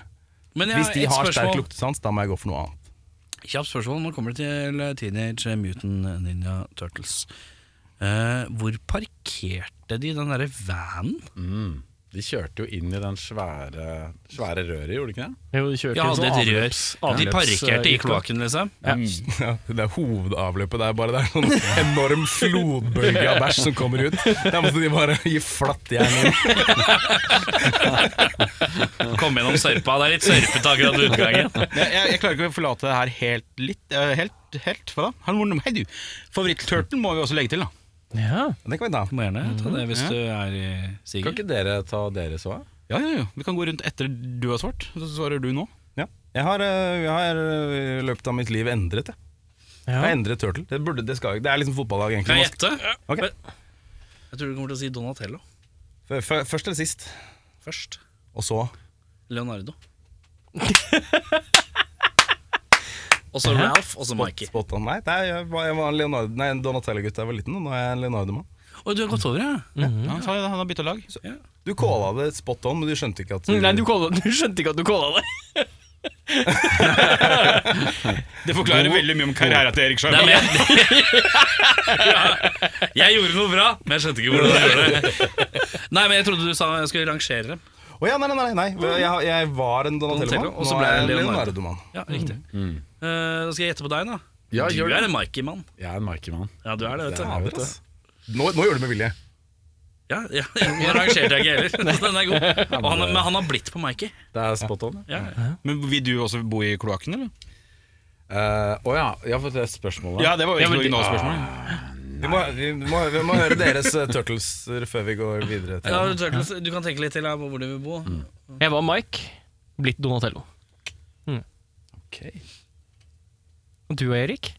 Men jeg Hvis de et har sterk spørsmål. luktesans, da må jeg gå for noe annet. Kjapt spørsmål. Nå kommer det til eh, Teenage Mutant Ninja Turtles. Eh, hvor parkerte de den derre vanen? De kjørte jo inn i den svære, svære røret, gjorde de ikke det? Jo, de kjørte De hadde et en rør. sånn De avløps- parkerte avløpsgikk, i da. kloakken, liksom. Ja, det er hovedavløpet der, bare det er sånn enorm flodbølge av bæsj som kommer ut. (laughs) Der måtte de bare gi flatt jern inn. Kom gjennom sørpa. Det er litt sørpete (laughs) akkurat ved utgangen. Jeg, jeg, jeg klarer ikke å forlate det her helt litt. eh, Helt, helt hva da? Han var nummer- Hei, du. Favoritt-turtle må vi også legge til, da. Ja. Det kan vi ta. Du må gjerne ta det hvis du er i Kan siget. ikke dere ta deres òg? Ja, ja, ja. Vi kan gå rundt etter du har svart, så svarer du nå. Ja. Jeg har, øh, jeg har øh, i løpet av mitt liv endret, jeg. Jeg har endret turtle. Det, burde, det, skal, jo ikke- det er liksom fotballag, Kan jeg egentlig. gjette? Ok. Jeg tror du kommer til å si Donatello F- f- Først eller sist, først. og så (laughs) Leonardo. Og så Ralph, og så Mikey. spot on. Nei, det er, jeg var, jeg var en Leonardo, nei, en Donatello-gutt da jeg var liten, og nå er jeg en Leonardo-mann. Oi, du har gått over, ja. Ja, han sa jo det, han har bytta lag. Du calla det spot on, men du skjønte ikke at Mm, Nei, du, kalla- (laughs) du skjønte ikke at du kalla det. Det forklarer veldig mye om karrieren til Erik Det Sjarma. er mer (laughs) ja. Jeg gjorde noe bra, men jeg skjønte ikke hvordan jeg gjorde det. Nei, men jeg trodde du sa jeg skulle rangere dem. Å ja, nei, nei, nei. nei. Jeg, jeg var en Donatello-mann, Donatello, og så nå ble jeg er jeg en Leonardo. Leonardo-mann. Ja, riktig. Eh, da skal jeg gjette på deg, da. Ja, du gjør er det. en Mikey-mann. Jeg er en Mikey-mann. Ja, du er det, vet du. Vet du. Nå, nå gjorde du det med vilje. Ja, ja. (laughs) Nå rangerte jeg ikke heller, så den (laughs) er god. Og han, er- men han har blitt på Mikey. Det er spot on. Å Ja. Men Vil du også bo i kloakken, eller? Eh, ja, jeg har fått det spørsmålet. Ja, det var jo ikke noe originalspørsmål. Vi må, vi, må, vi må høre deres eh, turtleser før vi går videre. Til. Ja, Turtles, du kan tenke litt til her på hvor du vil bo. Jeg var Mike, blitt Donatello. Mm. Og du og Erik?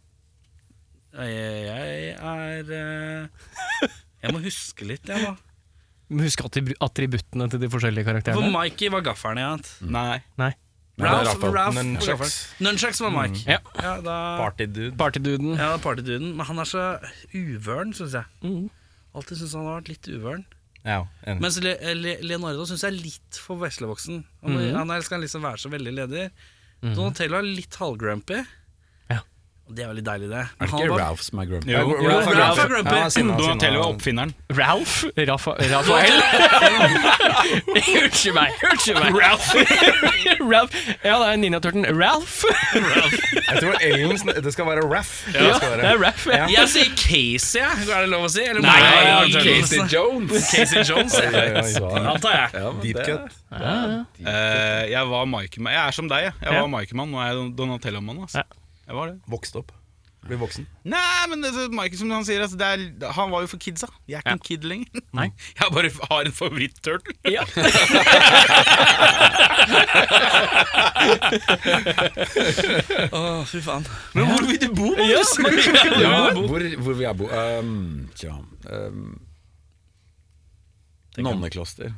Jeg, jeg er (laughs) eh, Jeg må huske litt, jeg, da. Husk attrib- attributtene til de forskjellige For karakterene. Mikey var gaffelen jeg het. Nei. Nei. Ralph, Ralph Nunchucks. var gaffelen. Nunchucks var Mike. Ja. da, Partydude. Partyduden. ja, partyduden. Men han er så uvøren, syns jeg. Alltid syns han har vært litt uvøren. Ja, enig. Mens Le Le Leonardo syns jeg er litt for veslevoksen. Han, han er, skal liksom være så veldig leder. Donatello er litt halvgrumpy. Ja. Og Det er veldig deilig, det. Men Er det han ikke var- Ralph som er grumpy? Jo, Ralph Jo, er grumpy. Ralph er grumpy. Ja, sinna, Donatello er sinna. oppfinneren. Ralph? (laughs) Rafa, Rafael? Unnskyld meg, unnskyld meg. Ralph. (laughs) Ralph. Ja, det er ninjaturten Ralph. Jeg tror Ellen sn- Det skal være Raff. Ja, det er Ralph. Ja. Jeg sier Casey, jeg. er det lov å si? Eller Nei, Mario Casey Jones. Jones! Casey Jones, jeg. Ja, Han tar jeg. men Deep det- cut. Eh, jeg var Mikeman. Jeg er som deg, jeg. Jeg Ja. var Mikeman, nå er jeg Donatello-mann. Altså. Ja. Jeg var det. Vokst opp. Blir voksen. Nei, men det, Mike, som han sier, altså, det er, han var jo for kidsa. Jeg er ikke en kid lenger. Nei. Jeg bare har en favoritt-turtle. (laughs) Ja. Å, fy faen. Men hvor vil du bo, Magnus? Ja, hvor, hvor vil jeg bo? Um, tja um, Nonnekloster.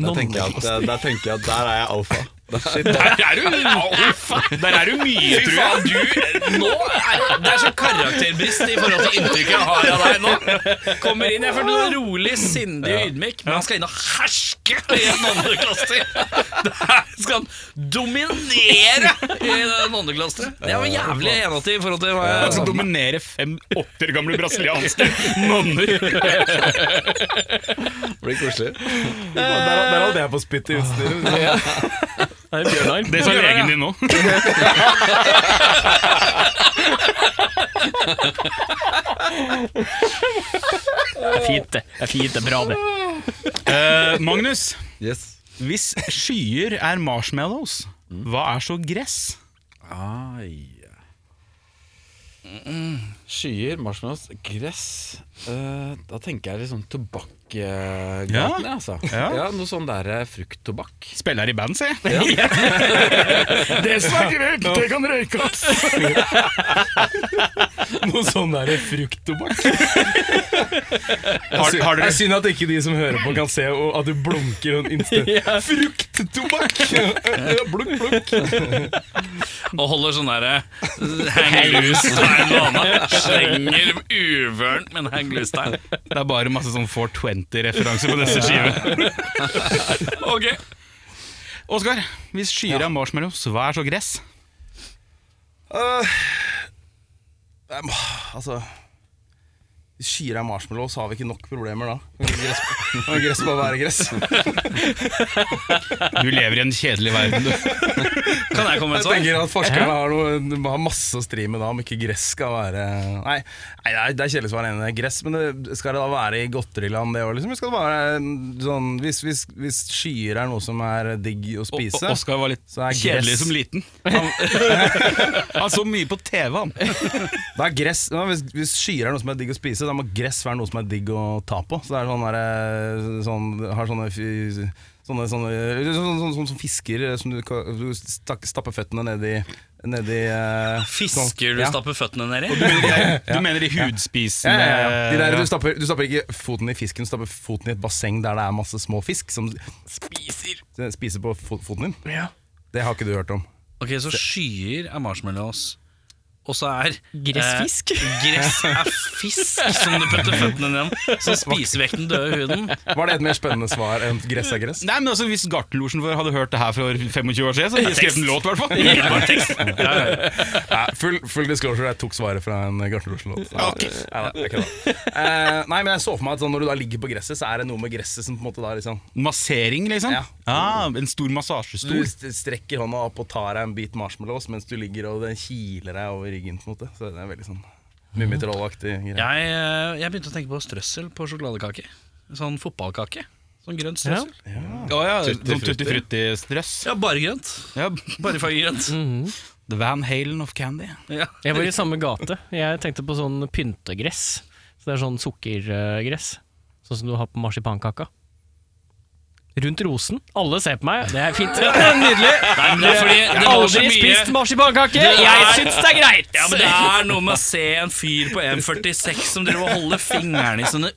Der tenker, jeg at, der tenker jeg at der er jeg alfa. Der er du alfa! Der er du mye, tror jeg. Nå er det, det er så karakterbrist i forhold til inntrykket jeg har av deg nå. Kommer inn, jeg følte deg rolig, sindig og ydmyk, men han skal inn og herske i en nonnekloster. Der skal han dominere i det nonnekloster. Det var jævlig enete i forhold til hva Han jeg skal Altså, dominere fem åtter gamle brasilianske nonner. Det blir koselig. Der, der holdt jeg på å spytte i utstyret. Det er Bjørnar. (laughs) Det sånn sa legen din nå. (laughs) Det er fint, det. Det er fint, det er bra, det. Eh, Magnus, Yes. hvis skyer er marshmallows, hva er så gress? Ai. Mm, Skyer, marshmallows, gress Eh, Da tenker jeg litt sånn tobakkgatene, Ja. altså. Ja. Ja, noe sånn der eh, frukttobakk. Spiller i band, sier jeg. det snakker jeg Det kan røykes. (laughs) Noe sånn der frukttobakk. (laughs) Har, har Det dere er synd at ikke de som hører på, kan se og at du blunker sånn (laughs) instant. Frukttobakk! (laughs) Blunk, blunk. Og holder sånn derre hang loose-stein vana. Slenger uvørent med en hang loose-stein. Det er bare masse sånn 420-referanser på neste skive. (laughs) Ok. Oskar, hvis skyer er marshmallows, hva er så gress? Jeg må- altså Skyer er marshmallows, har vi ikke nok problemer da? Kan ikke gress (laughs) bare være gress? Du lever i en kjedelig verden, du. Kan jeg komme med Jeg et svar? tenker at forskerne har, noe, har masse å stri med da, om ikke gress skal være Nei, nei det er- det er kjedelig å være enig i gress, men det, skal det da være i godteriland det òg, liksom? Skal det være en sånn hvis, hvis, hvis skyer er noe som er digg å Og- spise og Oskar var litt Så er kjedelig gress- som liten. Han, (laughs) han så mye på TV, han. Da er gress, ja, hvis, hvis skyer er noe som er digg å spise, da må gress være noe som er digg å ta på. Så det er sånn der, eh, sånn, har sånne, fy- sånne, sånne, sånne, sånne, sånne, sånne som fisker eh, som du, ka- du stak- stapper føttene nedi, nedi eh, sånn- Fisker du ja. stapper føttene nedi? Du mener de, du mener de hudspisende Ja, ja, ja. De der, du, stapper, du stapper ikke foten i fisken, du stapper foten i et basseng der det er masse små fisk som spiser, spiser på fo- foten din. Det har ikke du hørt om. Ok, så skyer er marshmallows. Og så er Gressfisk? Eh, gress er fisk som du putter føttene ned som spiser vekk den døde huden. Var det et mer spennende svar enn gress er gress? Nei, men altså Hvis Gartenlosjen vår hadde hørt det her for 25 år siden, så hadde de skrevet en låt, i hvert fall. Nei, full, full disclosure, jeg tok svaret fra en Gartnerlosjen-låt. Nei, nei, det er ikke det. Eh, nei, men jeg så for meg at sånn, når du da ligger på gresset, så er det noe med gresset som på en måte da liksom Massering, liksom? Ja. Ah, en stor Du massasjestol. st- strekker hånda opp og tar deg en bit marshmallows mens du ligger og det kiler deg over ryggen. på en måte Så det er veldig sånn Mummitrollaktig greie. Jeg, eh, jeg begynte å tenke på strøssel på sjokoladekake. Sånn fotballkake. Sånn grønt strøssel. Ja, Å ja, sånn Tutti Frutti-strøss. bare grønt. Ja. Bare farget grønt. Mm. The Van Halen of Candy. Ja. Jeg var i samme gate. Jeg tenkte på sånn pyntegress. Så det er sånn sukkergress. Sånn som du har på marsipankaka. Rundt rosen. Alle ser på meg. Det er fint. Det er Nydelig. det er fordi det går så Aldri mye- spist marsipankake. Jeg syns det er greit. Ja, men Det er noe med å se en fyr på 1,46 som driver og holder fingrene sine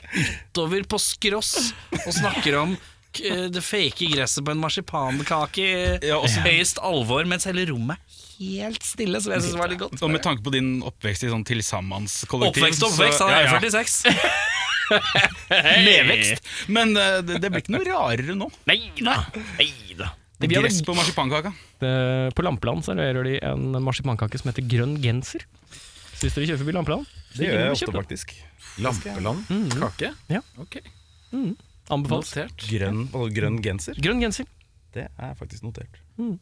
utover på skross og snakker om k- det fake gresset på en marsipankake i høyst alvor, mens hele rommet er helt stille, som jeg syns var litt godt. Og med tanke på din oppvekst i sånn tilsammenskollektiv Oppvekst, oppvekst, han er 1,46. Levekst. Men eh, det, det blir ikke noe rarere nå. Nei da. Nei da. Det blir Gress på marsipankaka. Eh, På Lampeland serverer de en marsipankake som heter grønn genser. Hvis dere kjører forbi Lampeland, så Det gjør innom jeg og kjøp ofte, den. faktisk. Lampeland? Kake? Anbefales. Notert. Grønn, altså grønn genser. Grønn genser. Det er faktisk notert.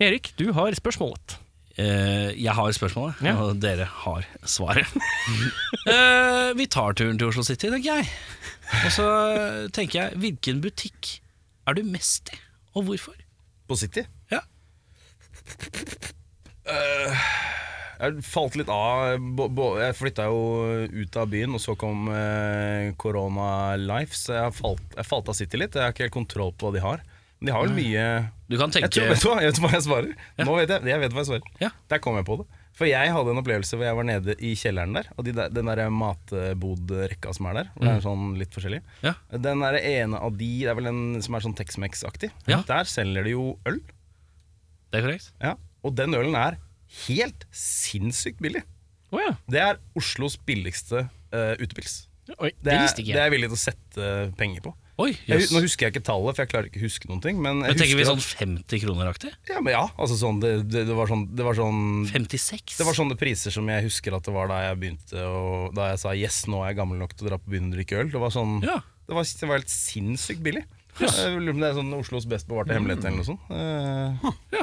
Erik, du har spørsmålet. Eh, jeg har spørsmålet, Ja. og dere har svaret. Eh, vi tar turen til Oslo City, tenker jeg. Og så tenker jeg, hvilken butikk er du mest i, og hvorfor? På City? Ja. Jeg falt litt av. bo- bo- Jeg flytta jo ut av byen, og så kom korona life, så jeg falt, jeg falt av City litt. Jeg har ikke helt kontroll på hva de har. Men de har Mm. vel mye Du kan tenke jeg, tror, vet du hva, jeg vet hva jeg svarer. Nå vet jeg, jeg vet hva jeg svarer. Ja. Der kom jeg på det. For jeg hadde en opplevelse hvor jeg var nede i kjelleren der. Og de der, den der matbodrekka som er der, hvor det er sånn litt forskjellig. Mm. Ja. Den er det ene av de, det er vel en som er sånn Tex-Mex-aktig. Ja. Der selger de jo øl. Det er korrekt. Ja, og den ølen er helt sinnssykt billig. Å ja. Det er Oslos billigste eh, utepils. Oi, det, Det er, visste det ikke er jeg. jeg villig til å sette eh, penger på. Oi, Jeg, jøss. nå husker jeg ikke tallet, for jeg klarer ikke å huske noen ting. Men, jeg Men tenker vi husker sånn 50 kroner-aktig? at, ja, men ja, altså sånn, det, det, det var sånn, det var sånn 56? det var sånn sånne priser som jeg husker at det var da jeg begynte å- Da jeg sa 'yes, nå er jeg gammel nok til å dra på byen og drikke øl'. Det var sånn Ja. det, var, det var helt sinnssykt billig. Ja, jeg lurer på om det er sånn Oslos best bevarte hemmelighet eller noe sånt. Eh, ja.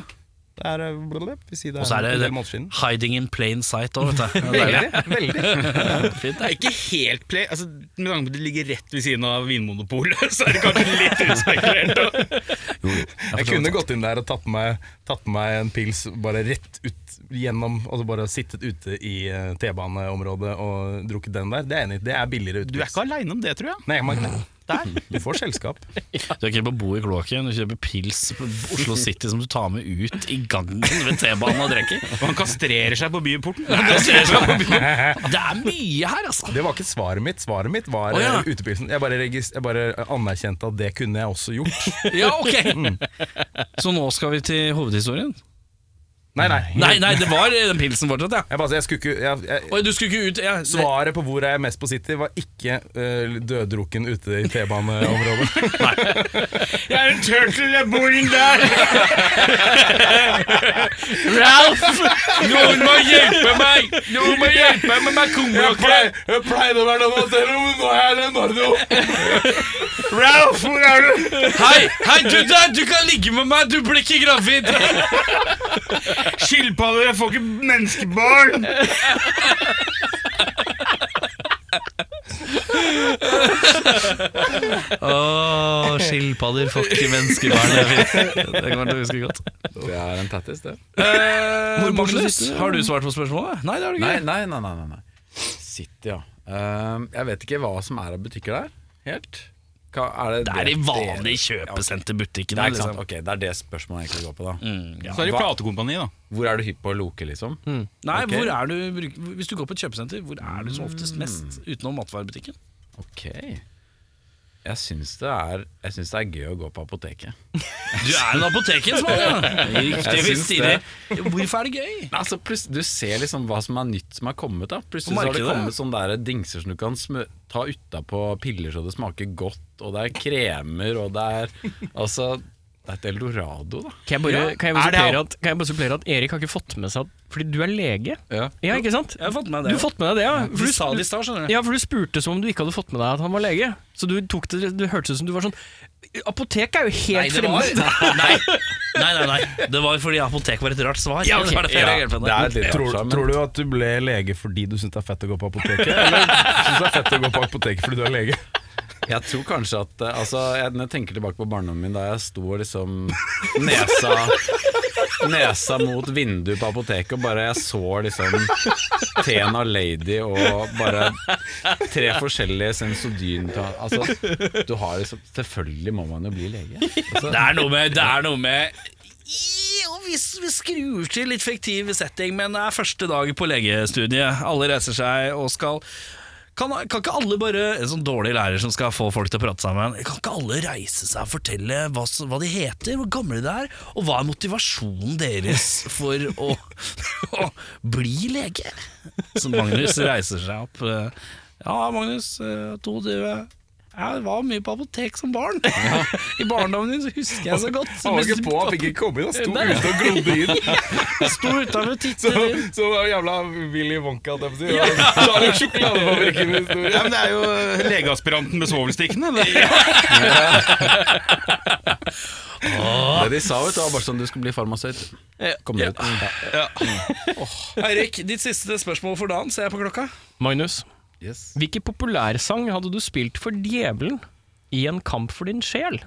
Det er, eh, blablabla, vi sier det Og så er det, en del måneder siden. hiding in plain sight òg, vet (laughs) du. Det er deilig. Veldig, veldig. Fint, Det det. er ikke helt play altså, Med tanke på at det ligger rett ved siden av Vinmonopolet, (laughs) så er det kanskje litt uspekulert. Jeg kunne gått inn der og tatt med, tatt med meg en pils bare rett ut gjennom Altså bare sittet ute i eh, T-baneområdet og drukket den der. Det er jeg enig, i. det er billigere Du er utepils. ikke aleine om det, tror jeg. Nei, jeg må ikke det. Du får selskap. Du er ikke på bo i kloakken, du kjøper pils på Oslo City som du tar med ut i gangen ved T-banen og (laughs) drikker. Og han kastrerer seg på (laughs) byporten. Det ser ut som- Det er mye her, altså. Det var ikke svaret mitt. Svaret mitt var Å, ja. eh, utepilsen. Jeg bare, regis- jeg bare anerkjente at (laughs) det kunne jeg også gjort. Mm. Ja, ok Så nå skal vi til hovedhistorien. Nei, nei. Nei, nei, det var eh, den pilsen fortsatt, ja. Jeg, bare, jeg skulle ikke jeg, jeg, Oi, du skulle ikke ut ja, nei. Svaret på hvor er jeg mest på City, var ikke eh, døddrukken ute i T-baneområdet. Jeg er en turtle, jeg bor inn der! Noen må hjelpe meg! Noen må hjelpe meg med meg kongeklær! Jeg pleide å være noe annet, men nå er jeg Leonardo. Ralph, hvor er du? Hei, hei, du der! Du kan ligge med meg, du blir ikke gravid! Skilpadder, jeg får ikke menneskebarn! Åh, skilpadder får ikke menneskebarn. Det er fint. (laughs) Det kommer jeg til å huske godt. Det er en tattis, det. Eh, Magnus, har du svart på spørsmålet? Nei, det har du Nei, ikke. nei, nei. nei, nei, nei. City, ja. Ehm, jeg vet ikke hva som er av butikker der, helt. Hva, er det, Det er de det- vanlige kjøpesenterbutikkene. ikke Liksom. sant? Mm, Ok, Det er det spørsmålet egentlig går på, da. Så er det platekompaniet, da. Hvor er du hypp på å loke, liksom? Nei, Ok. hvor er du, bruk- Hvis du går på et kjøpesenter, hvor er du som oftest mest utenom matvarebutikken? Ok. Jeg syns det, er- jeg syns det er gøy å gå på apoteket. Du er en apotekens mann, ja! Riktig, Jeg syns Stine. Hvorfor er det gøy? Nei, Altså, pluss- du ser liksom hva som er nytt som er kommet. da Plutselig På så har det markedet. kommet sånne der dingser som du kan smø ta utapå piller så det smaker godt, og det er kremer, og det (laughs) er Altså, det er et eldorado, da. Kan jeg bare, kan jeg bare, er det supplere, at, kan jeg bare supplere at Erik har ikke fått med seg at Fordi du er lege? Ja. Ja, ikke sant? Jeg har fått med Du det. har fått med deg det, ja? For Du du- sa det i stad, skjønner du. Ja, for du spurte som om du ikke hadde fått med deg at han var lege. Så du tok det, du hørtes ut som du var sånn Apotek er jo Nei, helt det var, fremmed! nei, nei, nei, nei. Det var fordi apotek var et rart svar. Ja, det var derfor jeg reagerte på det. er et lite Tror, oppslag, men- tror du at du ble lege fordi du syns det er fett å gå på apoteket? Eller syns det er fett å gå på apoteket fordi du er lege? Jeg tror kanskje at eh, altså, jeg, Når jeg tenker tilbake på barndommen min da jeg sto og liksom nesa Nesa mot vinduet på apoteket og bare jeg så liksom Tena Lady og bare tre forskjellige sensodyn Altså, du har liksom Selvfølgelig må man jo bli lege. Altså, Det er noe med, det er noe med Jo, vi, vi skrur til litt fiktiv setting, men det er første dag på legestudiet. Alle reiser seg og skal kan, kan ikke alle bare En sånn dårlig lærer som skal få folk til å prate sammen. Kan ikke alle reise seg og fortelle hva, som- hva de heter, hvor gamle de er, og hva er motivasjonen deres for å, (laughs) å bli lege? Så Magnus reiser seg opp. eh, Ja, Magnus, eh, 22. Jeg var mye på apotek som barn. I barndommen din så husker jeg så godt. Han var ikke på, han fikk ikke komme inn. Han sto ute og glodde inn. Sto utenfor og Så, tittet inn. (laughs) så var det jævla Willy Wonka, holdt jeg på å si. Da har du sjokoladefabrikken i historien. Ja, men Det er jo legeaspiranten med svovelstikkene. det. det de sa, vet du, var bare sånn du skulle bli farmasøyt. Kom deg ut. Eirik, ditt siste spørsmål for dagen, ser jeg på klokka. Magnus, Yes. hvilken populærsang hadde du spilt for djevelen i En kamp for din sjel?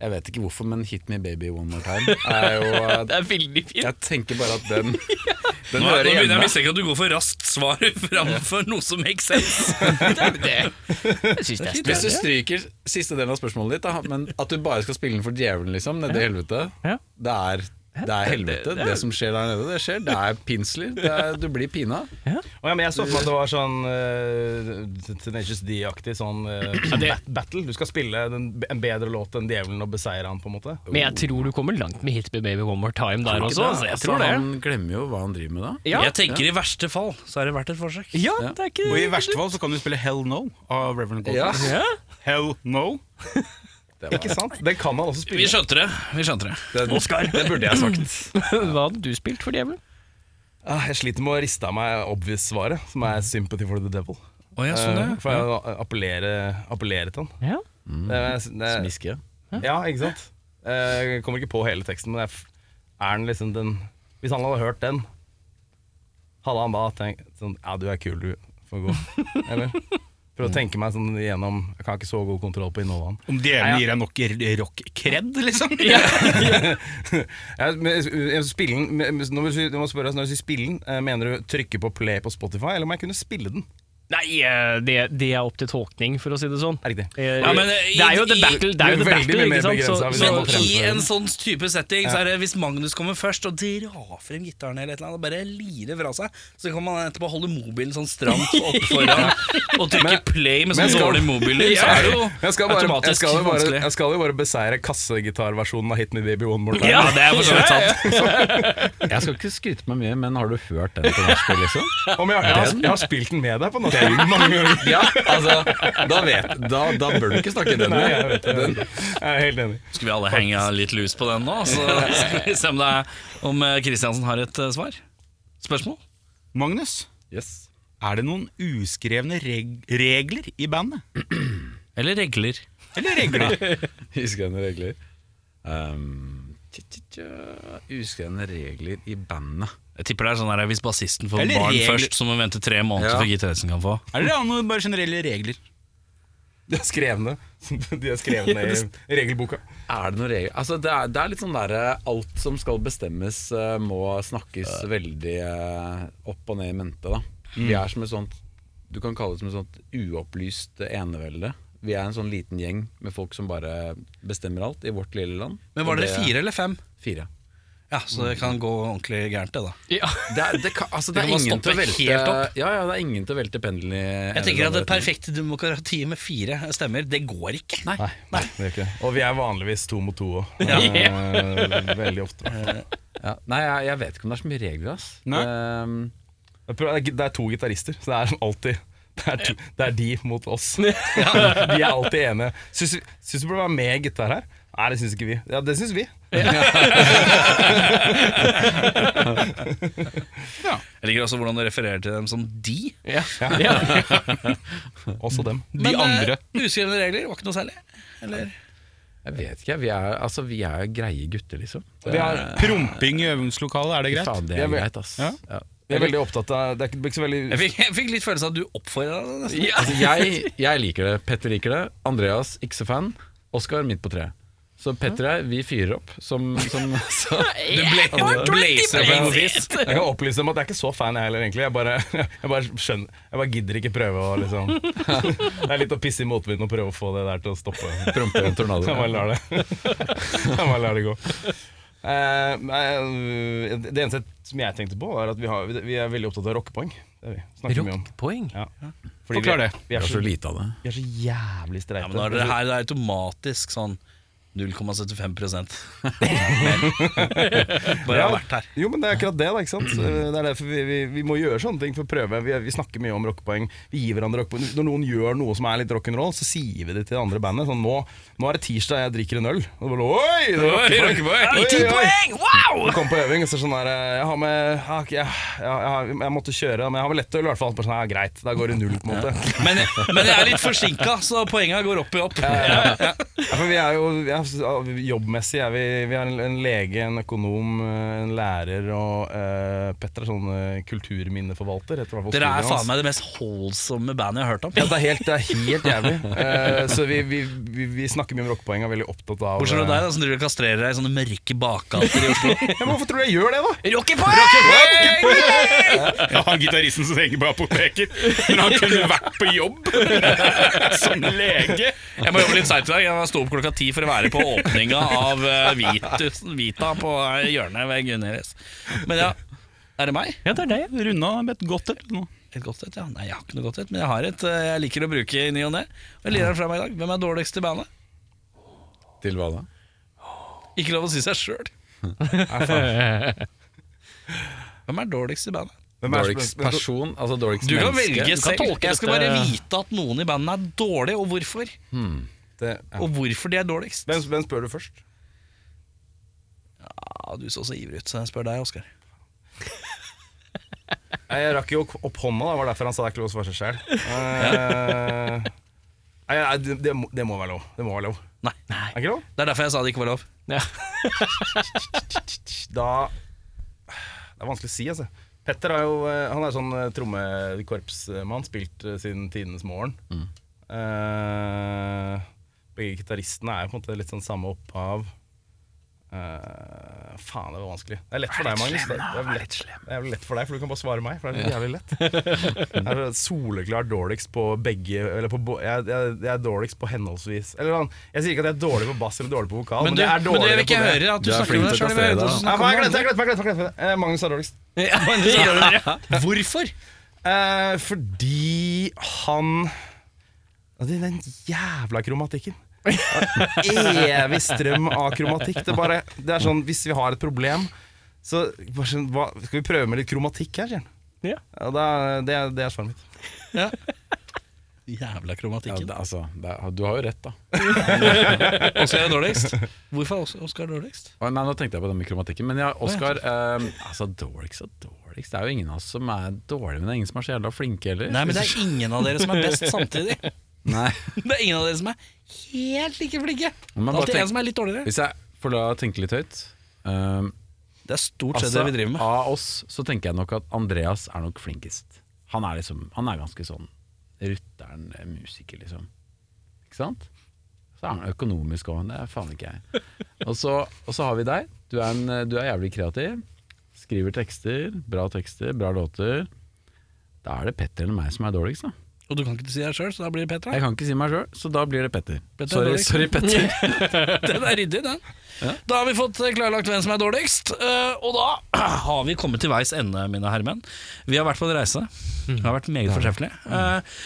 Jeg vet ikke hvorfor, men 'Hit me baby one more time' er jo eh, er veldig fint. Jeg tenker bare at den Den Nå, nå hører begynner jeg å hjemme. mistenke at du går for raskt svar (laughs) framfor noe som makes sense. Jeg synes det er Hvis du spennende. stryker siste delen av spørsmålet ditt, da, men at du bare skal spille den for djevelen, liksom, nede i helvete Ja. Det er, det er helvete. Det som skjer der nede, det skjer. Det er pinsler. Det er, du blir pina. Å ja, men jeg så for meg at det var sånn eh, Tenacious D-aktig sånn eh, bat battle. Du skal spille den, en bedre låt enn djevelen og beseire han, på en måte. Men jeg tror du kommer langt med Hit Me Baby One More Time der også. Altså, jeg tror det. Han glemmer jo hva han driver med da. Ja, Jeg tenker i verste fall så er det verdt et forsøk. ja det er ikke Og i verste fall så kan du spille Hell No av Reverend Gold. Ja. Ja. Hell No. Ikke sant? Den kan han også Vi spille. skjønte det. vi skjønte det Oscar! Det burde jeg sagt. Hva hadde du spilt for djevelen? Ah, jeg sliter med å riste av meg obvious-svaret, som er 'Sympathy for the Devil'. Å, ja, sånn, Eh, ja. for jeg appellerer, appellerer til han. Ja. Det er- det Smiske. er- ja, ikke sant? Eh, Jeg kommer ikke på hele teksten, men jeg, f- er den liksom den Hvis han hadde hørt den, hadde han da tenkt sånn Ja, du er kul, du. Får (laughs) gå. Eller? For å tenke meg sånn igjennom Jeg har ikke så god kontroll på (laughs) innholdet han. Om djevelen gir deg nok r- rock-kred, liksom. Ja, men, eh, spillen, altså, men, men, når, du, sier- du må spørre oss, når du sier spillen, eh, mener du trykke på play på Spotify, eller må jeg kunne spille den? Nei, eh, det, det er opp til tolkning, for å si det sånn. Riktig. Eh, Ja, men, det eh, er jo i- the i- battle, det er jo the det er veldig battle mye ikke sant? mer Så, begrenset hvis så, man må Men fremføre i det. en sånn type setting Så er det hvis Magnus kommer først og drar frem gitaren eller et eller annet, og bare lirer fra seg, så kan man etterpå holde mobilen sånn stramt opp (laughs) foran og trykke play med sånn dårlig mobillyd. Så er det jo Jeg skal, bare, jeg, automatisk skal jo bare, vanskelig. jeg skal jo bare beseire kassegitarversjonen av Hit Me (laughs) Baby One More Time. Ja, det er for så vidt sant. Jeg skal ikke skryte meg mye, men har du hørt den på nachspiel, liksom? Om jeg, jeg, har, jeg har spilt den med deg på nachspiel mange ganger. (laughs) Ja, altså, da, vet, da, da bør du ikke snakke den. Nei, jeg vet det. Jeg er helt enig. Skulle vi alle henge litt lus på den nå? Så skal vi se om, det er, om eh, Kristiansen har et eh, svar? Spørsmål? Magnus, er det noen uskrevne reg regler i bandet? Eller regler? Eller (laughs) regler? Uskrevne regler. Um, tja, tja, tja, uskrevne regler i bandet. Jeg tipper det er sånn her hvis bassisten får Eller barn regler. først, så må hun vente tre måneder Ja. før gitaristen kan få. er det noen bare generelle regler? De er skrevne. De er (laughs) skrevne i regelboka. Er det noen regler? Altså, det, er, det er litt sånn der eh, Alt som skal bestemmes, eh, må snakkes veldig eh, opp og ned i mente. Da. Mm. Vi er som et sånt Du kan kalle det som et sånt uopplyst enevelde. Vi er en sånn liten gjeng med folk som bare bestemmer alt i vårt lille land. Men var Og dere fire eller fem? Fire. Ja, så det kan gå ordentlig gærent, det, da. Det er, det kan, (laughs) altså, Det det er kan bare ingen til å stoppe velte helt opp. Ja, ja, det er ingen til å velte pendelen i Jeg tenker at det perfekte demokratiet med fire stemmer, det går ikke. Nei. Nei, det er (laughs) ikke det. Og vi er vanligvis to mot to òg. Veldig ofte. Eh, ja. Nei, jeg, jeg vet ikke om det er så mye regler, ass. Nei. Ehm, Jeg prøver- Det er- det er to gitarister, så det er sånn alltid det er, to, det er de mot oss. Vi er alltid enige. Syns vi- syns du burde være med i gitar her? Nei, det syns ikke vi. Ja, det syns vi. Jeg liker også hvordan du refererer til dem som de. Også dem. De Men, eh, andre. Uskrevne regler var ikke noe særlig. Eller? jeg vet ikke. Vi er, altså, vi er greie gutter, liksom. Vi er, Promping i øvingslokalet, er det greit? Faen, det Jeg er vet- greit, ass. Ja. Ja. vi er veldig opptatt av Det er ikke så veldig Jeg fikk, jeg fikk litt følelse av at du oppfordra deg nesten. Altså, jeg, jeg liker det. Petter liker det. Andreas, ikke så fan. Oskar, midt på treet. Så Petter og jeg, vi fyrer opp som, som (laughs) så, Du ble, du blazer på noe vis. Jeg kan opplyse om at jeg er ikke så fan jeg heller, egentlig. Jeg bare, jeg bare skjønner Jeg bare gidder ikke prøve å liksom (laughs) Det er litt å pisse i motvind og prøve å få det der til å stoppe. Jeg promper en tornado. bare lar det (laughs) Jeg bare lar det gå. Eh, nei, det eneste som jeg tenkte på, er at vi, har, vi er veldig opptatt av rockepoeng. Det er vi. Snakker mye om. poeng. Ja. Fordi Forklar vi, det. er- vi, Det er er så så, lite av det. vi er så jævlig Ja, streite. men da er det her det er automatisk sånn 0,75 (laughs) Bare har vært her. Jo, men det er akkurat det. da, ikke sant? Så Det er derfor vi, vi, vi må gjøre sånne ting for å prøve. Vi, vi snakker mye om rockepoeng. Vi gir hverandre rockepoeng. Når noen gjør noe som er litt rock'n'roll, så sier vi det til det andre bandet. Sånn, nå, 'Nå er det tirsdag, jeg drikker en øl.' Og så bare, oi, det er rockepoeng! Oi, oi, oi. Vi kom på øving, og så er det sånn der Jeg har med ja, ok, jeg, jeg, jeg, jeg måtte kjøre, men jeg har med lettøl, i hvert fall. Bare Sånn, ja, greit, da går det null, på en måte. Men, men jeg er litt forsinka, så poenga går opp i opp. (laughs) Ja, for vi er jo vi er, Jobbmessig er vi Vi har en, en lege, en økonom, eh, en lærer og eh, Petter er sånn eh, kulturminneforvalter. heter i hvert fall Dere studioet er hans. faen meg det mest holdsomme bandet jeg har hørt om. Ja, det er helt, det er helt jævlig. Eh, så vi, vi, vi, vi snakker mye om rockepoeng og er veldig opptatt av Bortsett fra eh, deg, da, som driver og kastrerer deg i sånne mørke bakgater i Oslo. Ja, men Hvorfor tror du jeg gjør det, da? Ja, han gitaristen som henger på apoteket. Men han kunne vært på (laughs) jobb som lege. (laughs) Jeg må jobbe litt seint i dag. Jeg sto opp klokka ti for å være på åpninga av eh, Vitus, Vita på eh, hjørnet ved Gunneres. Men ja, er det meg? Ja, det er det. Runda med et godt et nå. Et godt et, ja. Nei, jeg har ikke noe godt et, men jeg har et eh, jeg liker å bruke i ny og ne. Og Jeg lirer den fra meg i dag. Hvem er dårligst i bandet? Til hva da? Ikke lov å si seg sjøl. Hvem er dårligst i bandet? Hvem er- Dårligst person, altså dårligst Du kan menneske. velge selv. tolke jeg skal dette- bare vite at noen i bandet er dårlig, og hvorfor. Det, ja. Og hvorfor de er dårligst. hvem, hvem spør du først? Ja, du så så ivrig ut, så jeg spør deg, Oskar. Nei, Jeg rakk jo opp hånda, da, det var derfor han sa det er ikke lov å svare seg sjæl. Eh, nei, nei, det, det, må, det må være lov. Det må være lov. Nei. Er det ikke lov? Det er derfor jeg sa det ikke var lov. Da Det er vanskelig å si, altså. Petter er jo eh, Han er sånn eh, trommekorpsmann, spilt eh, siden tidenes morgen. Eh, begge gitaristene er jo på en måte litt sånn samme opphav. Eh, faen, det var vanskelig. Det er lett for deg, Magnus. Det er, det, er lett, det er lett for deg, for du kan bare svare meg. For det er jævlig lett. Jeg er soleklart dårligst på begge eller på, bo- jeg, jeg, jeg er dårligst på henholdsvis Eller sånn, Jeg sier ikke at jeg er dårlig på bass eller dårlig på vokal, men, Men, du, jeg er men du, jeg dårligere vil ikke på det. høre at du, Du er snakker flink om deg sjøl. til å plassere deg, da. Nei, faen, jeg glemte, jeg glemte, jeg glemte, jeg glemte. Eh, Magnus er dårligst. (laughs) Hvorfor? Eh, fordi han Ja, det er Den jævla kromatikken. Evig strøm av kromatikk. Det er, bare, det er sånn, Hvis vi har et problem, så bare sånn, hva, Skal vi prøve med litt kromatikk her, sier han. Ja. det, er, det, er, det er svaret mitt. Jævla Ja, kromatikken. det, altså, det, er- du har jo rett, da. Oskar er dårligst. Hvorfor er Oskar dårligst? Å, Nei, nå tenkte jeg på den mikromatikken. Men ja, Oskar eh, altså, Dårligst og dårligst. Det er jo ingen av oss som er dårlige, men det er ingen som er så jævla flinke heller. Nei, men det er ingen av dere som er best samtidig. (laughs) Nei. Det er ingen av dere som er helt like flinke. Det Men er bare alltid tenk- en som er litt dårligere. Hvis jeg får la tenke litt høyt eh, Det er stort sett altså, det vi driver med. Av oss så tenker jeg nok at Andreas er nok flinkest. Han er, liksom, han er ganske sånn rutteren eh, musiker, liksom. Ikke sant? Så er han økonomisk òg, det er faen ikke jeg. Og så, og så har vi deg. Du er, en, eh, du er jævlig kreativ. Skriver tekster, bra tekster, bra låter. Da er det Petter eller meg som er dårligst, da. Og du kan ikke si det sjøl, så da blir det Petra. Jeg kan ikke si meg sjøl, så da blir det Petter. Petter er sorry, dårligst. sorry, (laughs) Petter. Den er ryddig, den. Da har vi fått eh, klarlagt hvem som er dårligst. eh, Og da (clears throat) har vi kommet til veis ende, mine herremenn. Vi har vært på en reise. Mm. Det har vært meget fortreffelig. Eh,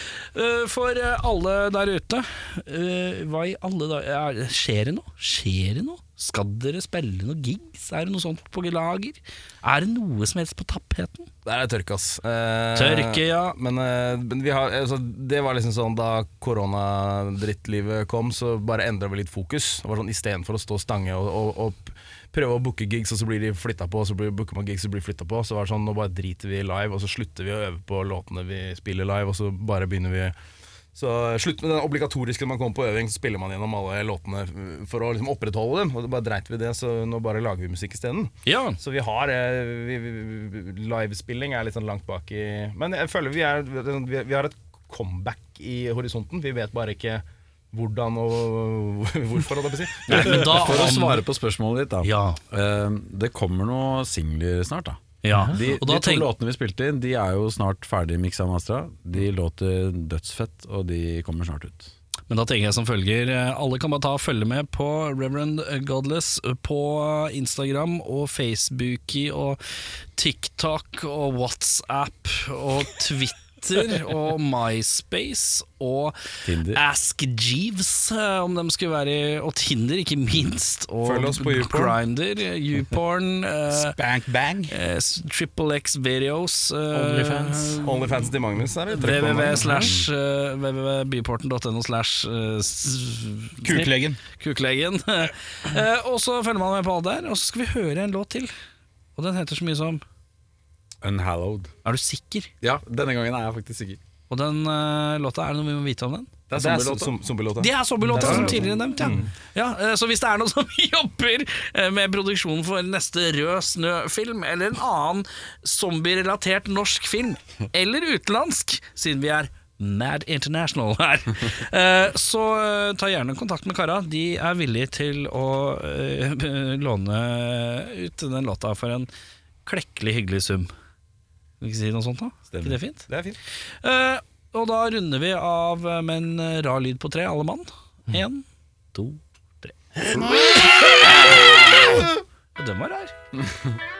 eh, For eh, alle der ute eh, Hva i alle dager er- Skjer det noe? Skjer det noe? Skal dere spille noe gigs? Er det noe sånt på lager? Er det noe som helst på tapeten? Der er tørke, ass. Eh, Tørke, ja. Men, eh, men vi har, altså, det var liksom sånn da koronadrittlivet kom, så bare endra vi litt fokus. Det var sånn Istedenfor å stå stange og, og, og p- prøve å booke gigs, og så blir de flytta på, og så blir booker man gigs og blir flytta på, så var det sånn nå bare driter vi i live, og så slutter vi å øve på låtene vi spiller live, og så bare begynner vi så eh, slutt med den obligatoriske når man kommer på øving, så spiller man gjennom alle låtene eh, for å liksom opprettholde dem. Og da bare dreit vi i det, så nå bare lager vi musikk isteden. Ja. Så vi har eh, vi, vi, Livespilling er litt sånn langt bak i Men jeg føler vi, er, vi, vi har et comeback i horisonten. Vi vet bare ikke hvordan og (laughs) hvorfor, holdt jeg på å si. Nei, men da For å svare på spørsmålet ditt, da. Ja. Eh, det kommer noen singler snart, da. Ja. De, Og da de to tenk- låtene vi spilte inn, de er jo snart ferdig miksa og mastra. De låter dødsfett, og de kommer snart ut. Men da tenker jeg som følger eh, Alle kan bare ta og følge med på Reverend Godless på Instagram og Facebooky og TikTok og WhatsApp og Twitter og MySpace og Tinder. Ask Jeeves, eh, om de skulle være i Og Tinder, ikke minst. Og Følg oss på YouPorn. Grindr, YouPorn, eh, Bank bang. eh, Triple X Videos, eh, Onlyfans. Onlyfans til Magnus er det. Trykk på www den. slash eh, www.byporten.no slash eh, s- Kuklegen. Kuklegen. (laughs) Eh, og så følger man med på alt der, og så skal vi høre en låt til. Og den heter så mye som Unhallowed. Er du sikker? Ja, denne gangen er jeg faktisk sikker. Og den eh, låta, er det noe vi må vite om den? Det er zombielåta. Zombielåta. Det er zombielåta som tidligere nevnt, ja. ja eh, så hvis det er noen som (laughs) jobber eh, med produksjonen for neste Rød snø-film, eller en annen zombierelatert norsk film, eller utenlandsk, siden vi er Mad International her, (laughs) eh, så eh, ta gjerne kontakt med kara. De er villige til å eh, (laughs) låne ut den låta for en klekkelig hyggelig sum. Skal vi ikke si noe sånt, da? Er ikke det fint? Det er fint. Eh, og da runder vi av med en eh, rar lyd på tre, alle mann. Én, to, tre. Den var rar.